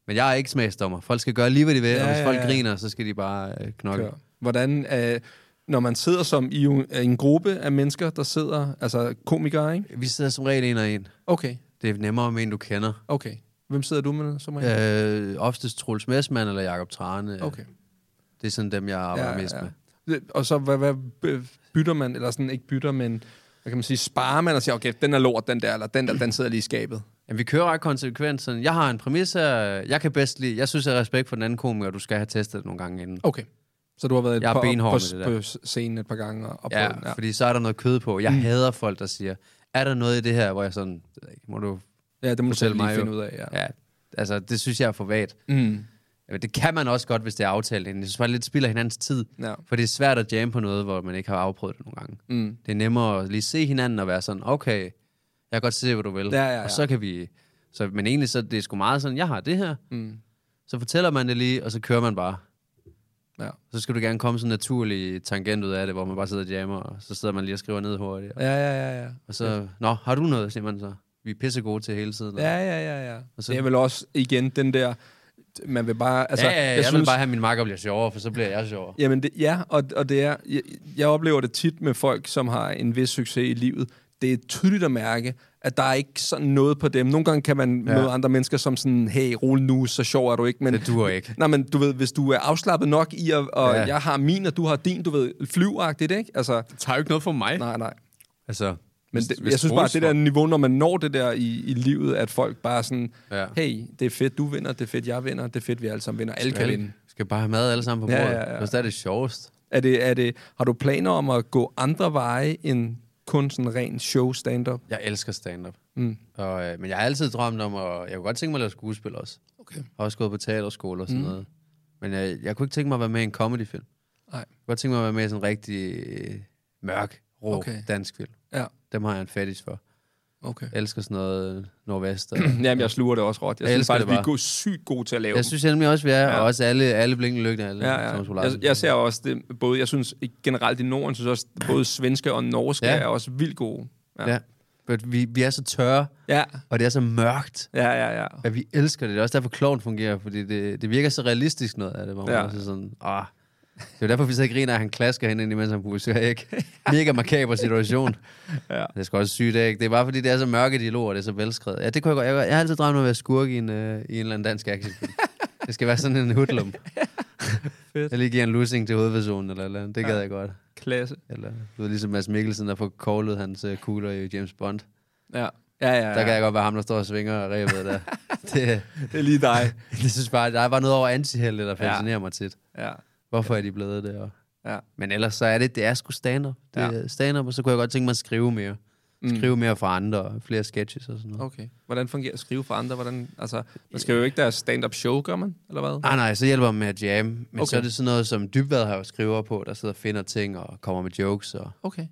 B: Men jeg er ikke smagsdommer. Folk skal gøre lige, hvad de vil, ja, og
A: Ja,
B: hvis
A: ja,
B: folk
A: ja.
B: griner, så skal de bare øh, knokke.
A: Kør. Hvordan, øh, når man sidder som i en- en gruppe af mennesker, der sidder, altså komikere, ikke?
B: Vi sidder som regel en og en.
A: Okay,
B: Det er nemmere med en, du kender.
A: okay. Hvem sidder du med som regel?
B: Øh, oftest Troels Messmann eller Jakob Trane.
A: Mm. Okay.
B: Det er sådan dem, jeg arbejder ja, mest ja. med.
A: Det- Og så hvad, hvad b- bytter man, eller sådan ikke bytter, men hvad kan man sige, sparer man og siger, okay, den er lort, den der, eller den der, den sidder lige i skabet.
B: Jamen, vi kører ret konsekvent. Sådan, jeg har en præmis her. øh, Jeg kan bedst lide... Jeg synes, jeg har respekt for den anden komiker, og du skal have testet det nogle gange inden.
A: Okay. Så du har været
B: Jeg er
A: på,
B: benhård
A: på,
B: med det der.
A: på scenen et par gange og, og
B: Ja,
A: prøvet den,
B: ja, fordi så er der noget kød på. Jeg mm. hader folk, der siger, er der noget i det her, hvor jeg sådan... "Det ved jeg ikke, Må du
A: ja, det må du selv
B: fortælle
A: lige
B: mig
A: finde
B: jo."
A: ud af. Ja.
B: Ja, altså, det synes jeg er for vagt.
A: Mm.
B: Men det kan man også godt, hvis det er aftalt inden. Jeg synes bare, det lidt spilder hinandens tid.
A: Ja.
B: For det er svært at jamme på noget, hvor man ikke har afprøvet det nogle gange. Mm. Det er nemmere at lige se hinanden og være sådan, okay, jeg kan godt se, hvad du vil.
A: Ja, ja, ja.
B: Og så kan vi... Så, men egentlig så er det sgu meget sådan, jeg har det her. Mm. Så fortæller man det lige, og så kører man bare.
A: Ja.
B: Så skal du gerne komme sådan en naturlig tangent ud af det, hvor man bare sidder og jammer, og så sidder man lige og skriver ned hurtigt. Og,
A: Ja, ja, ja, ja.
B: og så, nå, har du noget, siger man så. Vi er pissegode til hele tiden.
A: Ja, ja, ja, ja.
B: så-
A: Så... Det er vel også, igen, den der, man vil bare... Altså,
B: altså, ja, ja, ja, jeg, jeg vil bare have, at min makker bliver sjovere, for så bliver jeg sjovere.
A: Jamen, det, ja, og, og det er... Jeg, jeg oplever det tit med folk, som har en vis succes i livet. Det er tydeligt at mærke, at der er ikke sådan noget på dem. Nogle gange kan man ja. møde andre mennesker som sådan, hey, rolig nu, så sjov er du ikke. Men,
B: Det duer ikke.
A: Nej, men du ved, hvis du er afslappet nok i, at, og
B: Ja.
A: ja. jeg har min, og du har din, du ved, flyvagtigt, ikke? Altså,
B: Det tager jo ikke noget for mig.
A: nej, nej.
B: Altså,
A: Men
B: hvis-
A: det,
B: hvis
A: jeg synes bare, at
B: Troels
A: det der niveau, når man når det der i, i livet, at folk bare sådan,
B: Ja.
A: ja. hey, det er fedt, du vinder, det er fedt, jeg vinder, det er fedt, vi alle sammen vinder, alle kan
B: Skal,
A: vinde.
B: skal bare have mad alle sammen på
A: Ja,
B: bordet. Ja,
A: ja,
B: ja,
A: ja.
B: ja. Det er det sjovest.
A: Er det, er det, har du planer om at gå andre veje end kun sådan ren show stand-up?
B: Jeg elsker stand-up. Mm. Og, øh, men jeg har altid drømt om, og jeg kunne godt tænke mig at lave skuespil også. Okay. Jeg har også gået på teaterskole og sådan mm. noget. Men jeg, jeg kunne ikke tænke mig at være med i en comedyfilm.
A: Nej.
B: Jeg kunne godt tænke mig at være med i sådan en rigtig øh, mørk, rå okay.
A: Okay.
B: dansk film.
A: Ja,
B: Dem har jeg en fetish for.
A: okay.
B: Jeg elsker sådan noget øh, nordvest. Og,
A: Jamen, jeg sluger det også råt. Jeg,
B: Jeg
A: jeg synes
B: elsker
A: faktisk,
B: det
A: vi
B: bare.
A: er go- sygt gode til at lave
B: jeg synes nemlig også, vi er, ja. og også alle, alle blinkende lygter. Alle,
A: dem. Ja,
B: Thomas
A: ja.
B: Bo Larsen.
A: Jeg, jeg ser også det, både, jeg synes generelt i Norden, synes også, både svenske og norske
B: Ja.
A: ja. er også vildt gode. Ja.
B: ja. But vi, vi er så tørre,
A: Ja,
B: og det er så mørkt.
A: ja, ja. ja.
B: at vi elsker det. Det er også derfor, kloven fungerer, fordi det, det virker så realistisk noget af det, hvor man ja.
A: Ja.
B: også er sådan, ah. Det er jo derfor, vi sidder og griner, at han klasker hende ind, imens han pusser æg. Mega makaber situation. ja. Det er sgu også sygt, ikke? Det er bare fordi, det er så mørke dialoger, og det er så velskrevet. Ja, det kunne jeg godt. Jeg, jeg har altid drømt om at være skurk i en, øh, i en eller anden dansk actionfilm. det skal være sådan en hoodlum. Fedt. Jeg lige giver en losing til hovedpersonen eller et eller andet. Det gad jeg godt.
A: Klasse.
B: Eller, du ved, ligesom Mads Mikkelsen, der får koglet hans øh, kugler i James Bond.
A: Ja. Ja, ja, ja.
B: Der kan jeg godt være ham, der står og svinger rebet der. det,
A: Det er lige dig.
B: det synes bare, der er bare noget over antihelte, der fascinerer ja. mig tit.
A: Ja.
B: Hvorfor er de blevet det? Og...
A: Ja.
B: Men ellers så er det, det er sgu stand-up. Det
A: Ja. Mm.
B: er stand-up, og så kunne jeg godt tænke mig at skrive mere. Skrive mere for andre, og flere sketches og sådan noget. Okay.
A: Okay. Hvordan fungerer at skrive for andre? Hvordan, altså, man skriver jo ikke deres stand-up show, gør man? Eller hvad?
B: Nej, nej, så hjælper man med at jamme. Men okay. så
A: Okay.
B: er det sådan noget, som Dybvad har jo skriver på, der sidder og finder ting og kommer med jokes. Og
A: Okay.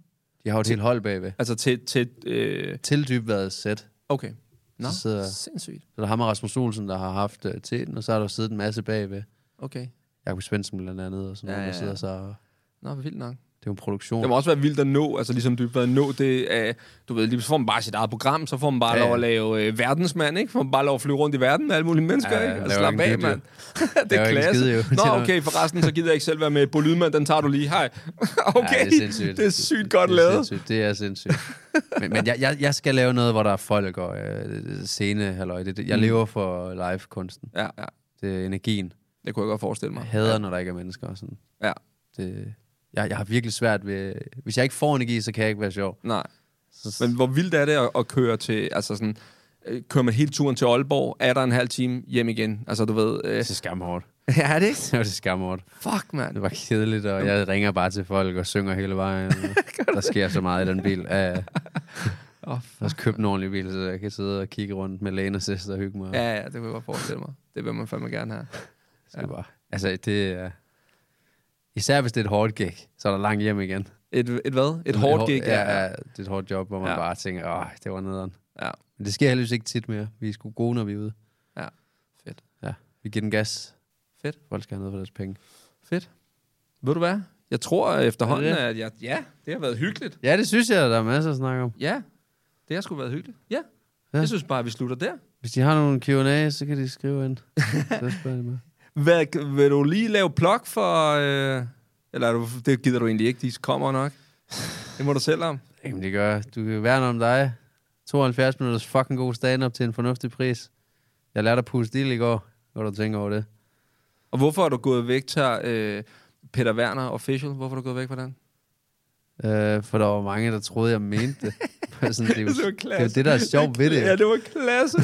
B: de har jo et helt hold bagved.
A: Altså til... til øh,
B: Til Dybvads sæt.
A: okay. Nå,
B: Så sidder-
A: sindssygt.
B: Så er der ham og Rasmus Olsen, der har haft uh, teten, og så har der jo siddet en masse bagved.
A: Okay.
B: Jakob Svendsen blandt andet, og sådan ja, noget, der
A: ja,
B: sidder
A: ja.
B: så... og-
A: Nå, vildt nok.
B: Det er jo en produktion.
A: Det må også være vildt at nå, altså ligesom du at nå det af, du ved, lige så får man bare sit eget program, så får man bare
B: Ja,
A: ja.
B: ja.
A: lov at lave øh, verdensmand, ikke? Får man bare lov at flyve rundt i verden med alle mulige mennesker,
B: Ja, ja,
A: ikke? Altså,
B: laver
A: slap
B: ikke en
A: af,
B: video.
A: mand. det
B: Laver
A: er
B: ikke en
A: klasse.
B: skid, jo. Det er
A: Nå,
B: noget-
A: okay, forresten, så gider jeg ikke selv være med. Bo Lydman, den tager du lige. Hej. okay,
B: Ja, det er sindssygt.
A: det er sygt godt
B: det er
A: lavet.
B: Sindssygt. Det er sindssygt. men men jeg, jeg, jeg skal lave noget, hvor der er folk og øh, scene, halløj. Det,
A: Mm.
B: det, jeg lever for live-kunsten.
A: Ja, ja.
B: Det er energien.
A: Det kunne jeg godt forestille mig.
B: Jeg hader, når der ikke er mennesker. Og sådan.
A: Ja.
B: Det, jeg, jeg har virkelig svært ved... Hvis jeg ikke får energi, så kan jeg ikke være sjov.
A: Nej. Men hvor vildt er det at, at køre til, altså sådan, øh, køre med hele turen til Aalborg, er der en halv time hjem igen? Altså, du ved... Øh,
B: Det er skamhårdt.
A: ja, er det ikke?
B: Det var det skamhårdt.
A: Fuck,
B: Det
A: mand.
B: var kedeligt, og jeg ringer bare til folk og synger hele vejen. og der sker så meget i den bil. Ja, ja. Jeg
A: Åh,
B: har også købt en ordentlig bil, så jeg kan sidde og kigge rundt med lægen og søster og hygge mig.
A: Ja, ja, det kunne jeg godt forestille mig. Det vil man fandme gerne have.
B: Det er bare, altså, det er... Især hvis det er et hårdt gig, så er der langt hjem igen.
A: Et, et hvad? Et hårdt gig?
B: Ja, ja, det er et hårdt job, hvor man
A: Ja.
B: ja. bare tænker, åh, det var nederen.
A: ja.
B: Men det sker heldigvis ikke tit mere. Vi er sgu gode, når vi er ude.
A: Ja, fedt.
B: Ja, vi giver den gas.
A: Fedt.
B: Folk skal have noget for deres penge.
A: Fedt. Ved du hvad? Jeg tror efterhånden,
B: Er det
A: at jeg, ja, det har været hyggeligt.
B: Ja, det synes jeg, der er masser at snakke om.
A: Ja, det har sgu været hyggeligt. Ja. ja.
B: Ja.
A: Jeg synes bare, at vi slutter der.
B: Hvis de har nogle Q&A, så kan de skrive ind. så spørger de mig.
A: Hvad, vil du lige lave plug for... Øh, eller er du, det gider du egentlig ikke, de kommer nok. Det må du selv om.
B: Jamen, det gør jeg. Du kan værne om dig. 72 minutters fucking god stand-up til en fornuftig pris. Jeg lærte at puste ild i går, når du tænker over det.
A: Og hvorfor er du gået væk til øh, Peter Werner Official? Hvorfor er du gået væk fra den?
B: Øh, for der var mange, der troede, jeg mente det. Sådan, det, er jo,
A: var
B: det, er jo
A: klasse.
B: det, der er sjovt ved det.
A: Ja,
B: jo.
A: det var klasse.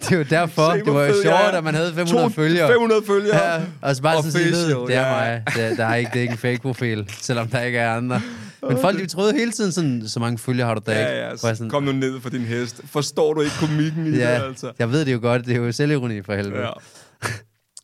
B: Det er jo derfor,
A: Se,
B: det
A: hvor
B: var jo
A: fed jeg
B: sjovt,
A: er.
B: at man havde 500
A: To-
B: følgere.
A: 500 følgere.
B: Ja, og så bare sådan sige,
A: Official,
B: ved, det er
A: ja.
B: mig. Det, der er ikke, det er ikke en fake-profil, selvom der ikke er andre. Men folk, de troede hele tiden sådan, så mange følgere har du da ikke.
A: Ja, ja,
B: Hvor jeg
A: så
B: sådan,
A: kom nu ned for din hest. Forstår du ikke komikken i ja. det,
B: ja,
A: altså?
B: jeg ved det jo godt, det er jo selvironi for helvede.
A: Ja.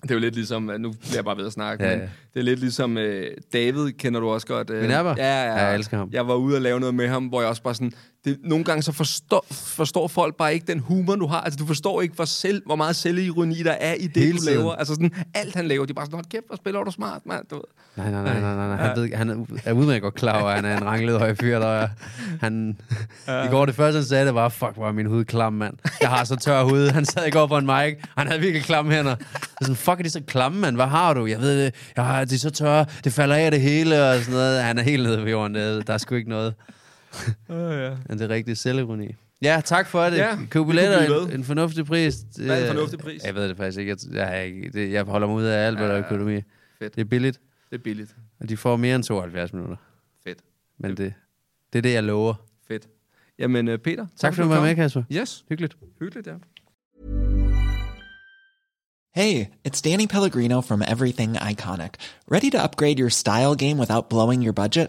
A: Det er jo lidt ligesom, øh, nu bliver jeg bare ved at snakke, ja,
B: Ja,
A: ja.
B: ja.
A: men det er lidt ligesom øh, David, kender du også godt. Øh,
B: Min nabo?
A: Ja, ja, ja,
B: Ja, jeg elsker ham.
A: Jeg var ude og lave noget med ham, hvor jeg også bare sådan, det, nogle gange så forstår, forstår folk bare ikke den humor, du har. Altså, du forstår ikke, hvor, selv, hvor meget selvironi der er i det,
B: Hele
A: du
B: tiden.
A: laver. Altså sådan, alt han laver, de er bare sådan, hold kæft, hvor spiller du smart, mand. Du ved.
B: Nej, nej, nej, nej, nej. nej. Han, ved, han er u- er udmærket godt klar over, at han er en ranglet høj fyr, der er. Han, I går det første, han sagde, det var, fuck, hvor er min hud klam, mand. Jeg har så tør hud. Han sad i går på en mic, han havde virkelig klamme hænder. Jeg er sådan, fuck, er de så klamme, mand? Hvad har du? Jeg ved det. Jeg har, de er så tørre. Det falder af det hele og sådan noget. Han er helt nede ved jorden. Der der er sgu ikke noget.
A: ja.
B: Men det er rigtig selvironi. Ja, tak for det.
A: Ja,
B: Ja,
A: vi kunne
B: Køb billetter,
A: blive ved.
B: en, en fornuftig pris. Det-
A: Hvad er en fornuftig pris?
B: Jeg ved det faktisk ikke. Jeg, jeg, er ikke- det, jeg holder mig ud af alt, hvad der er økonomi.
A: fedt.
B: Det er billigt.
A: Det er billigt.
B: Og de får mere end 72 minutter.
A: Fedt.
B: Men det, det er det, jeg lover. Tak,
A: Fedt. Jamen, øh, Peter.
B: tak for at du var med, Kasper.
A: Yes,
B: Hyggeligt.
A: hyggeligt, ja.
C: Hey, it's Danny Pellegrino from Everything Iconic. Ready to upgrade your style game without blowing your budget?